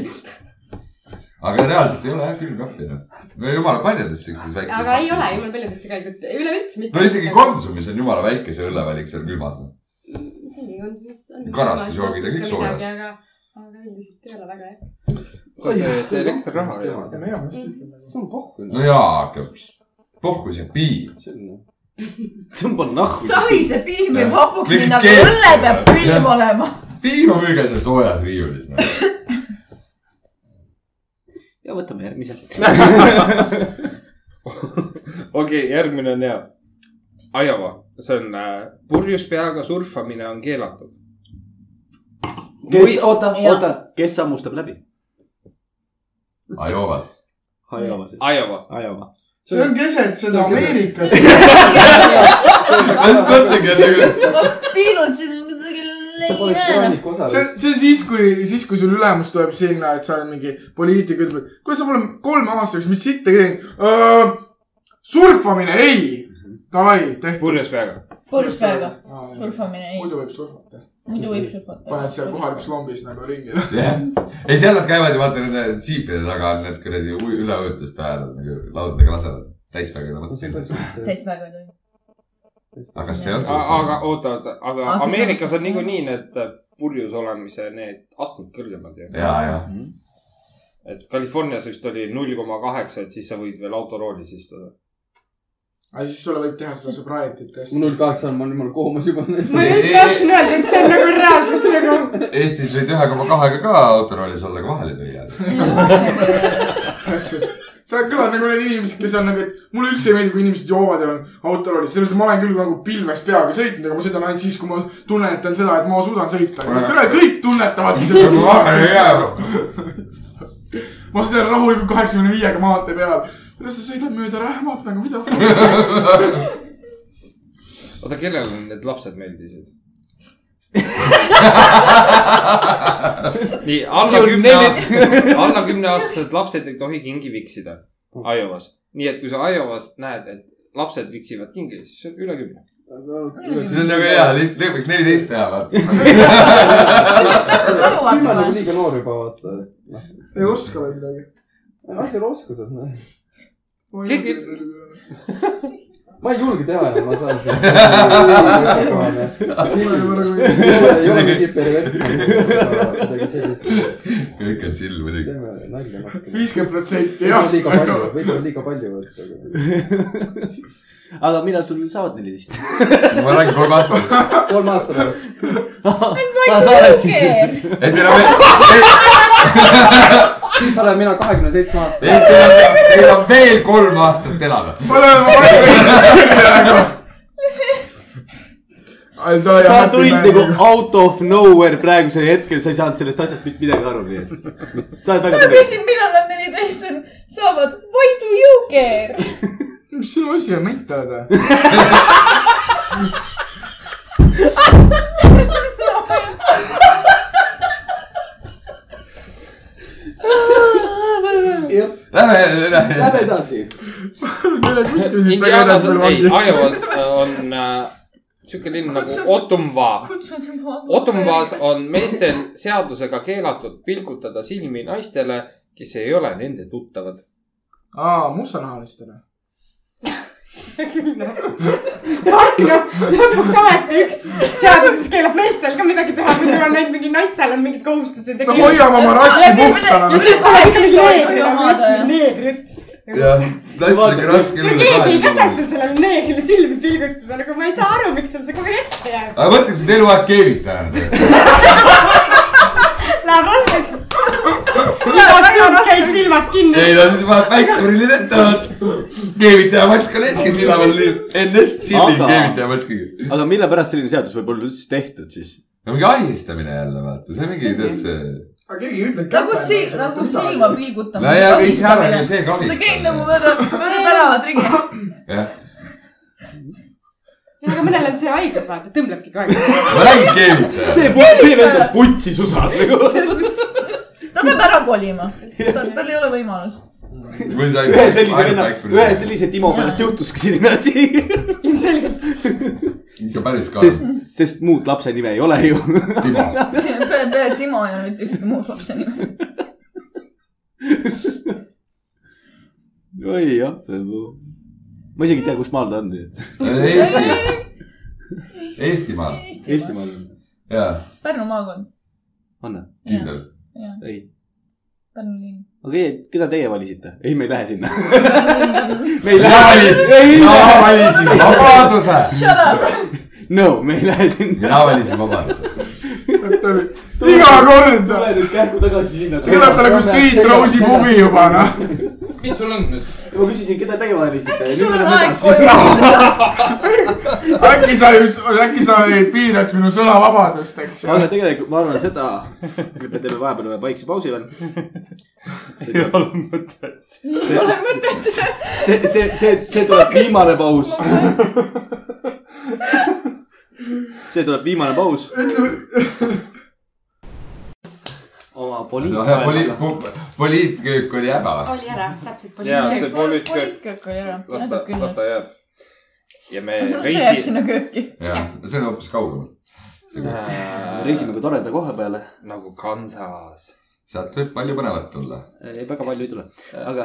aga reaalselt ei ole jah külmkappi noh . no jumala paljudes siukses väikses . aga ei ole , jumala paljudest tegelikult , üleüldse mitte . no isegi . Konsumis on jumala väikese õllevälik seal külmas . noh. isegi Mm, on , mis on . Karastusjoogid on kõik soojas. aga aga üldiselt ei ole väga hea . see on see , see elektriraha ju . ja me jääme just ütlema . see on pohhu . no jaa , aga puhkus ja piim . tõmba nahku . savise piim võib Jah. hapuks Mingi minna , aga keeb- õlle peab Jah. piim olema . piim on kõige seal soojas riiulis noh. no. . ja võtame järgmise . okei , järgmine on hea . ajava , see on äh, purjus peaga surfamine on keelatud . kes , oota , Jaa. oota , kes hammustab läbi ? Ajovas . ajava siis , ajava . ajava . see on keset seda See on keset- Ameerikat . ma just mõtlengi , et nagu , piinud siin kusagil . sa pole seda ranniku osa see on , see on siis , kui , siis kui sul ülemus tuleb sinna , et sa oled mingi poliitik , ütleb , et kuule , sa pole kolme aastaseks , mis sitt tegid uh, . surfamine , ei . Davai , tehtud . purjus peaga . purjus peaga , surfamine ei , muidu võib surfata . muidu võib paned seal kohalikus surfata . lombis nagu ringi . [LAUGHS] jah . ei , seal nad käivad ju vaata nende siipide taga on need kuradi u- üleujutuste ajal nagu laudadega lasevad täispäevaga mõtlesin . see täispäev on ju . aga kas see on aga ? oota , oota , aga Aga see on- Ameerikas on niikuinii need äh, purjus olemise need astmed kõrgemad ju . ja , ja . et Californias vist oli null koma kaheksa , et siis sa võid veel autoroolis istuda . aga siis sulle võib teha seda sobrietit mul [LAUGHS] tõesti . null kaheksa on , ma olen jumala koomas juba . ma just tahtsin öelda , et see on nagu reaalselt nagu . Eestis võid ühe koma kahega ka autoroolis olla , aga vahele ei tohi jääda . sa kõlad nagu need inimesed , kes on nagu , et mulle üldse ei meeldi , kui inimesed joovad ja on autoroolis , sellepärast et ma olen küll nagu pilves peaga sõitnud , aga ma sõidan ainult siis , kui ma tunnetan seda , et ma suudan sõita . tere , kõik tunnetavad siis , et ma suudan vahele sõita jääb . [LAUGHS] ma sõidan rahulikult kaheksakümne viiega maantee peal . kuidas sa sõidad mööda rähmat nagu mida ? [LAUGHS] oota , kellele need lapsed meeldisid ? nii , alla You kümne nailed , [LAUGHS] alla kümneaastased lapsed ei tohi kingi viksida Iowas . nii et kui sa Iowas näed , et lapsed viksivad kingi , siis see on üle kümne . see on nagu hea , lihtne , võiks neliteist teha , vaata . aru küll ma nagu vaatama . liiga noor juba vaata . ei oska veel midagi . asi on oskuses , noh . keegi . ma ei julge teha enam , ma saan seda . ei ole mingi pervert , midagi sellist . kõik on chill muidugi . teeme nalja natuke . viiskümmend protsenti võib-olla jah . liiga palju , võib-olla liiga palju , eks ole . aga millal sul saavad neliteist ? ma räägin kolm aastat . kolme aasta pärast . sa oled siis . ei , teil on veel , siis olen mina kahekümne seitsme aastane . ei , teil on , teil on veel kolm aastat elada . ma lähen , ma lähen . sa tulid nagu . out of nowhere praegusel hetkel , sa ei saanud sellest asjast mitte midagi aru , nii et . sa oled väga ma tubli . küsin , millal nad neliteist on- saavad . Why do you care ? mis sinu asi on mõtelda ? ma lähme üle . Lähme edasi . meil on kuskil siit väga Indianas edasi veel on , ei , vangi . Iowas on äh, siuke linn nagu Ottumwa . kutsun juba . Ottumwas on meestel seadusega keelatud pilgutada silmi naistele , kes ei ole nende tuttavad . aa , mustanahalistele . tark noh , lõpuks ometi üks seadus , mis keelab meestel ka midagi teha , kui sul on neid mingi naistel on mingid kohustused ja no . hoiame oma rassi Ja siis- puhtana ja . siis tuleb ikka mingi neegri nagu Omada, jah. lõpuks neegri ütleb . jah , naistega raske see on keegikasas ju sellele neegrile silmi pilgutada , nagu ma ei saa aru , miks sul see kogu aeg ette jääb . aga mõtle , kui sa oled eluaeg keevitajana . Läheb raskeks . igaks juhuks käid silmad kinni . ei no siis paned päikseprillid ette , keevitaja mask on eeskümmend lila peal , ennast tšillin Aga- keevitaja maskiga . aga mille pärast selline seadus võib olla üldse tehtud siis ? no mingi ahistamine jälle vaata , see on mingi tead see . aga keegi ei ütle , et nagu sil- , nagu silma . pilgutamine . no ja ei seal on ju see sa käid karistamine . nagu mööda , mööda tänavat ringi . jah , aga mõnel on see haigus , vaata , tõmblebki kogu aeg . ma räägin keevitaja . punkt , see vend on putsi susad nagu . ta peab ära kolima . tal ei ole võimalust . või sa ühe sellise venna , ühe . sellise Timo pärast juhtuski selline asi , ilmselgelt . ikka päris ka . sest , sest muud lapse nime ei ole ju . Timo . peale Timo ja mitte ükski muu lapse nimi . oi jah , ma isegi ei tea , kus maal ta on . Eesti , Eestimaal . Eestimaal on . jaa , Pärnu maakond . on või ? kindel . ei , Pärnu linn . aga ei, keda teie valisite ? ei , me ei lähe [LAUGHS] sinna . me ei lähe , ei mina lähe , valisin vabaduse . Shut up . no me ei lähe sinna . mina valisin vabaduse . iga kord . tule [LAUGHS] nüüd kähku tagasi sinna . see tuleb talle kui Sweet Rose'i pubi juba noh . mis sul on nüüd ? ma küsisin , keda teie valisite . sul on aeg koju minna . äkki sa , äkki sa ei piiraks minu sõnavabadust , eks ju aga . tegelikult ma arvan seda , et me teeme vahepeal ühe väikse pausi [LAUGHS] veel . ei ole mõtet . see , see , see , see tuleb viimane paus . see tuleb viimane paus . oma poli- poliitika . pu- , poliitköök oli häda . oli ära , täpselt . Jaa, see polütköök. polütköök oli ära . las ta läheb , küll . las ta jääb . ja [LAUGHS] me see jääb reisi , sinna kööki . jah , see on hoopis kaugemal . reisime ka toreda koha peale . Äh, nagu Kansas . sealt võib palju põnevat tulla . ei , väga palju ei tule , aga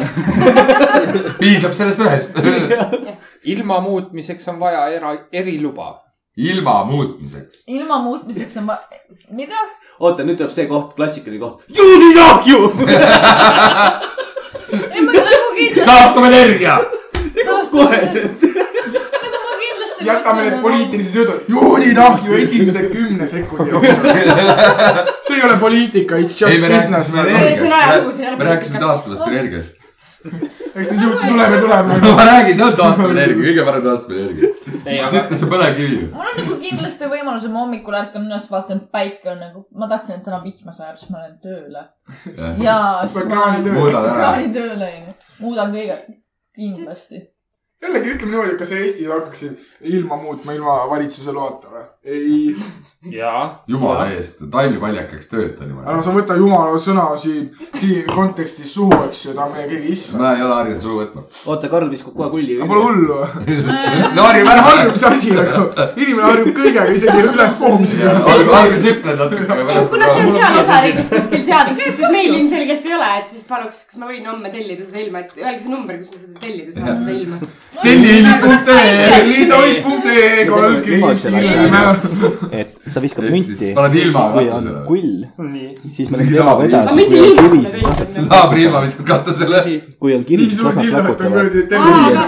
[LAUGHS] piisab sellest ühest . [LAUGHS] ilma muutmiseks on vaja era , eriluba . ilma muutmiseks . ilma muutmiseks on ma , mida ? oota , nüüd tuleb see koht , klassikaline koht . juuli lahju . [LAUGHS] ei , ma nagu [LAUGHS] kindlasti . [LAUGHS] taastuvenergia . kohe see . nagu ma kindlasti . jätame need . poliitilised jutud . juudid ahju esimese kümne sekundi jooksul . see ei ole poliitika , it's just ei , me business . rääkisime energia- eks See on ajalugu, see ei energiast ole . me rääkisime poliitika. taastuvast [LAUGHS] energiast . need jutud tuleme , tuleme . ma [LAUGHS] räägin , see on taastuvenergia , kõige parem taastuvenergia . ei , aga sitta see põlevkivi . mul on nagu kindlasti võimalus , et ma hommikul ärkan üles , vaatan , päike on nagu , ma tahtsin , et täna vihma sajab , siis ma lähen tööle . ja siis ma kraani tööle. Muudad ära. kraani tööle , onju . muudan kõige , kindlasti . jällegi ütleme niimoodi , kas Eesti hakkaks ilma muutma , ilma valitsuse loata või ? ei , jaa jumala eest , taimipalják läks tööta ära niimoodi . sa võta jumala sõna siin , siin kontekstis suhu , eks ju , ta on meie kõigi issand . ma ei ole harjunud suhu [LAUGHS] võtma . oota , Karl viskab kohe kulli . aga pole hullu . harjume ära ära , harjume . harjumise asi nagu , inimene harjub kõigega , isegi ülespoomisega . algad sipled natuke ja pärast . kuna see on seal osariigis kuskil seadustes , siis meil ilmselgelt ei ole , et siis paluks , kas ma võin homme tellida seda ilma , et öelge see number , kus ma seda tellida saan , seda ilma . telliilm.ee , liidoid.ee , kolm kriips , ilm . [LAUGHS] et sa viskad ehk münti siis , paned ilma kui on katusele . kull , siis me läheme Jaa, temaga jaa. aga edasi , mis kui on ilma kiri , seda siis lased , tellida on ? naabri ilma viskad katusele . kui on kiri , nii siis suur lased liidoid on lakutavad .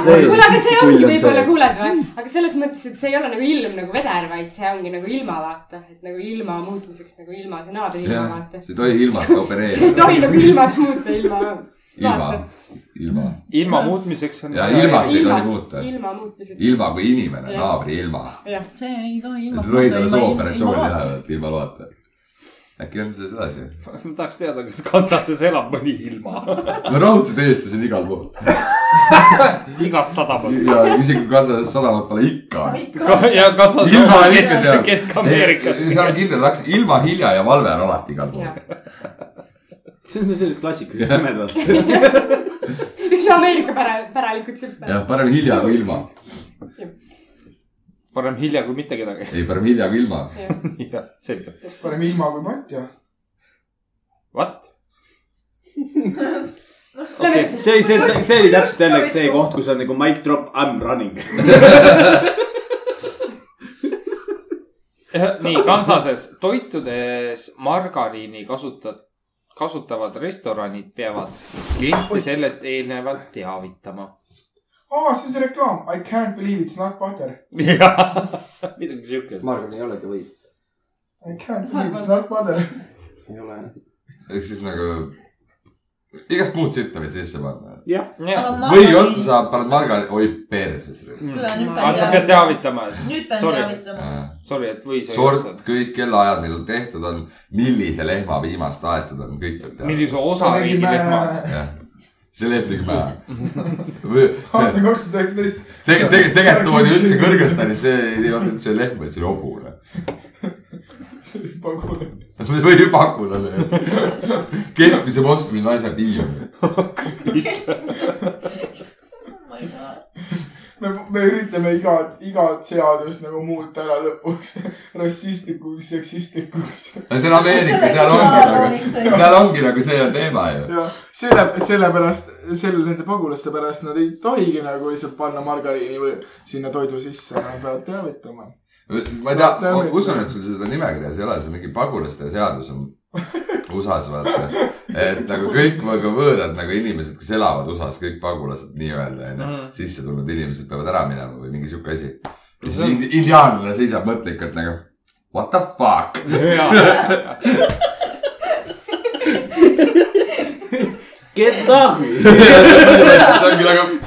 kuradi kuule , see- aga telliilm . see kui on ongi see- võib-olla , kuuled või ? aga selles mõttes , et see ei ole nagu ilm nagu veder , vaid see ongi nagu ilma , vaata . et nagu ilma muutmiseks nagu ilma , see naabri ilma , jah , vaata . sa ei tohi ilmata sa ei opereerida . tohi nagu ilmas muuta ilma . ilma , ilma ilma muutmiseks on . ja ilmat ei ilma tohi , muuta . ilma muutmiseks . ilma kui inimene , Jah. naabri ilma . jah , see ei sa tohi ilma . ei tohi talle sooperatsiooni teha , ilma loata . äkki on see sedasi ? [LAUGHS] ma tahaks teada , kas Kansases elab mõni [LAUGHS] ilma . no rahutused eestlasi on igal pool . igast sadamat . ja isegi Kansases sadamat pole ikka . ja kas on Ilma on ikka seal. Kesk-Ameerikas . see on kindel , ilma , hilja ja valve on alati igal pool . jah . [LAUGHS] see on selline klassikaline nimed vaata . üsna Ameerika pära- , päralikud sõbrad . jah , parem hilja kui ilma . parem hilja kui mitte kedagi . [LAUGHS] ei , parem hilja kui ilma . jah , selge . parem ilma kui matja . What ? Lähme okei , edasi. see , see , see [LAUGHS] oli täpselt selleks see koht , kus on nagu mic drop , I m running . [LAUGHS] nii , Kansases toitudes margariini kasutad , kasutavad restoranid peavad kliente sellest eelnevalt teavitama . [LAUGHS] aa , see on see reklaam I can't believe it's not butter . jah , midagi siukest . ma arvan , ei olegi või . I can't believe it's not butter . ei ole jah . ehk siis nagu igast muud sitta võid sisse panna . jah , või otsa saab , paned margariini , oi perses . aga sa pead teavitama , et nüüd pean Sorry. [LAUGHS] teavitama . sorry , et või sa ei sort otsa ., kõik kellaajad , millal tehtud on , millise lehma viimast aetud on , kõik peab teadma . millise osa riigi lehma . see leebdigi pähe . või aastal kaks tuhat üheksateist . tegelikult , tegelikult , tegelikult toodi üldse . Kõrgõzstanis , see ei olnud üldse lehm , vaid see oli hobune . või pakulane . keskmise moslemi naise piim . Oh me , me üritame igat , igat seadust nagu muuta ära lõpuks [LAUGHS] rassistlikuks , seksistlikuks . no see on Ameerika , seal ongi nagu , seal ongi nagu see on teema ju . ja selle , sellepärast , selle , nende pagulaste pärast nad ei tohigi nagu lihtsalt panna margariini või sinna toidu sisse , nad peavad teavitama . Noh, ma ei tea , ma usun , et sul seda nimekirjas ei ole , see on mingi pagulaste seadus on USA-s vaata . [LAUGHS] et nagu kõik nagu võõrad nagu inimesed , kes elavad USA-s , kõik pagulased nii-öelda onju , Mhm. sisse tulnud inimesed peavad ära minema või mingi sihuke asi . ja See siis on- ind- indiaanlane seisab mõtlikult nagu what the fuck . [LAUGHS] Get down . see ongi nagu ,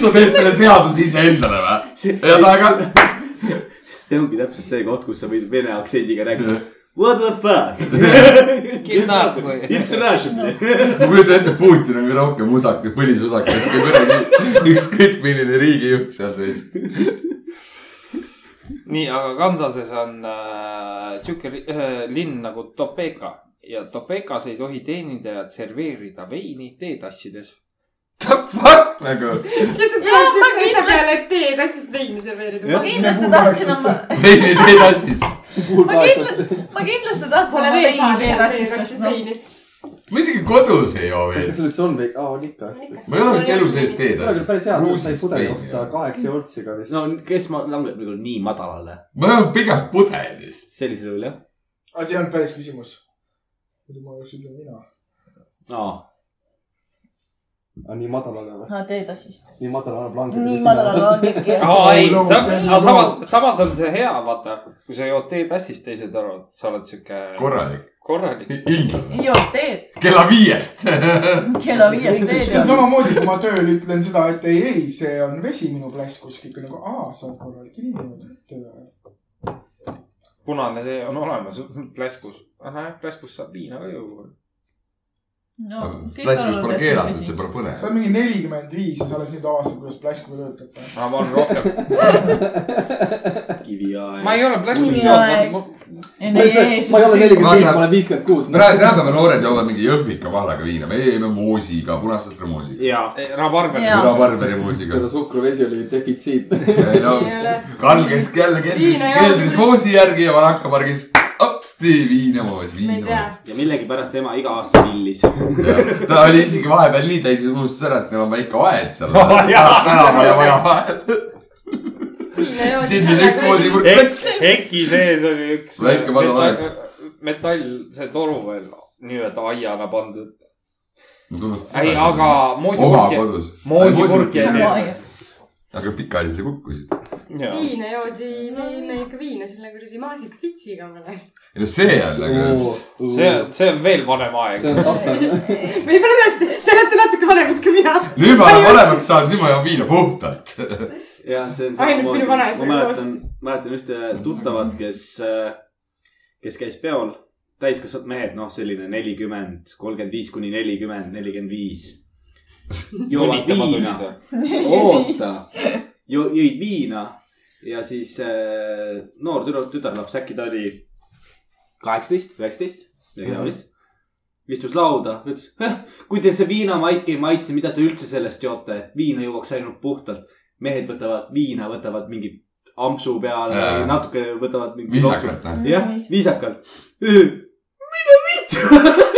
sa teed selle seaduse iseendale või ? ja ta ka , see ongi täpselt see koht , kus sa võid vene aktsendiga rääkida . What the fuck ? It's Russian . ma kujutan ette , Putin on ka rohkem usak , põlisusakas kui kuradi ükskõik milline riigijuht seal sees . nii , aga Kansases on äh, sihuke li- äh, linn nagu Topeka ja Topekas ei tohi teenindajad serveerida veini teetassides . The fuck nagu , lihtsalt Jaa, tuleb ma siukse asja kindlasti- peale , et teed asjast veini serveerida ma . kindlasti Nagu tahtsin oma , ei ei tee ta siis . kuhu ma kindlasti , ma kindlasti tahtsin Pole oma veel veini saanud teed teed asjast , asjast sest noh , veini . ma isegi kodus ei joo kas veits . sul üldse on või ? aa , on ikka . ma ei ole vist elu sees teed praegu asjast . päris hea , sa said Kruusist pudeli veini, osta jah. kaheksa jortsiga vist . no kes ma langeb nagu nii madalale , ma joon pigem pudelist . sellisel juhul jah aga see ei olnud päris küsimus . muidu ma oleks ütelnud mina . no. ? aga nii madalale või ? no teed asjast . nii madal annab langeda . nii madalal on kõik jah . aa , ei , No, aga no. samas , samas on see hea , vaata , kui sa jood teetassist , teised arvavad , et sa oled sihuke korralik , korralik . inglane . jood teed , kella viiest . kella viiest teed [LAUGHS] see on ja samamoodi , kui ma tööl ütlen seda , et ei , ei , see on vesi minu plaskus . kõik on nagu , aa , sa oled korralik inimene . töö ajal . punane tee on olemas pläskus . aga nojah , pläskus saab viina ka juua . no, plassis Nagu pole keelatud , see pole põnev sa . oled mingi nelikümmend viis ja sa alles nüüd avastad , kuidas plaskuga töötab . aga ma olen rohkem . kiviaeg ma ei ole pläskus Nii aeg. joonud . ma ei saa , ma ei ole nelikümmend viis , ma olen viiskümmend kuus . praegu tänapäeva noored joovad mingi jõhvika mahlaga viina , meie jõime moosiga , punasastra moosiga . jaa , rabarber Jaa. . külaparveri moosiga . selle suhkruvesi oli defitsiit . ei no , Karl käis jälle keldris , keldris moosi järgi ja vanaka pargis hopsti viinamoos , ma ei tea viinamoos .. ja millegipärast ema iga aasta pillis . ta oli isegi vahepeal nii täis , et unustas ära , et tal on väike aed seal Oh, [LAUGHS] jaa. tänava ja maja vahel . siin oli üks moosikurt Hek- , heki sees oli üks äh, Väike madalaid. metall, metall , see toru veel nii-öelda aiana pandud . ma tunnistan . ei , aga nagu oma moosikurt jäi . kodus . moosikurt jäi [LAUGHS] meelde . aga pikali sa kukkusid . viina joodi , me jõime ikka viina nagu selle kuradi maasikafitsiga omale . ei no see on nagu , see , see on veel vanem aeg see . on [LAUGHS] tapmine . või pole tõesti , te olete natuke vanemad kui mina . nüüd ma olen vanemaks saanud , nüüd ma joon viina puhtalt . jah , see on Ainult minu ma vanaisaga mäletan , mäletan ühte tuttavat , kes , kes käis peol . täiskasvanud mehed , noh , selline nelikümmend , kolmkümmend viis kuni nelikümmend , nelikümmend viis . joovad viina , oota , jõid viina ja siis äh, Mhm. noor tüdruk , tütarlaps , äkki ta oli kaheksateist , üheksateist , midagi taolist . istus lauda , ütles , kui teil see viina maik ei maitse , mida te üldse sellest joote , et viina jõuaks ainult puhtalt . mehed võtavad viina , võtavad mingit ampsu peale Jaa. või natuke võtavad mingi . viisakalt noh. on . jah , viisakalt . mida vittu ? [LAUGHS]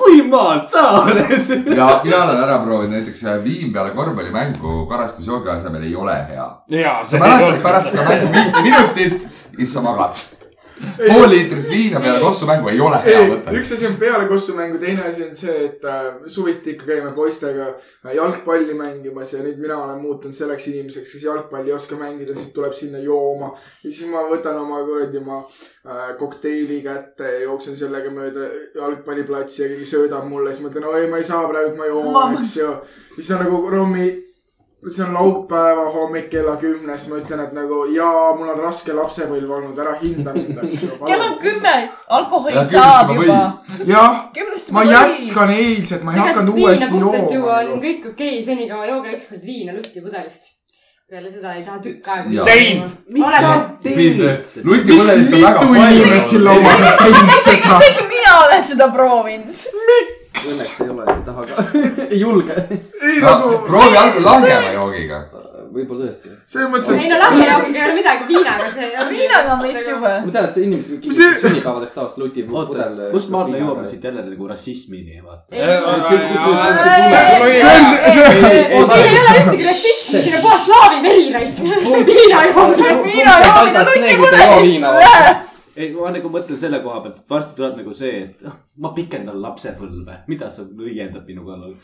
kui maalt sa oled ? ja mina olen ära proovinud näiteks äh, viin peale korvpallimängu karastusjoogi asemel ei ole hea . jaa , sa mäletad pärast seda mängu viite minutit , siis sa magad . pool liitrit viina peale kossumängu ei ole hea ei , mõte . üks asi on pealekossumängu , teine asi on see , et äh, suviti ikka käime poistega äh, jalgpalli mängimas ja nüüd mina olen muutunud selleks inimeseks , kes jalgpalli ei oska mängida , siis tuleb sinna jooma . ja siis ma võtan oma kuradi oma äh, kokteili kätte ja jooksen sellega mööda jalgpalliplatsi ja keegi söödab mulle , siis mõtlen , oi , ma ei saa praegu , ma joon , eks ju . siis on nagu rommi see on laupäeva hommik kella kümnest , ma ütlen , et nagu jaa , mul on raske lapsepõlv olnud , ära hinda mind , eks ju . kell on kümme , alkoholi Ja küll saab ma võin. juba . jah , kümnest ma . jätkan eilset , ma ei hakanud uuesti juua on jooma . kõik okei okay, , senikaua jooge ükskord viina lutti pudelist . peale seda ei taha tükk aega . Jaa. Teinud. miks sa ? miks mitu inimest siin lauas on teinud seda ? isegi mina olen seda proovinud . õnneks ei ole , ei taha ka , ei julge . ei No, nagu , proovi algul lahjema joogiga . võib-olla tõesti . selles mõttes , ei no et lahja joogiga ei ole midagi , viinaga see . viinaga on veits . juba . ma tean , et see inimesed Mis see- kindlasti sünnipäevadeks tavaliselt luti oota pudel ., kust maalt me jõuame ? siit jälle nagu rassismini ? [LAUGHS] meil see on , see on , nagu- [LAUGHS] ei ole ühtegi rassismi , siin on puhas slaavi meri raisk . viina jooma . viina joomine luti pudelist . ei , ma nagu mõtlen selle koha pealt , et varsti tuleb nagu see , et ah, ma pikendan lapsepõlve , mida sa õiendad minu kallal .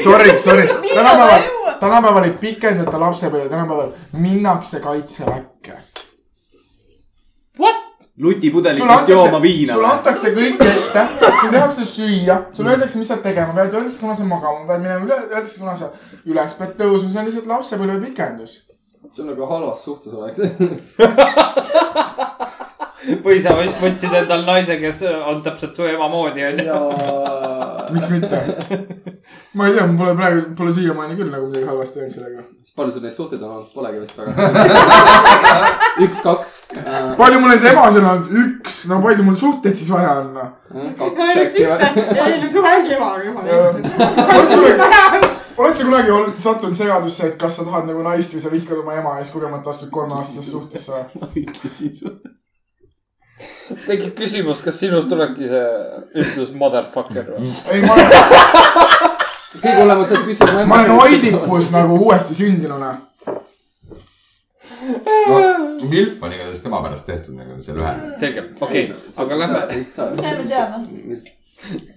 sorry , sorry , Viinaga tänapäeval , juua . tänapäeval ei pikendata lapsepõlve , tänapäeval minnakse kaitseväkke . sulle nutipudelitest jooma antakse , viina sulle . antakse kõik ette , sulle tehakse süüa , sulle öeldakse , mis sa tegema pead , öeldakse , kuna sa magama pead minema , öeldakse , kuna sa üles pead tõusma , see on lihtsalt lapsepõlve pikendus . see on nagu halvas suhtes oleks . või sa võt- võtsid endal naise , kes on täpselt su ema moodi onju . ja . miks mitte ? ma ei tea , mul pole praegu , pole siiamaani küll nagu midagi halvasti öelnud sellega . palju sul neid suhteid on olnud , polegi vist väga . üks-kaks . palju mul neid ebasid on olnud ? üks , no palju mul suhteid siis vaja on ? Äh, kaks [LAUGHS] ainult äkki ühte või ?, ei no nagu suhe ongi emaga oled sa , jumala oled sa kunagi olnud , sattunud segadusse , et kas sa tahad nagu naist või sa vihkad oma ema ja siis kogemata astud kolmeaastasesse suhtesse või ? tekib küsimus , kas sinust tulebki see ütlus motherfucker või ? ei , ma olen , kõige hullem on see , et küsib . ma olen . oidipus nagu uuesti sündinuna . milf on igatahes tema pärast tehtud nagu seal ühel . selge , okei okay. , aga lähme . Mis me teame? ?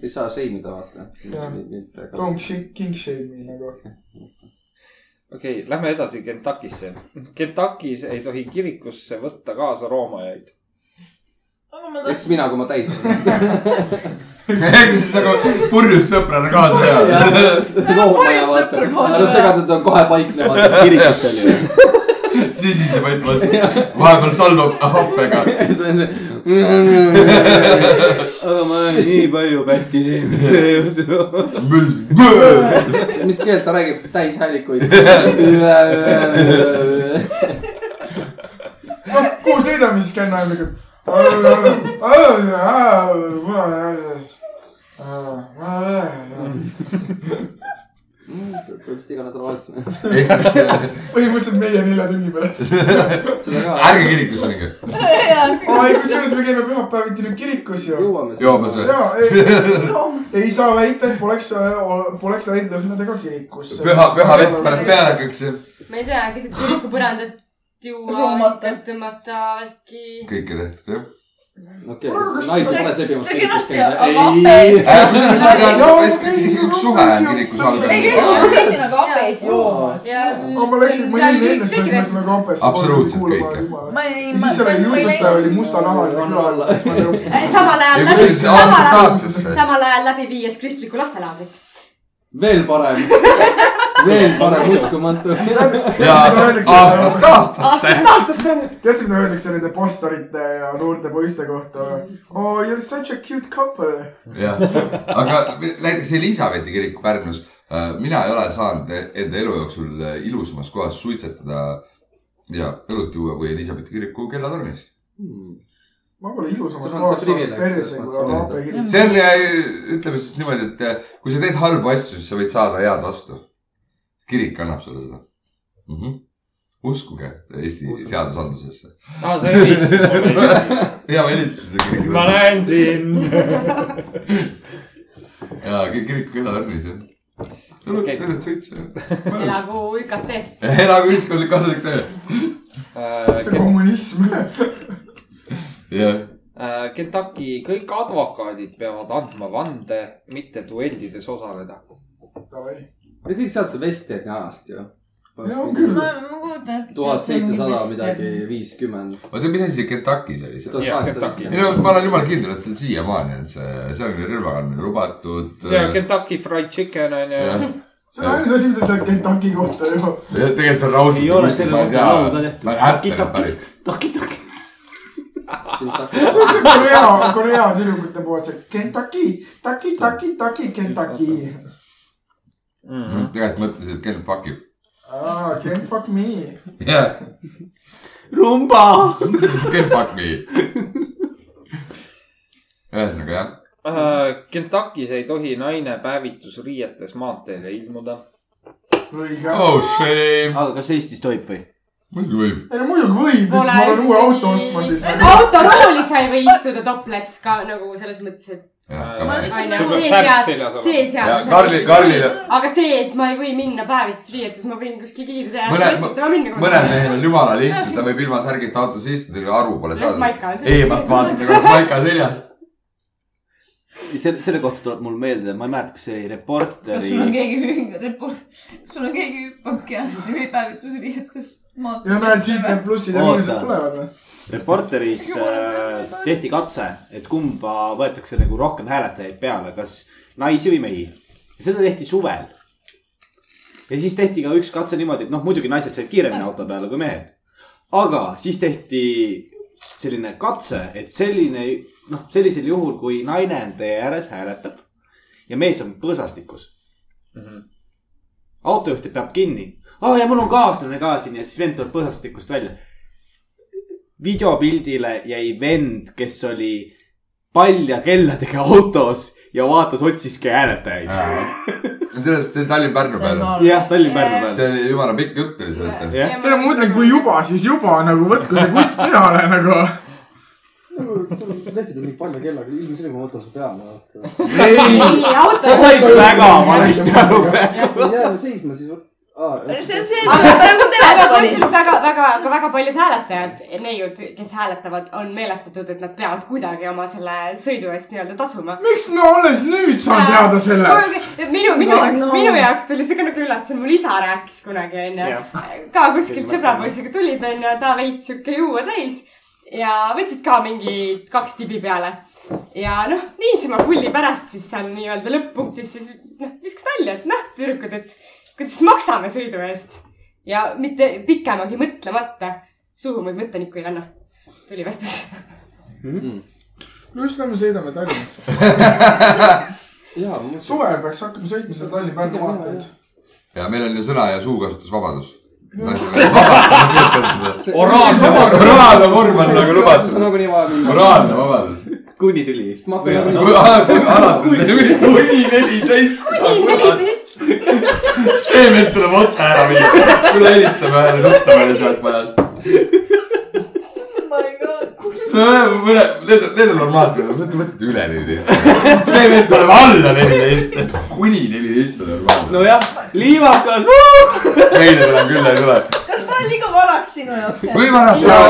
ei saa seimida , Jah. vaata . Don't shake , king shake me nagu . okei okay, , lähme edasi Kentuckisse . Kentuckis ei tohi kirikusse võtta kaasa roomajaid . [LAUGHS] eks mina , kui ma täis olen . ehk [LAUGHS] siis nagu purjus sõprale kaasa veas . purjus sõpru kaasa ära sega teda kohe paiknema . kirikus oli . sisiseb ainult vastu , vahepeal solvab happega . see on see . aga ma olen nii palju pätti [LAUGHS] teinud . mis keelt ta räägib , täis häälikuid . noh , kuhu sõidame siis , Ken Aimlik ? põhimõtteliselt iga nädal vahetasime . ehk siis äh, põhimõtteliselt meie nelja tunni pärast . seda ka . ärge kirikusse minge , aa , ei kusjuures me käime pühapäeviti nüüd kirikus ju . jõuame . joomas või ? jaa , ei , [LAUGHS] ei saa väita , et poleks , poleks läinud lõhnadega kirikusse . püha , püha vett paned peale , hakkaks ma ei tea , keset kirikupõrandat juua , Ruumata. ikka tõmmata äkki . kõike tehtud jah . okei , naised pole sebimas . see kenasti , aga apes . kusjuures väga hästi , isegi üks suve on kirikus ei , ei , ma alganud . käisin aga apes joomas . aga ma läksin , ma jäin enne seda , siis ma läksin nagu apesse . Absoluutselt kõike. ja ma ei , ma . siis seal oli jutlustaja oli mustanahaline Anna alla. [LAUGHS] külaline . samal ajal ja . kusjuures aastast aastasse . samal ajal läbi viies kristlikku lastelaagrit . veel parem , veel parem , uskumatu . ja aastast . aastasse . aastast aastasse . tead sa , mida öeldakse nende pastorite ja noorte poiste kohta või ? Oh , you are such a cute couple . jah , aga näiteks Elizabethi kirik Pärnus , mina ei ole saanud enda elu jooksul ilusamas kohas suitsetada ja õlut juua kui Elizabethi kiriku kellatornis . ma pole ilusamas See on see kohas saanud privileeg, perse selles kui mõttes, jah. Aape kirikus . see on , ütleme siis niimoodi , et äh, kui sa teed halbu asju , siis sa võid saada head vastu . kirik annab sulle seda mm . -hmm. uskuge Eesti Usume. seadusandlusesse . Ah, aa , sa helistasid . ja ma helistasin selle kiriku ma . näen sind . ja kiriku külatornis jah . tuleb Okei. okay. suits . elagu ÜKT . elagu ühiskondlik kasulik töö . Äh, see kommunism . [LAUGHS] jah , äh, Kentucky kõik advokaadid peavad andma vande mitte duellides osaleda . me kõik sealt see vesterni ajast ju . Jaa, küll. ma , ma kujutan ette . tuhat seitsesada midagi , viiskümmend . oota , mis asi Kentuckis oli see ? Jah, ei no ma olen jumala kindel , et see on siiamaani on see , seal on relva kandmine lubatud . ja Kentucky Fried Chicken on ju . Mhm. see on ainus asi , mida sa tead Kentucky kohta ju . Ja tegelikult see on raudselt . Ei ole selle kohta laulu ka tehtud. ma ei hätta Taki-taki. päris . taki-taki . see on see Korea , Korea tüdrukute poolt see Kentucky , taki , taki , taki , Kentucky . Mhm, Mhm. tegelikult mõtlesin , et Ken fuck ib . aa , can't fuck me . [LAUGHS] jah , rumba . Ken fuck me . ühesõnaga jah , Äh, Kentuckis ei tohi naine päevitusriietes maanteele ilmuda . õige . oh shame . aga kas Eestis tohib või ? muidugi võib . ei no muidugi võib , ma Pole pean uue auto ühtegi- ostma siis . autorooli sa ei või istuda topless ka nagu selles mõttes , et Äh, jah , lihtsalt- on Sul ju peab nagu see särk seal seljas , olema. see seal . Karli , Karlile , aga see , et ma ei või minna päevitusriietes , ma võin kuskil kiirtee Mõne- ääres mõtetama minna . mõnel mehel on jumala lihtne , ta võib ilma särgita autos istuda , aga aru pole saada . Maika on see . eemalt vaadata , kuidas Maika seljas . selle , selle kohta tuleb mul meelde , ma ei mäleta , kas see oli kas sul reporteri . on keegi report , sul on keegi hüppanud kenasti või päevitusriietes maalt . ja näed , siit need plussid ja Oota. miinused tulevad või ? reporteris äh, tehti katse , et kumba võetakse nagu rohkem hääletajaid peale , kas naisi või mehi . seda tehti suvel . ja siis tehti ka üks katse niimoodi , et noh , muidugi naised said kiiremini auto peale kui mehed . aga siis tehti selline katse , et selline , noh , sellisel juhul , kui naine on tee ääres , hääletab ja mees on põõsastikus autojuht peab kinni . aa ja mul on kaaslane ka siin ja siis vend tuleb põhjastikust välja . videopildile jäi vend , kes oli palja kelladega autos ja vaatas , otsiski hääletajaid . sellest , see on Tallinn-Pärnu peal . jah , Tallinn-Pärnu peal . see oli jumala pikk jutt oli sellest . jah , ei no ma mõtlen , kui . juba , siis juba nagu võtku see kutt peale nagu . lepid mingi palja kellaga , ilmselgelt ma võtan su peale . [LAUGHS] ei , sa autos . said väga valesti aru . jääme seisma siis . see on see , et sa oled praegu [LAUGHS] aga telefonis . kusjuures väga , väga , ka väga paljud hääletajad , neiud , kes hääletavad , on meelestatud , et nad peavad kuidagi oma selle sõidu eest nii-öelda tasuma . miks ma alles nüüd Äh, saan teada sellest ? minu , minu No, jaoks no. no. , minu jaoks tuli see ka nagu üllatus , mul isa rääkis kunagi onju , ka kuskilt sõbrapoisiga tulid onju , ta veits sihuke juua täis ja võtsid ka mingi kaks tibi peale . ja noh , niisama pulli pärast siis seal nii-öelda lõpp-punktis siis noh , viskas nalja , et noh , tüdrukud , et kuidas maksame sõidu eest ja mitte pikemagi mõtlemata , suhu muid mõttenikku ei kanna . tuli vastus . Hmm. no just lähme sõidame Tallinnasse . jaa , ma mõtlesin . suvel peaks hakkama sõitma seda Tallinna-Pärnu maanteed . ja meil on ju sõna ja suukasutusvabadus . moraalne oraalne vorm . vorm on nagu see on lubatud . nagunii vaja minna . moraalne vabadus . kuni tüli . ma No, hakkan nagu kui- aa, kui- alates nüüd kuni neliteist , see meil tuleb otse ära viia . kuule helistame ühele tuttavale sealt majast . oh my god , mõne , need , need on normaalsed , mõtle , mõtlete üle neliteist . see meil tuleb alla neliteist , kuni neliteist on normaalne . nojah , liivakas . meile tuleb küll ei tule . kas ma olen liiga vanaks sinu jaoks ? kui vana sa ,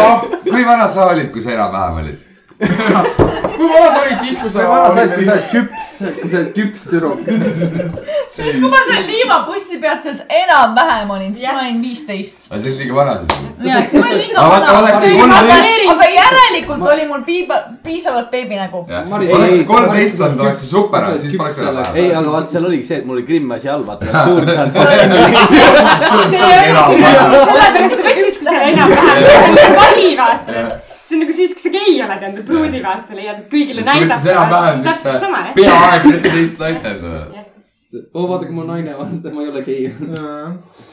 kui vana sa olid , kui sa enam-vähem olid ? kui vana sa olid siis , kui sa see vana said , kui sa oled küps , kui sa oled küps tüdruk . [LAUGHS] siis , kui ma seal liivabussi peatuses enam-vähem olin , siis Jah. ma olin viisteist . aga sa olid liiga vana siis . ja , siis ma olin liiga aga vaata , vana . oleks Aga kolmteist , eri- aga järelikult oli mul piiba- , piisavalt beebinägu . oleks kolmteist olnud , oleks see super , siis poleks enam ei , aga vaat seal oligi see , et mul oli krimm asi all , vaata . suur sants . [LAUGHS] [LAUGHS] vähem . [LAUGHS] sellepärast sa võtsid selle enam-vähem [LAUGHS] vali vaata Jah. see on nagu siis , kui sa gei oled , enda pruudi vaata , leiad , et kõigile Sa võtad näidata . seda pähe täpselt sama , siukse jah . peaaegu üksteist naised . noh. oo , Oh, vaadake , mul naine on , ma ei ole gei .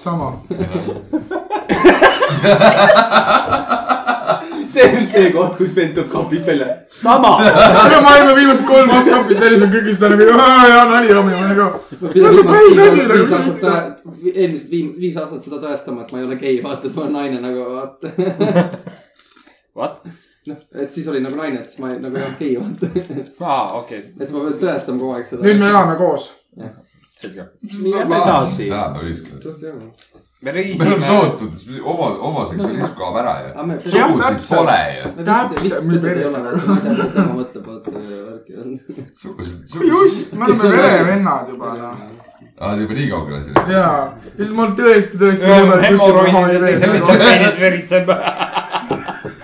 sama . see on see koht , kus vend tuleb kapist välja . sama . maailma viimased kolm mastaapist välis on kõik seda nagu , jaa , nali on minu nagu . pidin See on päris viimast- asi, viis nagu- aastat , eelmised viim- viis aastat seda tõestama , et ma ei ole gei , vaata , et ma olen naine nagu , [LAUGHS] vaata . What ? noh , et siis olin nagu naine , et siis ma ei- nagu ei olnud gei , vaata . aa , Ah, okei , et siis ma pean tõestama kogu aeg seda . nüüd me elame koos . selge . nii , lähme edasi . tänapäeva ühiskonnas . me me oleme reisime . sootunud , oma , oma seksualism kaob ära ju . Jah, sugusid täpselt. pole ju . Täpselt, mu perse. tema mõtleb , vaata , värki on . sugusid , just , sugusid . me oleme verevennad juba noh . aa , te juba nii kaugele läksite . ja , ja siis mul tõesti , tõesti . hemoroidid ja sellised veres veritseb . ma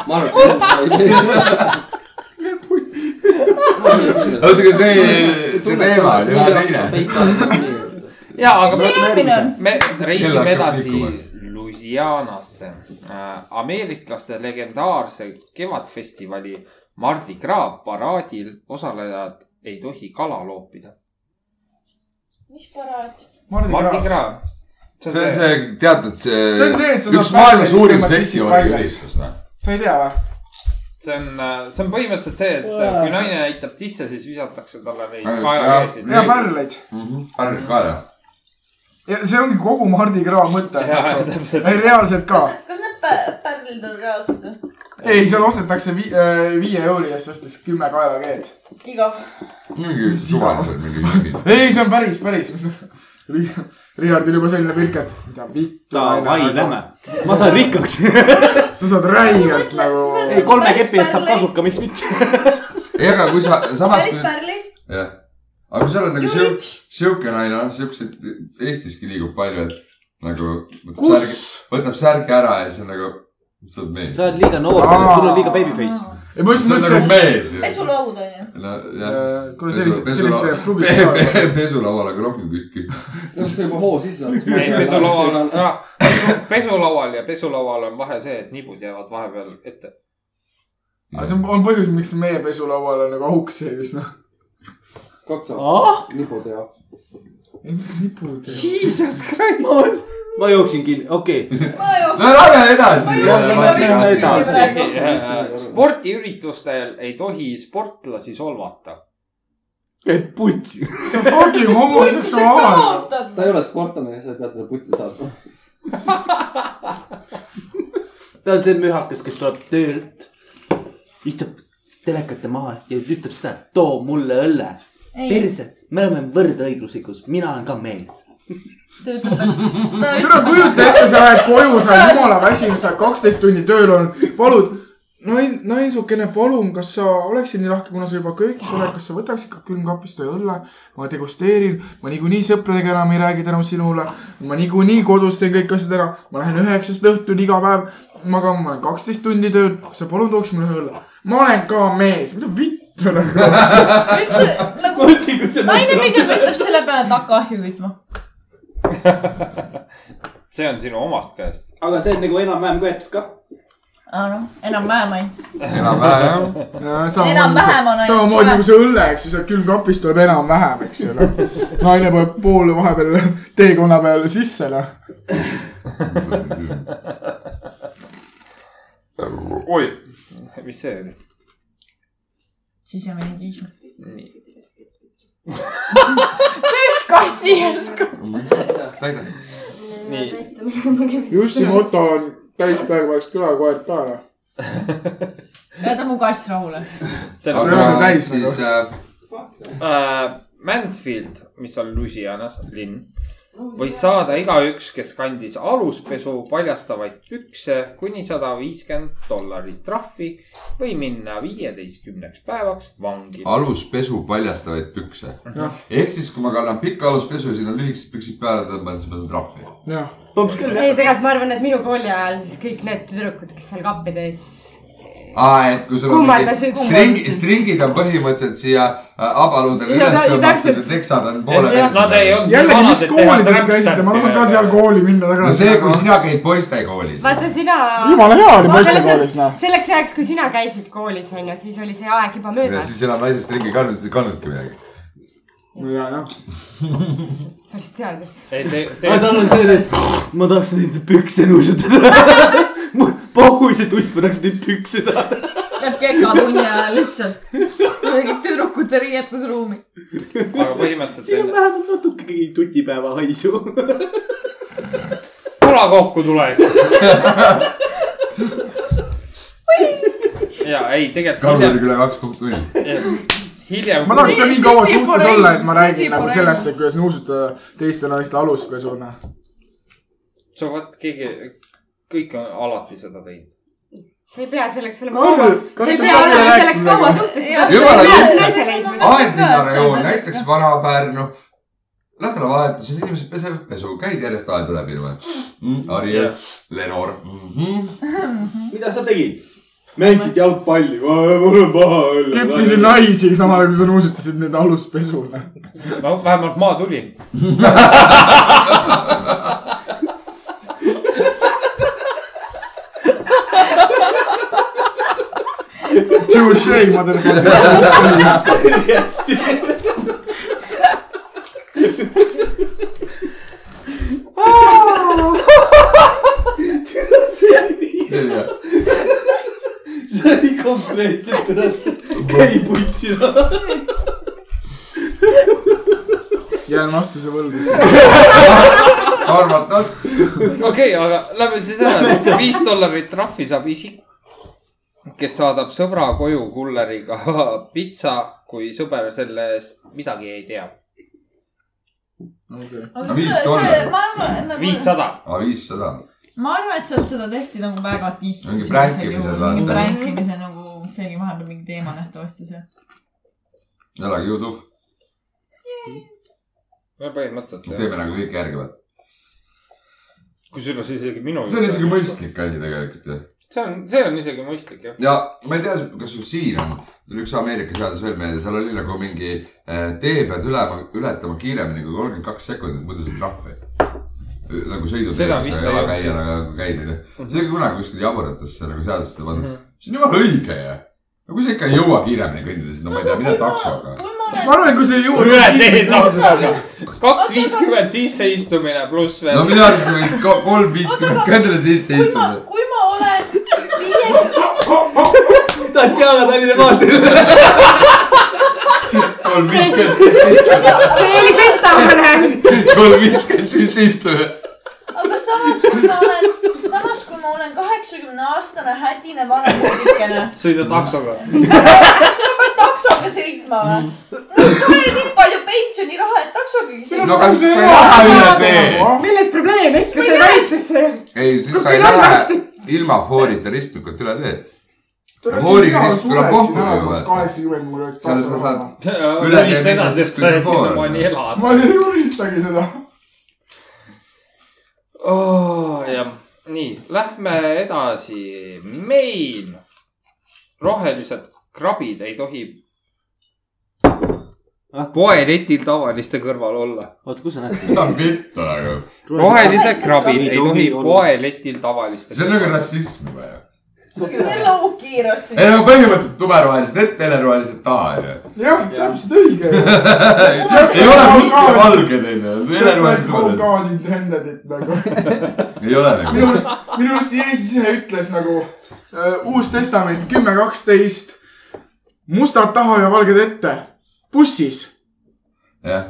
arvan , et ta ei tee . oota , aga see , see teema on ju teine . teine . ja , aga See järgmine on. me Kell reisime hakkab edasi liikuma. Louisianasse äh, , ameeriklaste legendaarse kevadfestivali Mardi Gras paraadil osalejad ei tohi kala loopida . mis paraad ? Mardi Gras . see on see teatud see, See on see, et sa üks saad maailma välja, suurim siis tõmbad seksiorgi välja. üritus , noh . sa ei tea või ? see on , see on põhimõtteliselt see , et äh, kui naine näitab tisse , siis visatakse talle neid Äh, kaelakeesid . ja pärleid . ärge kaela . ja see ongi kogu Mardi Krahv mõte . jah , täpselt . ei , reaalselt ka . kas need pä- pärlid on reaalsed või ? ei , seal ostetakse vi, äh, viie euri eest ostis kümme kaevakeed . iga . mingi suvalisel mingi nimi . ei , see on päris , päris . [LAUGHS] Richardil juba selline pilk , et mida vittu . Davai , lähme . ma saan rikkaks . sa saad räigelt nagu . [LAUGHS] ei , kolme kepi eest saab kasuka , miks mitte . ei , aga kui sa samas , päris pärlid . jah . aga kui sa oled nagu You siuk- , siuke naine , noh , siukseid Eestiski liigub palju , et nagu võtab kus särgi ,? võtab särgi ära ja siis on nagu , sa oled mees . [LAUGHS] sa oled liiga noor , sul on liiga babyface . ei , ma Äh, just sa oled nagu mõtlesin , mees ju . pesulaud on ju . no jah . et kuule , sellist , sellist teeb klubis [LAUGHS] ka . pesulaual aga rohkem kõiki . noh , see juba hoo sisse saab . ei , pesulaual on , pesulaual ja pesulaual on vahe see , et nibud jäävad vahepeal ette . aga see on, on põhjus , miks meie pesulaual on nagu auk sees , noh . kaks Ah? aastat , nipud ja . nipud . Jesus Christ . Oh, ma jooksin kinni , okei okay. . ma no lähme edasi . spordiüritustel ei tohi sportlasi solvata . käib putsi . see on fucking homoseksuaalne . ta ei jooksin . ole sportlane , sa pead teda putsi saatma . [LAUGHS] ta on see mühakas , kes tuleb töölt , istub telekate maha ja ütleb seda , too mulle õlle . ei , perse , me oleme võrdõiguslikus , mina olen ka mees . ta ütleb , et ta türa , kujuta ette , sa lähed koju , sa oled jumala väsinud , sa oled kaksteist tundi tööl olnud , palud . nain- , naisukene , palun , kas sa oleksid nii lahke , kuna sa juba köögis oled , kas sa võtaksid ka külmkapist ühe õlle ? ma degusteerin , ma niikuinii sõpradega enam ei räägi tänu sinule . ma niikuinii kodus teen kõik asjad ära , ma lähen üheksast õhtul iga päev magama , ma olen kaksteist tundi tööl , kas sa palun tooksid mulle ühe õlle ? ma olen ka mees , mida vittu nagu . üldse nagu naine pigem ütleb selle peale , et hakka ahju kütma . see on sinu omast käest . aga see on nagu enam-vähem võetud ka . aa noh , enam-vähem ainult . enam-vähem . Enam-vähem on ainult samamoodi soe. kui see õlle , eks ju , sealt külmkapist tuleb enam-vähem , eks ju , noh . naine paneb pool vahepeal teekonna peale sisse , noh . oi , mis see oli ? sisemine kiism . nii . üks kassi järsku . täida . Nii. Jussi moto on täispäev vajaks külakoert ka , noh . jäta mu kass rahule . seal on Aga- aga täis nagu. siis äh, äh, Mansfield , mis on Louisianas linn , võis saada igaüks , kes kandis aluspesu paljastavaid pükse kuni sada viiskümmend dollarit trahvi või minna viieteistkümneks päevaks vangi . aluspesu paljastavaid pükse . ehk siis , kui ma kannan pikka aluspesu ja sinna lühikesed püksid peale tõmban , siis ma saan trahvi . jah , tundus küll ei , tegelikult ma arvan , et minu kooli ajal siis kõik need tüdrukud , kes seal kappides . aa , et kui sul on Kummaldasid. mingi string , stringid on põhimõtteliselt siia äh, abaluudele Ja üles ta- tõmmatud täpselt. ja teksad on poole Jah, peal Nad ei . olnud . jällegi , mis koolides käisite , ma tahan ka seal kooli minna no see , kui tagasi . sina käid poistekoolis . vaata sina . jumala hea oli Ma selles poistekoolis , mõttes- noh . selleks ajaks , kui sina käisid koolis , onju , siis oli see aeg juba ja möödas . siis enam naised stringi ei kandnud , siis ei kandnudki midagi . ja , jah . päris teadis . ei , te , aga te , tal on see , et ma tahaks neid pükse nuusutada . pauguised uss , ma tahaks nüüd pükse saada . Nad kekatunni ajal lihtsalt . tegid tüdrukute riietusruumi . aga põhimõtteliselt enne , vähemalt natukegi tutipäeva haisu . kulakokku tule [LAUGHS] ja ei , tegelikult Karl oli hiljem , küll kaks punkt null . hiljem ma tahaks ka nii kaua Sindi suhtes Borrell, olla , et ma Sindi räägin nagu Borrell. sellest , et kuidas nuusutada teiste naiste noh. aluspesuna . sa vot keegi , kõik on alati seda teinud . sa ei pea selleks olema Karl- kaua , sa Karl- ei pea Karl- olema Karl- selleks kaua suhtes . Jumala jutt. Ma Aedlinna ka, et sa rajoon , ei tea, näiteks kas- Vana-Pärnu . nädalavahetusel inimesed pesevad pesu , käid järjest aeda läbi mm, . Ariel , Lenor mm . -hmm. mida sa tegid ? mängisid jalgpalli , mul on paha olla . keppisin . naisi samal ajal , kui sa nuusutasid nende noh. aluspesuna . no vähemalt ma tulin . Touche , ma tean . [LAUGHS] see oli konkreetselt , kurat , käi putsi . jään vastuse võlgu . arvad , noh , okei okay, , aga lähme siis edasi . viis dollarit trahvi saab isik , kes saadab sõbra koju kulleriga pitsa , kui sõber selle eest midagi ei tea . viis dollarit. viissada . viissada . ma arvan , et sealt seda tehti nagu väga tihti . Mingi pränkimise mingi laadne. pränkimise nagu , see oli vahepeal mingi teema nähtavasti seal . jällegi juhtub , no põhimõtteliselt jah . teeme nagu kõik järgivalt . kusjuures isegi minu . see on isegi . mõistlik asi tegelikult ju . see on , see on isegi mõistlik jah . ja ma ei tea , kas sul siin on , tuli üks Ameerika seadus veel meelde , seal oli nagu mingi äh, tee pead ülema , ületama kiiremini kui kolmkümmend kaks sekundit , muidu saad trahvi . nagu sõiduteel , Seda kus vist sa ei Mhm. jalakäijana nagu käid , onju . see oli kunagi kuskil jaburatesse nagu seadustesse pandud . see on jumala õige ju . no kui sa ikka ei jõua kiiremini kõndida , siis no ma ei tea , mine taksoga . [LAUGHS] kui ma ma arvan , kui sa ei jõua . üle tee taksoga . kaks viiskümmend sisseistumine pluss no veel . minu arust võid ko- kolm viiskümmend kõndida sisse kui ma istuda ., kui ma olen viiekümne , Tatjana Tallinna maanteel . kolm viiskümmend sisse istuda , see oli setapane . kolm viiskümmend sisse istuda . aga samas , kui ma olen , samas kui ma olen kaheksakümne aastane hädine vanakoolinikene , sõida taksoga . sa pead taksoga sõitma Mm. või ? mul ei ole nii palju pensioniraha , et taksogagi sõita . no aga siis sa ei lähe üle tee . milles probleem , eks me valitsesse . ei , siis sa ei lähe ilma foorita ristmikult üle tee . Hooriga ristub üle kohvi juba. kaheksakümmend mul oleks seal sa saad tasakaal . Üle tee unista edasi , minnes et sa küll poole. sinnamaani elad . ma ei unistagi seda . oh, . jah , nii , lähme edasi . meil rohelised krabid ei tohi Ah. poeletil tavaliste kõrval olla . oota , kus sa näed seda pitta nagu . rohelised krabid krabid ei ei tohi tohi olla. poeletil tavaliste see on nagu . rassism juba ju . selle uukkiirus ei siin . no põhimõtteliselt tuberohelised ette , helerohelised taha [LAUGHS] ju . jah , täpselt õige . ei ole must ja valge teil ju . Just like oh helerohelised . god intended it nagu . ei ole minu nagu . arust , minu arust Jeesus ise ütles nagu äh, Uus Testament kümme , kaksteist . mustad taha ja valged ette . bussis . jah ,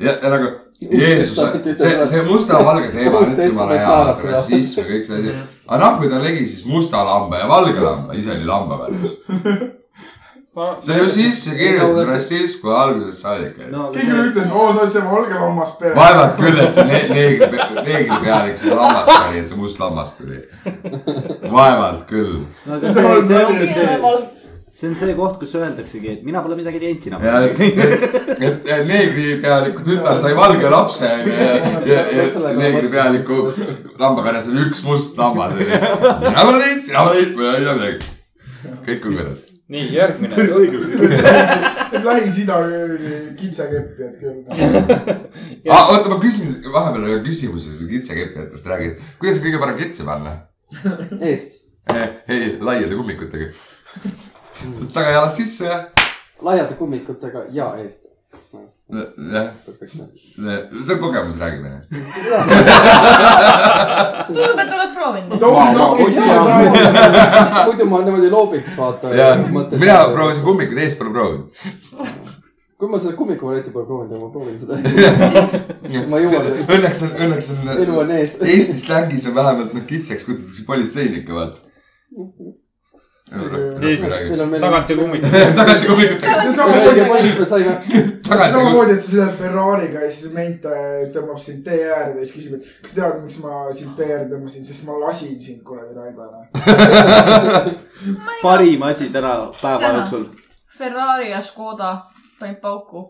ja ja nagu Jeesus , see , see musta-valge teema on üldse jumala hea , rassism ja kõik see asi . aga nahku ta legi siis musta lamba ja valge lamba , ise oli lamba peal . see on ju sisse kirjutatud rassism kui algusest saadik . keegi mulle ütles , oo , sa oled see valge lammas pere . vaevalt küll , et see ne- neegri , neegri pealik seda lammast pani , et see must lammas tuli . vaevalt küll . no See see, see, see, on see- see ongi see , see on see koht , kus öeldaksegi , et mina pole midagi teinud sina . ja et , et et neegri pealiku tütar sai valge lapse onju ja , ja , ja neegri pealiku lamba peres oli üks must lammas . mina pole teinud , sina pole teinud , ma ei tea midagi . kõik on korras . nii , järgmine . et Lähis-Ida kitsakeppijad küll . Ah, oota , ma küsin , vahepeal oli küsimus , sa kitsekeppijatest räägid , kuidas kõige parem kitse panna ? eest , ei , laiade kummikutega . tagajalad sisse ja laiade kummikutega ja eest . jah , see on kogemus , räägime . tundub , et oled proovinud . Don't knock it down . muidu ma niimoodi loobiks , vaata . ja mina proovisin kummikut , ees pole proovinud . kui ma seda kummikuvarianti pole proovinud , ma proovin [LAUGHS] seda . Ma jõuan veel. õnneks on , õnneks on . elu on ees . Eesti slängis on vähemalt noh , kitseks kutsutakse politseinikke , vaata . [LAUGHS] on tagant ja kummitad . tagati kummikut , see on õige samamoodi , point me saime . tagati kummikut . samamoodi , et sa sõidad Ferrari'ga ja siis ment äh, tõmbab sind tee äärde ja siis küsib , et kas tead , miks ma sind tee äärde tõmbasin , sest ma lasin sind kuradi raibana . parim asi täna päeva Täna. jooksul . Ferrari ja Škoda panid pauku .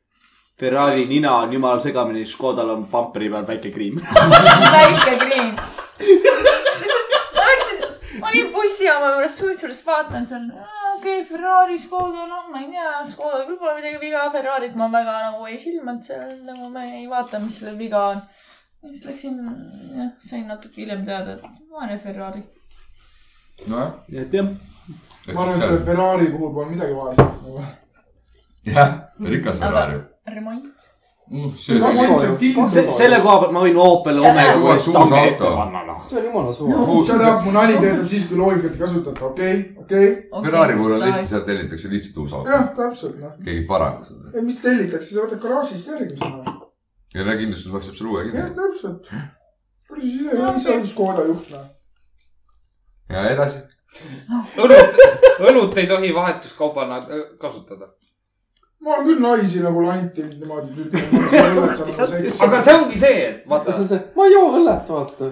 [LAUGHS] Ferrari nina on jumal segamini , Škodal on pampri peal väike kriim . väike kriim . ma läksin , ma olin bussijaama juures suitsurist , vaatan seal , okei okay, , Ferrari , Škoda , no ma ei tea , Škoda küll pole midagi viga , Ferrarit ma väga nagu ei silmanud seal , nagu ma ei vaata , mis sellel viga on . siis läksin , jah , sain natuke hiljem teada , et vaene Ferrari . nojah . nii et jah , ma arvan , et selle Ferrari puhul pole midagi vaesem . nagu- jah , rikas Ferrari . Mm, remont . see ma oli sain seal tildi . selle koha pealt ma võin Opel Omega Uueks uus Stange ette auto. panna , noh . see on jumala suva . Shut up , mu nali töötab siis , kui loogikat ei kasutata , okei , okei . Ferrari puhul on lihtsalt , sealt tellitakse lihtsalt uus auto jah , täpselt noh . keegi parandas seda . mis tellitakse , sa võtad garaažist järgmisena . ja no kindlustus maksab selle uue jah , [LAUGHS] kinni . täpselt . kuule , siis ei ole ise üks Škoda juht noh . ja edasi . õlut , õlut ei tohi vahetuskaubana äh, kasutada . ma olen küll naisi nagu lantinud niimoodi , et [LAUGHS] ütleme . aga see ongi see , et vaata see . on see , ma ei joo õllet , vaata .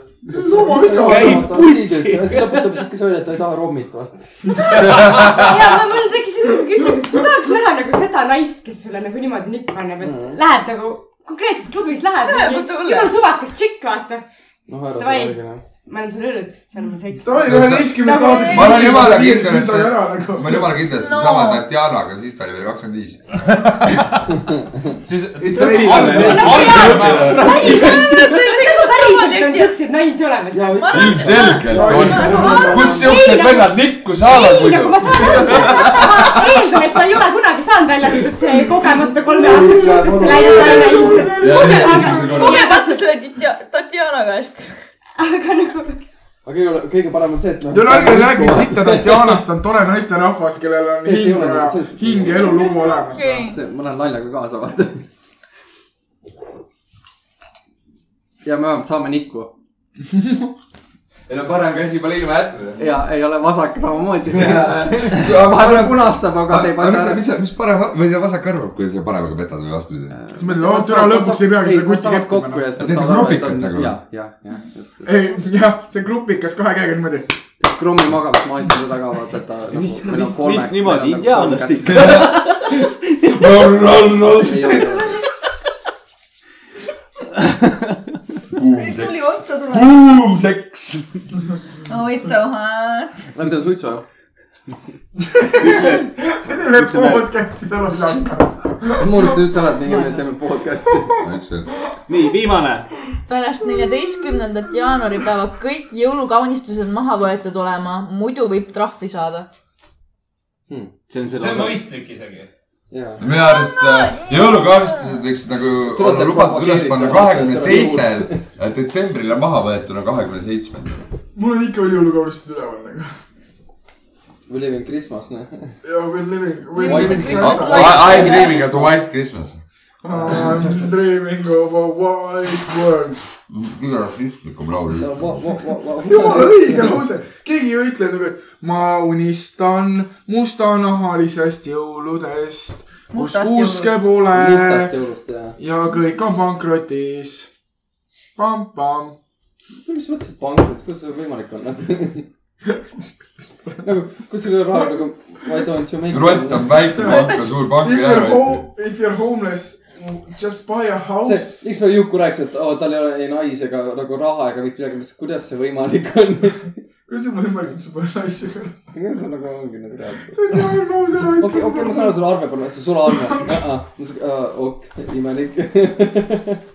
sama viga . käib putsi . siis lõpuks tuleb siuke sõel , et ta ei taha rommit , vaata . ja ma- mul tekkis just nagu küsimus , ma tahaks näha nagu seda naist , kes sulle nagu niimoodi nikku annab , et Mhm. lähed nagu konkreetselt klubis lähed . võta õlle. juba suvakas tšikk , vaata . noh , ära Davai. tule . ma annan sulle õlut , see on mul seks . Davai , üheteistkümnest Nagu aastast . Ma olen jumala kindel, et see- ära nagu . ma olen jumala kindel , et seesama Tatjanaga , siis ta oli veel kakskümmend viis . siis . nagu päriselt on siukseid naisi olemas . ja ma ilmselgelt on . [LAUGHS] kus Ei, siuksed nagu- vennad nikku saavad ei , muidu nagu ma ? saan aru sellest , ma eeldan , et ta ei ole kunagi saanud välja viidud see kogemata kolme aastaks suhtesse läinud naine ilmselt . kohe vastas selle Titja- Tatjana käest . aga nagu , aga kõige , kõige parem on see , et . no ärge rääkige . sitta Tatjanast , ta on tore naisterahvas , kellel on Ei, ei hing ole ja nii, see- hing ja elulugu olemas . okei , ma lähen naljaga kaasa , vaata . ja me vähemalt saame nikku . ei no parem käsi pole ilma jätta . ja ei ole vasak samamoodi . [LAUGHS] vahepeal punastab , aga teeb aga mis , asja mis , mis parem , või see vasak arvab , kui sa paremaga petad või vastupidi ? [LAUGHS] siis mõtled , et täna lõpuks ei peagi seda kuti kätkuma noh. enam . kokku ja siis Nad teevad nad saavad aru , et ropikat on nagu. , jah , jah , jah , just . ei , jah , see grupikas kahe käega niimoodi . Krommi magab , ma istun teda ka , vaata , et ta . nagu- mis , mis , mis niimoodi indiaanlast ? ikka . tuli kuumseks , otsa tuleb . kuumseks . no it's so hot . [LAUGHS] Lähme teeme suitsu , jah ? teeme podcast'i selles langas . ma unustasin üldse ära , et mingi hetk teeme podcast'i . üks veel . nii , viimane . pärast neljateistkümnendat jaanuaripäeva kõik jõulukaunistused maha võetud olema , muidu võib trahvi saada . see on see selle on osa . mõistlik isegi . [LAUGHS] jaa . minu arust äh, jõulukaanistused võiks nagu olla Tuletage lubatud üles panna kahekümne propageerida. teisel äh, detsembril ja maha võetuna kahekümne seitsmendal . mul on ikka veel jõulukaunistused üleval nagu . We live in Christmas , noh . ja veel living , Living veel living is Christmas sada . life. I am dreaming of a white Christmas . Ah, I'm dreaming of a wide world . kõige rassistlikum laul üldse . jumala õige lause , keegi ju ei ütle nagu , et ma unistan mustanahalisest jõuludest , kus Mustast kuuske jõuludest. pole mustast jõulust ja . ja kõik on pankrotis . Pam-pam . mis mõttes pankrotis , kuidas see võimalik on ? [LAUGHS] nagu , kus sul ei ole raha , nagu why don't you make noh? rott on väike , pank on suur , pank If ei you ole are rott . home , if you are homeless , just buy a see , house . miks ma Juku rääkisin , et oh, tal ei ole ei naisi ega nagu raha ega mitte midagi , ma ütlesin , kuidas see võimalik on . [LAUGHS] kuidas see võimalik , et sa pole naisega ? ega see nagu ongi nagu reaalsus . see on nii halb lause okei , okei , ma saan aru , sul arve pole , see on sulaarve . ma siuke , okei , imelik . [LAUGHS]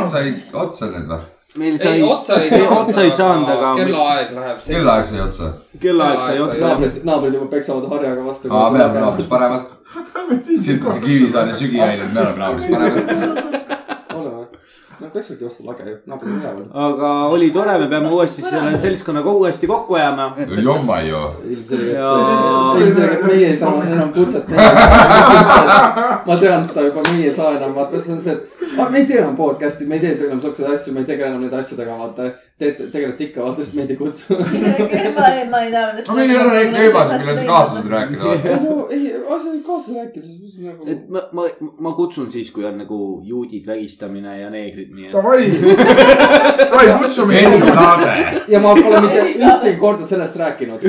otsa ei , otsa nüüd või ? meil ei , otsa ei ei, otsa ei saanud, aga- kellaaeg läheb . kellaaeg sai otsa . kellaaeg sai otsa . naabrid , naabrid juba peksavad harjaga vastu . aa , me oleme hoopis paremad . Sirkuse Kivisaare sügihaigla , me oleme naabris paremad . oleme . no kas võibki osta lage ju , naabrid on üleval . aga oli tore , me peame uuesti selle seltskonnaga uuesti kokku ajama . jomma ju . Jaa. ilmselgelt , ilmselgelt meie ei saa enam kutset teha . ma tean seda juba , meie ei saa enam , vaata , see on see , et ah, me ei tee enam podcast'i , me ei tee enam siukseid asju , me ei tegele enam nende asjadega , vaata . Te tegelete ikka , vaata , sest meid ei kutsu . ma ei , ma ei tea . no meil ei ole neid teemasid , millest kaaslased rääkida . ei no , ei , asi oli kaasa rääkimises , mis nagu . et ma , ma , ma kutsun siis , kui on nagu juudid , vägistamine ja neegrid , nii et . [LAUGHS] Davai , davai , kutsume Henn Hennu . Saade . ja ma pole mitte ühtegi korda sellest rääkinud .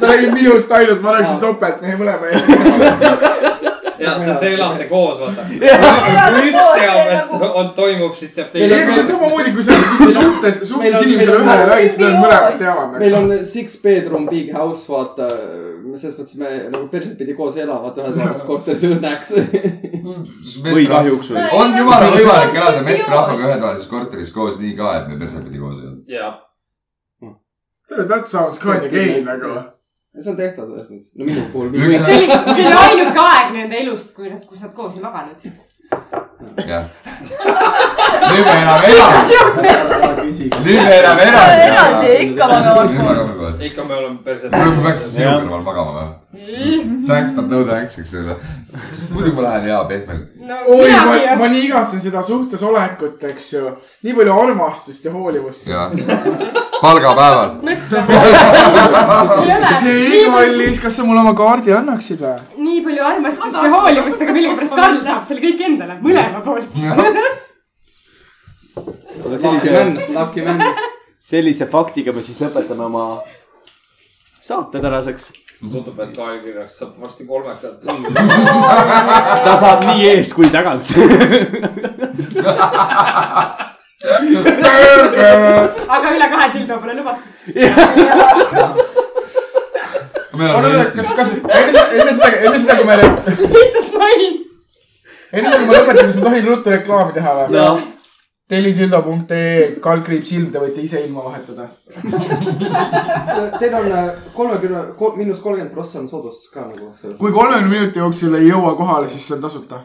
ta räägib minust ainult , ma rääkisin topelt meie mõlema eest . jah , sest te elate koos , vaata . kui üks teab , et teab , on , toimub , siis teab Meil ei , on- aga see on teine . samamoodi , kui sa , kui sa suhtes , meil on- suhtes inimesele ühele räägid , siis nad mõlemad meil teavad . on six bedroom big house , vaata , selles mõttes me nagu perset pidi koos elavad ühes korteris õnneks . või kahjuks või? on jumala võimalik elada meesterahvaga ühetoalises korteris koos nii ka , et me persepidi koos ei ole . jah , That sounds [LAUGHS] kinda gay nagu . see on tehtav selles mõttes , no minu Üks- puhul . see oli , see oli ainuke aeg nende elust , kui nad , kus nad koos ei maganud . jah . nüüd me enam elame , nüüd me enam eraldi elame . ikka magavad nüüd koos . magame koos . ikka me oleme perset . kuule , ma peaks sinu kõrval magama või ? Thanks but no thanks , eks ole . muidu ma lähen hea pehmelt . no oi , ma midagi ,, [LAUGHS] ma nii igatsen seda suhtes olekut , eks ju . nii palju armastust ja hoolivust . jah , palgapäeval . [LAUGHS] ei ole . ei , kallis , kas sa mulle oma kaardi annaksid või ? nii palju armastust ja hoolivust , aga millegipärast Karl saab selle kõik endale , mõlema poolt . Lucky man , lucky man . sellise faktiga me siis lõpetame oma saate tänaseks . tundub , et Kael Kirjas saab varsti kolmekalt . ta saab nii ees kui tagant . [LAUGHS] aga üle kahe tildo pole lubatud . me oota , oleme oota , kas , Eestis . kas [LAUGHS] enne , enne seda , enne seda , kui me , [LAUGHS] lihtsalt mainin . enne seda , kui me lõpetame , siis ma tohin ruttu reklaami teha või ? noh , telitildo.ee , kaldkriips ilm , te võite ise ilma vahetada . Teil on äh, kolmekümne , miinus kolmkümmend prossa on soodustus ka nagu . kui kolmekümne minuti jooksul ei jõua kohale , siis see on tasuta .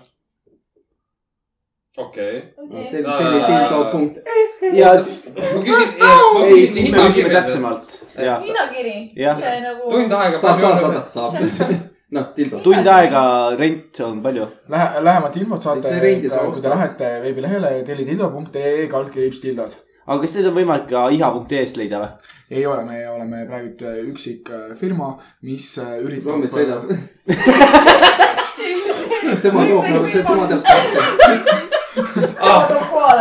okei . Äh, tellitildo.ee . ja ma küsin , ma ei , siis me küsin küsime hinnakirjadest . täpsemalt . jah , hinnakiri , Jah. see nagu . tund aega . tahab ka saada , [LAUGHS] saab . noh , tildo . tund aega rent on palju . Lähe , lähemat infot saate , See ringi saab kui te osta. lähete veebilehele telitildo.ee kaldkriips tildod . aga kas neid on võimalik ka iha.ee-st leida või ? ei ole , me oleme praegu üksik äh, firma , mis äh, üritab . Roomi sõidab . [LAUGHS] tema toob nagu see , tema teab seda asja . Ah,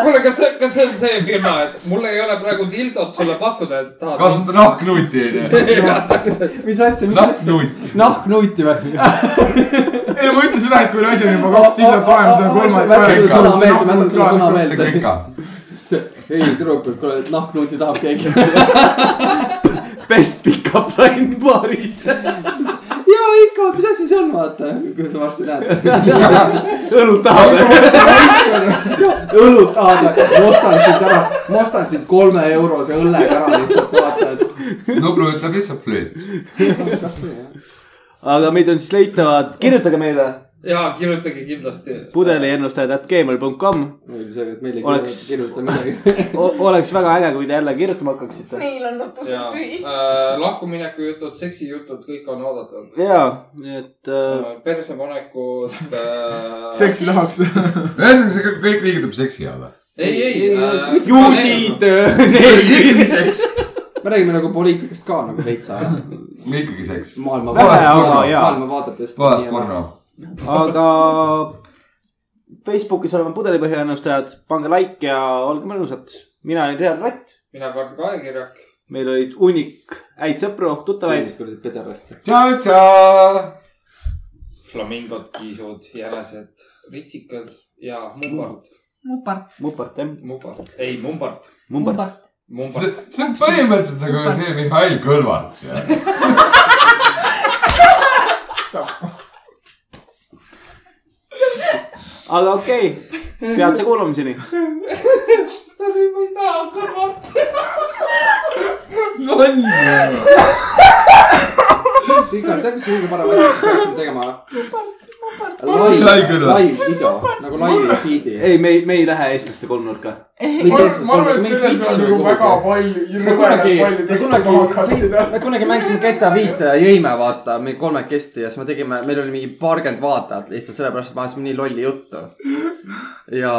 kuule , kas see , kas see on see firma , et mul ei ole praegu dildot sulle pakkuda , et [LAUGHS] tahad ? kasuta nahknuuti , onju . mis asja , mis asja ? nahknuut . nahknuuti või ? [LAUGHS] [LAUGHS] ei no ma ütlen seda , et kui naisel on juba kaks tildot vaja , siis on kolmandat Ma vaja . jätan selle sõna meelde, ma jätan selle sõna see meelde. keka . ei , tüdrukud , kuule , nahknuuti tahab [LAUGHS] keegi . Best pickup line baaris . ja ikka , mis asi see on , vaata , kui sa varsti [LAUGHS] näed . õlut tahab või ? õlut tahad , ma ostan siit ära , ma ostan siit kolme eurose õllega ära lihtsalt vaata , et . Nublu ütleb lihtsalt flööt . aga meid on siis leitavad , kirjutage meile jaa , kirjutage kindlasti . pudeliennustajad.gmail.com . ilmselgelt meil ei Oleks- kirjuta- kirjuta midagi . oleks väga äge , kui te jälle kirjutama hakkaksite . meil on nutus [LAUGHS] jaa tühi . äh, , lahkumineku jutud , seksijutud , kõik on oodatud . ja , nii et äh, persepanekud äh... . seksi tahaks . ühesõnaga , see kõik liigitub seksi alla . ei , ei äh, . juudid , neegrid . seks . me räägime nagu poliitikast ka nagu veitsa ära . ikkagi seks . maailma Vähe, aga jaa. maailmavaadetest . puhas porno . aga Facebookis oleme Pudelipõhja ennustajad , pange like ja olge mõnusad . mina olen Real Ratt , mina Karl Kaekirjak . meil olid hunnik häid sõpru , tuttavaid . kuradi pederast . tšau , tšau . flamingod , kiisud , jänesed , ritsikad ja mumbart , mupart . Mumpart jah , mumbart , ei mumbart , Mumpart . see mumbart ., see on põhimõtteliselt nagu see Mihhail Kõlvart . aga okei okay. , peatse kuulamiseni . sorry , ma ei saa , kõrvalt . igal , tead , mis kõige parem asi , mis me peaksime tegema ? mupart , mupart . live , Live-kõla. live video nagu live feed'i . ei , me ei , me ei lähe eestlaste kolmnurka . ma arvan , ma arvan , et sellel tuleb nagu väga palju , me rõvedalt kunagi , palju me tekste maha kunagi , kattida . me kunagi mängisime GTA viite ja jõime , vaata , me kolmekesti ja siis me tegime , meil oli mingi paarkümmend vaatajat lihtsalt sellepärast , et me ajasime nii lolli juttu . ja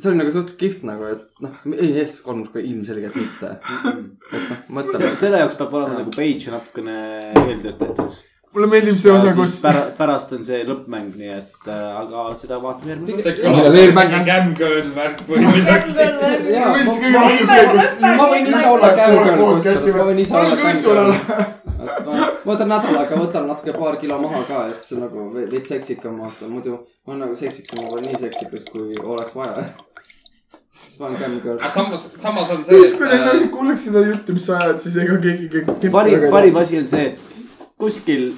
see oli nagu suht kihvt nagu , et noh , ei eestlased kolmnurka ilmselgelt mitte . et noh , mõtleme . selle jaoks peab olema nagu page natukene eeltööd tehtud . mulle meeldib see osa , kus . pärast , pärast on see lõppmäng , nii et äh, aga seda vaatame järgmine kord . Mida veel mängi- Camgirl nagu värk või [LAUGHS] midagi . mulle meeldis kõige rohkem see , kus . ma võin ise olla kängel , kusjuures ma võin ise ma olla võin suitsu kängel olla .. ma võtan nädalaga , võtan natuke paar kilo maha ka , et see nagu ve- veits seksikam vaata , muidu ma olen nagu seksikam , ma olen nii seksikas , kui oleks vaja . siis ma olen kängel . aga samas , samas on see , äh, siis , kui need naised kuuleks seda juttu , mis sa ajad , siis ega keegi . parim , parim . asi on see , et kuskil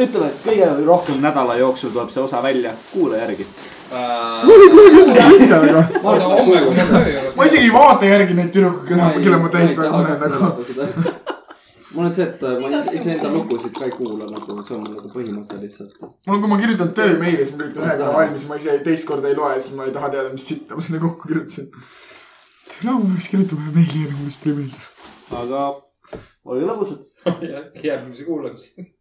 ütleme , et kõige rohkem nädala jooksul tuleb see osa välja , kuula järgi . äh, . arvan, oota , homme , kui ma töö juurde . ma isegi ei vaata järgi neid tüdrukuid , keda , kelle ma täispäeval näen , aga . mul on see , et äh, ma ise- iseenda lugusid ka ei kuula nagu , see on mul nagu põhimõte lihtsalt . mul , kui ma kirjutan töö meile , siis ma kirjutan ühe korra valmis , ma ise teist korda ei loe , siis ma ei taha teada , mis sitta ma sinna kokku kirjutasin . no ma peaks kirjutama ühe meili enne , kui mul see tuli meelde . aga olge lõbusad . järgmise kuulamise .